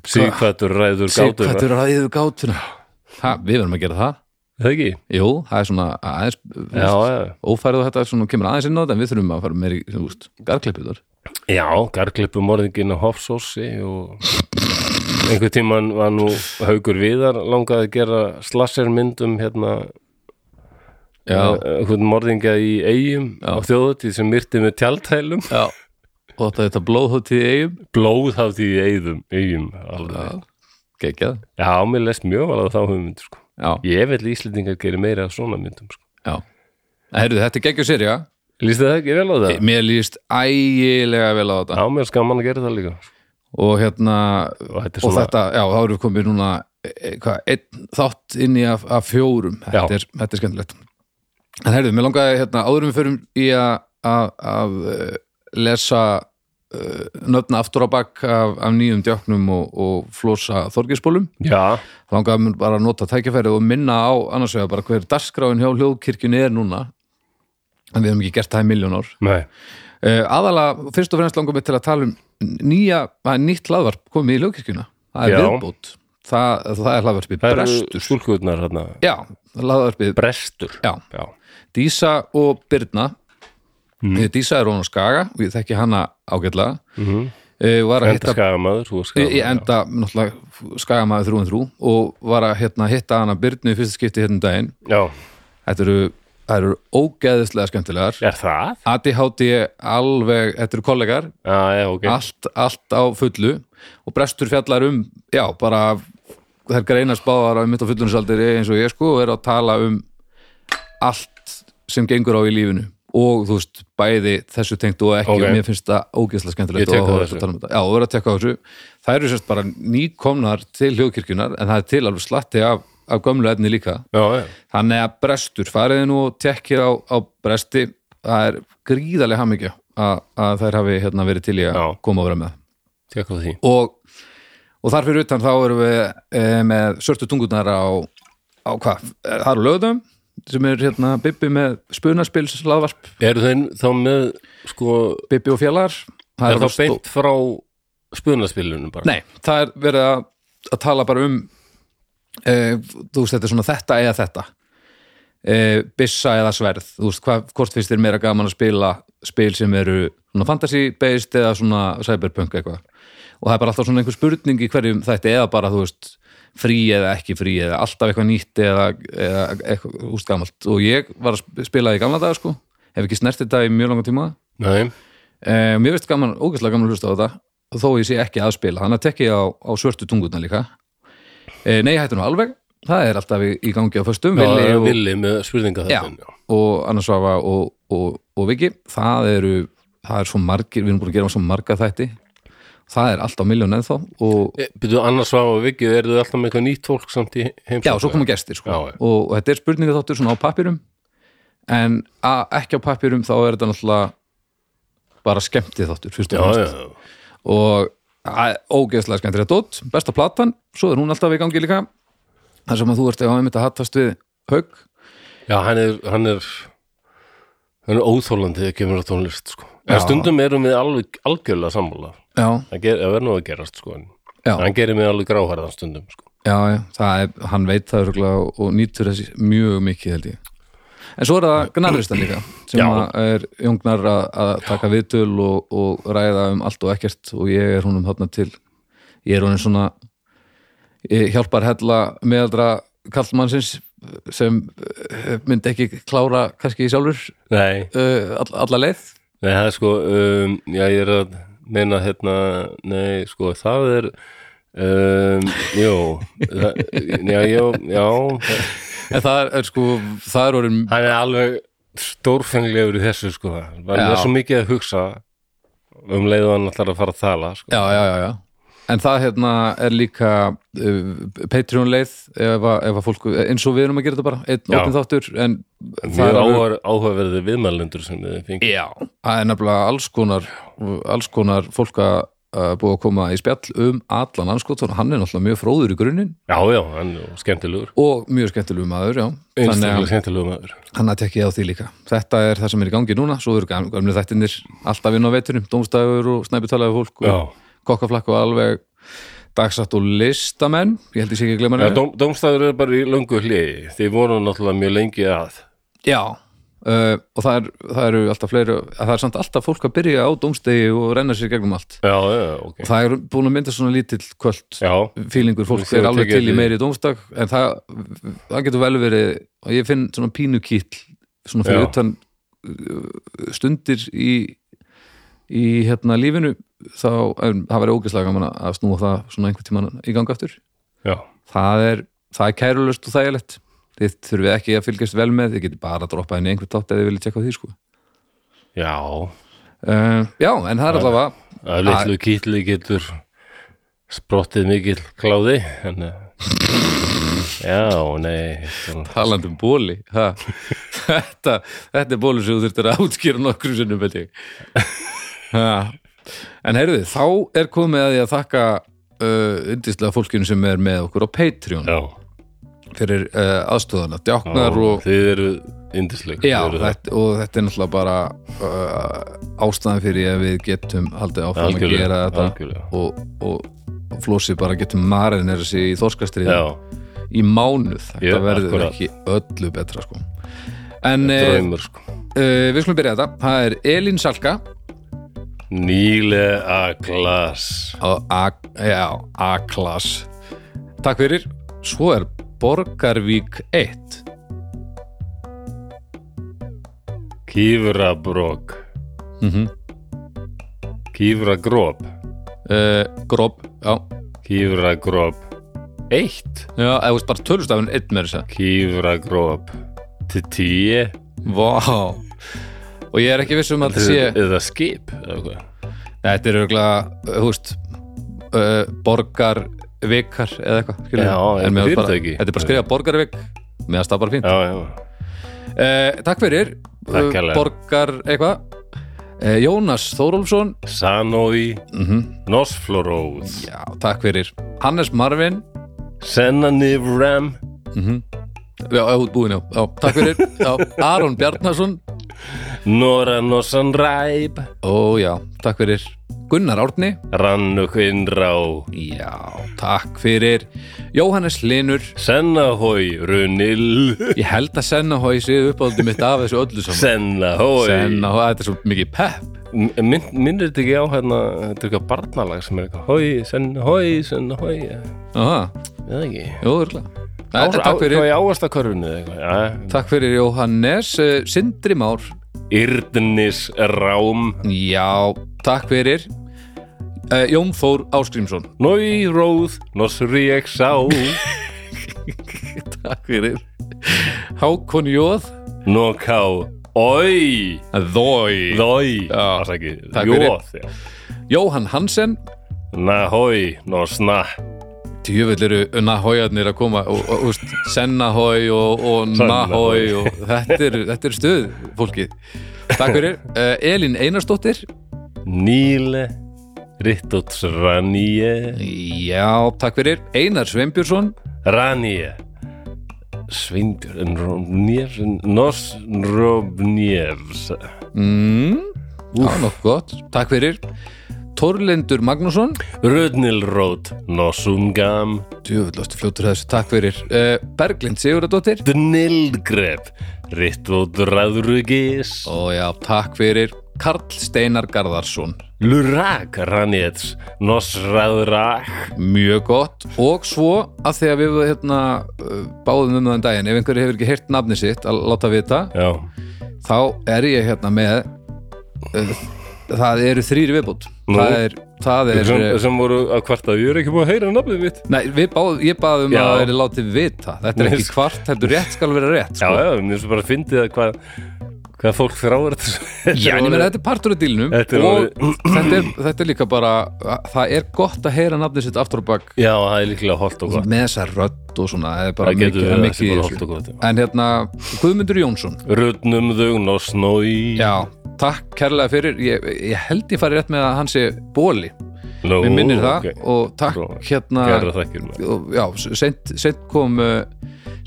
A: síkvættur ræður gátur
B: Sighvatur ræður gátuna ha, Við verðum að gera það
A: það ekki?
B: Jú, það er svona aðeins
A: Já, já,
B: ófærið og þetta er svona, kemur aðeins inn á þetta en við þurfum að fara meir í gargklippur
A: já garðklippum morðingin á Hofsósi og einhver tíman var nú Haugur Viðar langaði að gera slassermyndum hérna
B: Já.
A: eh, einhvern morðingja í eigum á þjóðutíð sem myrti með tjaldhælum
B: Já Og þetta, þetta blóðhótið í eigum
A: blóð hafði í eigum, eigum alveg.
B: Gekjað
A: Já, mér les mjög alveg þá hugmyndu sko.
B: Já,
A: Ég vil Íslendingar gera meira af svona myndum sko.
B: já Herðu, þetta er geggjur sér, já
A: Lýst það ekki vel á það?
B: Mér líst ægilega vel á þetta
A: Já, mér skaman að gera það líka sko.
B: og hérna
A: Og þetta er
B: og
A: svona-
B: þetta, já, þá erum við komið núna e, e, hvað, einn þátt inn í af, af fjórum,
A: Já.
B: þetta er, þetta er skemmtilegt en heyrðu, mér langaði hérna áðurum við förum í að- að að, eh, lesa uh, nöfna aftur á bakk af, af nýjum djáknum og, og flosa þorgisbólum
A: Já,
B: langaði mér bara að nota tækifærið og minna á annars vegar bara hver dagskráin hjá hljóðkirkjunni er núna en við hefum ekki gert það í miljónár
A: nei
B: Uh, aðalega, fyrst og fremst langum við til að tala um nýja, að nýtt hlaðvarp komið í lögkirkjuna, það er
A: Já.
B: viðbót það, það er hlaðvarpið
A: Það
B: Brest
A: eru stúlkurnar hérna
B: já, hlaðvarpið
A: Brestur
B: já,
A: Já,
B: Dísa og Birna
A: Mhm.
B: mm. Dísa er hún á Skaga og ég þekki hana ágætlega mm -hmm. var að
A: Mhm. enda
B: hitta
A: skagamaður, þú var skagamaður
B: ég enda, náttúrulega, skagamaði þrú en þrú og var að hérna, hitta hana Birnu í fyrsta skipti hérna um daginn
A: Já,
B: þetta eru, það eru ógeðislega skemmtilegar
A: er það?
B: ADHD alveg, þetta eru kollegar
A: Já, já, ok.
B: allt, allt á fullu og brestur fjallar um já, bara þær greinast báðar á mitt á fullunisaldir eins og ég sko og er að tala um allt sem gengur á í lífinu og þú veist, bæði þessu tengt og ekki
A: Ok.
B: og mér finnst það ógeðslega skemmtilegt
A: Ég tek
B: og
A: á
B: áhugavert
A: þessu.
B: að tala um þetta. Já, og verður að tekka á þessu það eru sérst bara nýkomnar til hljóðkirkjunar en það er til alveg slatti af, af gömlu efni líka
A: já, já,
B: þannig að brestur, fariði nú og tekkið á, á bresti það er gríðarlega hamingja að, að þær hafi hérna, verið til í að
A: Já.
B: koma að vera með
A: tekka því
B: og, og þar fyrir utan þá erum við e, með sörtu tungurnar á, á hvað, það eru lögðum sem er hérna Bibbi með spunaspils laðvarp,
A: eru þeim þá með sko,
B: Bibbi og fjallar það
A: er
B: eru
A: þá beint frá spunaspilunum bara
B: Nei, það er verið að, að tala bara um e, þú veist, þetta er svona þetta eða þetta e, bissa eða sverð þú veist, hvað, hvort finnst þér meira gaman að spila spil sem eru svona fantasy-based eða svona cyberpunk eitthvað og það er bara alltaf svona einhver spurning í hverjum þætti eða bara, þú veist, frí eða ekki frí eða alltaf eitthvað nýtt eða, eða eitthvað, þú veist, gamalt og ég var að sp- spila í gamla daga, sko hef ekki snert þetta í mjög langa tíma
A: Nei.
B: Eh, mér finnst gaman, ógæslega gaman að hlusta á þetta þó ég sé ekki að spila, þannig að tekki ég á, á svörtu tungurna líka eh, Nei, hættu nú alveg, það er alltaf í, í gangi á föstum,
A: Já,
B: Villi og,
A: villi með spurninga
B: já,
A: þetta
B: og Annarsvafa og, og, og Viki, það eru það er svo margir, við erum búin að gera svo marga þætti, það er alltaf miljón ennþá og
A: Eh, byrju annars svá og vikið, eru þau alltaf með eitthvað nýtt fólk samt í heimsókn
B: já, svo koma gestir sko.
A: Já, já.
B: og, og þetta er spurningaþáttur svona á pappirum en a, ekki á pappirum þá er þetta náttúrulega bara skemmtið þáttur, fyrst og
A: já,
B: fremst.
A: já,
B: og að- ógeðslega skemmtilega dótt, besta platan svo er hún alltaf í gangi líka þar sem að þú ert að hafa einmitt að hattast við Hauk,
A: já, hann er hann er, hann er óþólandi þegar kemur á tónlist sko. en stundum erum við alveg algjörlega sammála
B: já,
A: það ger- það verður nú að gerast sko. en
B: Já.
A: hann gerir mig alveg gráhærðan stundum sko.
B: já, já það er, hann veit það örgulega og, og nýtur þessi mjög mikið held ég en svo er það Gnarristan líka sem
A: Já.
B: að er jungnar að, að taka viðtöl og, og ræða um allt og ekkert og ég er húnum þarna til ég er húnum svona ég hjálpar hella meðaldra kallmannsins sem eh, myndi ekki klára kannski sjálfur
A: nei,
B: uh, all, alla leið
A: nei, það er sko um, já, ég er að meina hérna nei, sko, það er um, jú það, já, já, já
B: en það er, er sko, það er orðin
A: hann er alveg stórfenglegur í þessu sko hann
B: Já.
A: er svo mikið að hugsa um leið og hann ætlar að fara að tala sko.
B: já, já, já, já en það hérna er líka uh, Patreon leið ef að, ef að fólk, eins og við erum að gera þetta bara einn
A: Já.
B: opin þáttur en
A: mjög
B: alveg-
A: áhuga, áhugaverði viðmælendur sem við fengum
B: já, það er nefnilega alls konar alls konar fólk að að búið að koma í spjall um allan anskot og hann er náttúrulega mjög fróður í grunninn
A: já, já, hann er skemmtilegur
B: og mjög skemmtilegu maður, já þannig
A: einstaklega
B: að
A: skemmtilegur maður
B: hann að tekja á því líka þetta er það sem er í gangi núna, svo eru gam- gamlu þættinir alltaf inn á veiturum, dómstæður og snæputalaði fólk og
A: já,
B: kokkaflakk og alveg dagsatt og listamenn ég held ég sé ekki að glemma
A: já
B: henni
A: dóm, dómstæður er bara í löngu hliði þeir voru náttúrulega mjög lengi að
B: já, uh, og það, er, það eru alltaf fleiri, að það er samt alltaf fólk að byrja á dómstegi og renna sér gegnum allt
A: já, já, ok
B: og það er búin að mynda svona lítill kvöld
A: já,
B: fílingur, fólk
A: Þú
B: er
A: hefur
B: alveg
A: tekið
B: til í
A: því.
B: meiri dómstag en það, það getur vel verið og ég finn svona pínukýll svona
A: Já.
B: fyrir utan uh, stundir í í hérna lífinu þá, en það verið ógeðslega gaman að snúa það svona einhvern tímann í gang aftur
A: já,
B: það er, það er kærulöst og þægilegt þið þurfið ekki að fylgjast vel með þið getur bara að droppa henni einhvern tótt ef þið viljið tjekka á því sko.
A: já
B: uh, já, en það er allavega
A: það er litlu kýtli getur sprottið mikill kláði en eh, já, nei svona-
B: talandi um bóli ha. þetta, þetta er bóli sem þú þurftir að útskýra nokkrum sinnum veit ég ha. en heyrðu, þá er komið að ég að þakka uh, yndislega fólkinu sem er með okkur á Patreon
A: já,
B: fyrir uh, aðstöðana, djáknar
A: já,
B: og
A: þið eru yndisleg
B: Já, þetta, og þetta er náttúrulega bara uh, ástæðan fyrir að við getum haldið áfram að
A: Algjörlega,
B: gera þetta
A: algjörlega.
B: og, og, og flósi bara getum marinn er þessi í þorskastrið
A: já,
B: í mánuð, þetta
A: Já,
B: verður
A: akkurat.
B: ekki öllu betra sko En uh,
A: draumur sko
B: við skulum byrja þetta, það er Elín Salka
A: Nýle Aklas
B: á A- já, A-klass Takk fyrir, svo er Borgarvík 1
A: Kífrabrok
B: mm -hmm.
A: Kífragróp
B: Eh, Grob, já,
A: Kífragróp Eitt
B: já eða þú veist bara tölustafun 1 með þess að
A: Kífragróp Til tíu
B: Vá Og ég er ekki viss um að þetta sé
A: Eða skip eða hvað?
B: Þetta er örgulega, þú veist uh, Borgar vikar eða eitthvað skilur
A: Já,
B: við.
A: eitthvað
B: En mér fannst bara-
A: fyrirtæki.
B: þetta er bara skrifa borgarvik meðan það bara fínt
A: já, já,
B: eh, takk fyrir
A: Takk hérlega.
B: borgar eitthvað eh, Jónas Þórólfsson
A: Sanoi Mhm. Nosflóróð
B: já, takk fyrir Hannes Marvin Mhm.
A: Senanivram
B: já, já, búin, já. já takk fyrir já, Aron Bjarnason
A: Nora Nosanræb
B: ó já, takk fyrir Gunnar Árni
A: Rannukinnrá
B: já, takk fyrir Jóhannes Linur
A: Sennahói Runil
B: ég held að Sennahói séu uppáldið mitt af þessu öllu saman
A: Sennahói
B: Sennahói, þetta er svo mikið pepp
A: Minn, Minnir þetta ekki á hérna Þetta er eitthvað barnalag sem er eitthvað Hói, Sennahói, Sennahói
B: Aha,
A: Eða ekki
B: jú, örgulega Þetta, takk fyrir,
A: Hvað í áastakörfinu eða eitthvað
B: takk fyrir Jóhannes eh, Sindri Már
A: Yrnis Rám
B: Já, takk fyrir uh, Jón Þór Áskrimsson
A: Nói Róð Nosriek Sá
B: Takk fyrir Hákon Jóð
A: Noká Ói
B: Þói
A: Þói
B: Já,
A: Afsakið.
B: takk
A: Jóð já.
B: Jóhann Hansen
A: Nahói Nosna
B: Tjöfull eru nahójarnir að koma og, og, úst, Sennahói og, og
A: Sennahói.
B: Nahói og þetta er, þetta er stuð fólkið Takk fyrir uh, Elín Einarsdóttir
A: Níle Rittots Raníe
B: Já, takk fyrir Einar Sveinbjörnsson
A: Ranije Svindjörn Rómnjefs Nos Rómnjefs
B: mm, Já, nokkuð gott Takk fyrir Torlendur Magnússon
A: Rödnilrót Nosungam
B: Tjöfullast fljótur þessu, takk fyrir uh, Berglind Siguradóttir
A: Dnilgrep Rittot Ræðrugis
B: Og já, takk fyrir Karl Steinar Garðarsson
A: Lurak Ranjets Nos Ræðrak
B: Mjög gott Og svo að því að við hérna, uh, báðum um þann daginn Ef einhverju hefur ekki heyrt nafni sitt að láta vita
A: Já,
B: Þá er ég hérna með uh, Það eru þrýri viðbútt
A: Nú.
B: Það er, það er
A: sem,
B: uh,
A: sem voru að kvarta Ég er ekki búin að heyra nafnið mitt
B: Nei, við báðum, ég báðum
A: Já.
B: að það eru látið vita Þetta er
A: Nei,
B: ekki
A: sko.
B: kvart, heldur rétt skal vera rétt
A: Já,
B: sko.
A: já, mér finnst bara að fyndið að hvað hvað fólk þráður þetta
B: Já, en ég meina þetta er partur af dílnum
A: Þetta er
B: og þetta er, þetta er líka bara það er gott að heyra nafnið sitt aftur á bak
A: Já, það er líklega holdt og gott
B: með þessa rödd og svona það er bara
A: Það
B: mikið,
A: getur
B: það er
A: verið að það
B: mikið
A: sé bara
B: í þessu.
A: holdt og gott
B: en hérna, Guðmundur Jónsson
A: Rutnum þau nosnói
B: já, takk kærlega fyrir ég, ég held ég fari rétt með að hann sé bóli
A: Nú,
B: mér minnir það
A: ok.
B: og takk
A: Svo,
B: hérna
A: Gerðu þakkir maður.
B: og, já, sent, sent kom uh,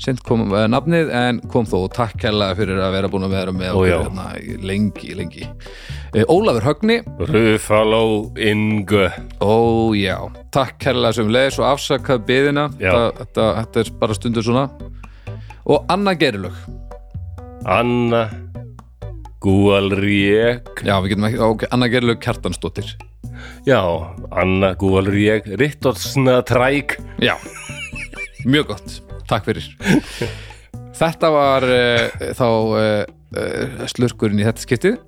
B: sent kom uh, nafnið en kom þó og takk kærlega fyrir að vera búin að vera með
A: Ó,
B: okkur
A: já.
B: hérna, í- lengi, lengi uh, Ólafur Högni
A: Ruffalo Ingu
B: Ó já, takk kærlega sem leðis og afsakað byðina
A: Já.
B: þetta, þetta, þetta er bara stundur svona og Anna Gerilög
A: Anna Gualriek
B: já, við getum ekki, ok, Anna Gerilög Kjartansdóttir
A: Já, Anna Gualriek Rittotsna Træk
B: já, mjög gott takk fyrir þetta var uh, þá uh, slurkurinn í þetta skiptið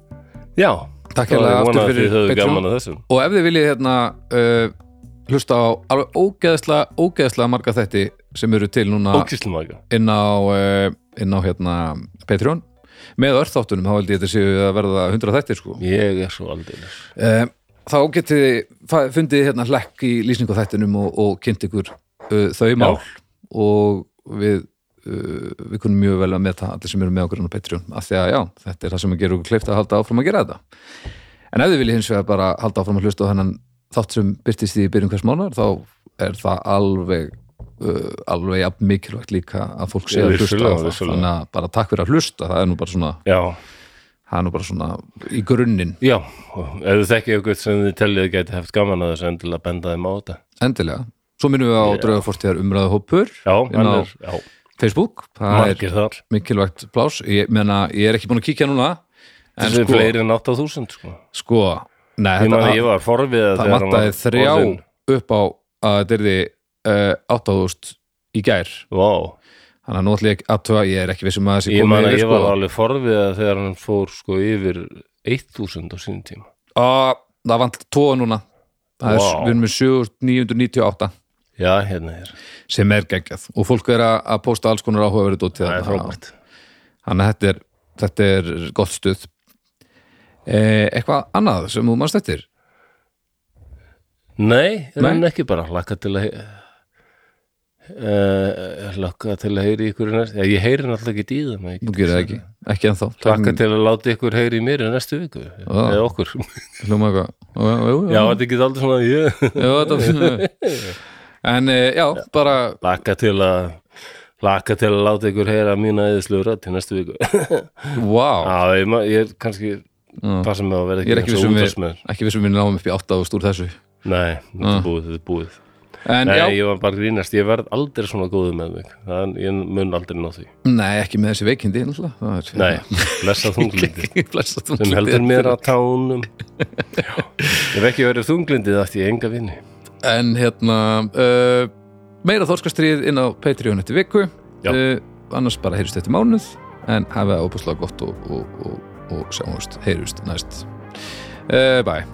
A: Já,
B: Takk
A: Það
B: hérlega
A: er
B: aftur
A: vonað að
B: fyrir
A: þið höfðu
B: Patreon.
A: gaman að þessum
B: og ef þið viljið hérna uh, hlusta á alveg ógeðslega ógeðslega marga þætti sem eru til núna
A: Ókíslumaka
B: inn á, uh, inn á hérna, Patreon með örþáttunum, þá held ég þetta séu að verða 100 þættir sko
A: Ég er svo aldeilis
B: uh, þá getið þið fa- fundið hérna hlekk í lýsingu á þættinum og, og kynnt ykkur uh, þau mál og við uh, við kunum mjög vel að meta allir sem eru með okkur á Patreon, af því að já, þetta er það sem gerur okkur kleift að halda áfram að gera þetta en ef þið viljið hins vegar bara halda áfram að hlusta á þennan þátt sem byrtist í byrjun hvers mánar, þá er það alveg uh, alveg jafn mikilvægt líka að fólk sé
A: Já,
B: að hlusta á
A: vissulega,
B: það,
A: vissulega.
B: þannig að bara takk fyrir að hlusta það er nú bara svona,
A: Já,
B: það er nú bara svona í grunninn
A: já og Ef þið þekkið ykkur sem þið tellið gæti haft gaman að þessu endilega benda þeim á þetta
B: Endilega. Svo minnum við á yeah. draugafortíðar umræðu hópur
A: Já,
B: inn
A: hann
B: á
A: er, já,
B: Facebook. Það
A: margir þar
B: er mikilvægt plás. Ég, menna, ég er ekki búin að kíkja núna. En
A: Þessi
B: sko,
A: fleiri en 8000 sko
B: sko nei,
A: Ég
B: þetta,
A: maður ég var forviða
B: það
A: þegar hann
B: vantaði
A: var
B: þrjá
A: orðinn.
B: upp á að þetta er því uh, 8000 í gær.
A: Vá,
B: Þannig að nú ætla ég að athuga, ég er ekki vissum að þessi
A: ég man
B: komið
A: að ég
B: yfir sko.
A: var alveg forviða þegar hann fór sko yfir 1000 á sínum tíma
B: Á, Ah, það vant tóa núna. Það er,
A: Vá.
B: við erum með 7998
A: Já, hérna er,
B: sem er geggjað og fólk er að, að posta alls konar áhugaverið út til
A: það er frábært
B: Þannig að þetta er, þetta er gott stuð eh, Eitthvað annað sem þú mannst eftir
A: Nei, er
B: Nei.
A: hann ekki bara hlakka til að uh, Lakka til að heyri ykkur í næst Já, ég heyri náttúrulega ekki í þeim
B: Þú gerir það ekki, ekki ennþá
A: Lakka til að láta ykkur heyri í mér í næstu viku Eða okkur
B: Hljóma eitthvað Já, já, já,
A: Já, þetta er ekki aldrei svona ég
B: já, þetta En eh, já, bara
A: Lakka til að Lakka til að láta ykkur heyra mína eðislu rödd í næstu viku
B: Vá,
A: Já, ég, ma- ég er kannski Passa mig að vera
B: ég er ekki
A: eins og
B: vissum við
A: útvarpsmaður.
B: ekki vissum við náum upp í 8.000 úr þessu
A: Nei, þetta er búið, þetta er búið
B: En
A: Nei,
B: já,
A: ég var bara að grínast, ég verð aldrei svona góðu með mig Þannig ég mun aldrei ná því
B: nei, ekki með þessi veikindi náttúrulega. Það er-
A: Nei, blessa þunglindi
B: Blessað
A: sem
B: þunglyndi.
A: heldur mér á tánum Já. Ef ekki verið þunglindi það ætti ég enga vini
B: En hérna uh, Meira þorskastrið inn á Patreon eftir viku
A: Já.
B: uh, Annars bara heyrjust eftir mánuð En hafið það óbúslega gott og, og, og, og sjáumst, heyrjust næst uh, Bye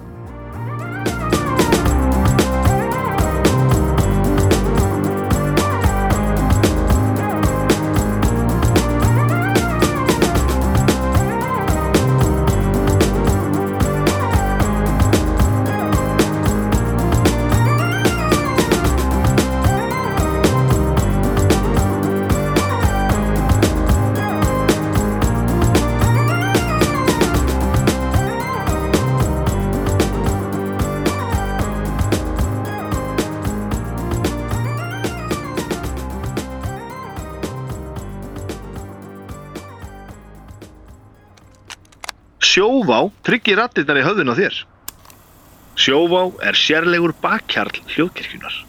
D: Sjóvá tryggir rattirnar í höfðun á þér. Sjóvá er sérlegur bakkjarl hljóðkirkjunar.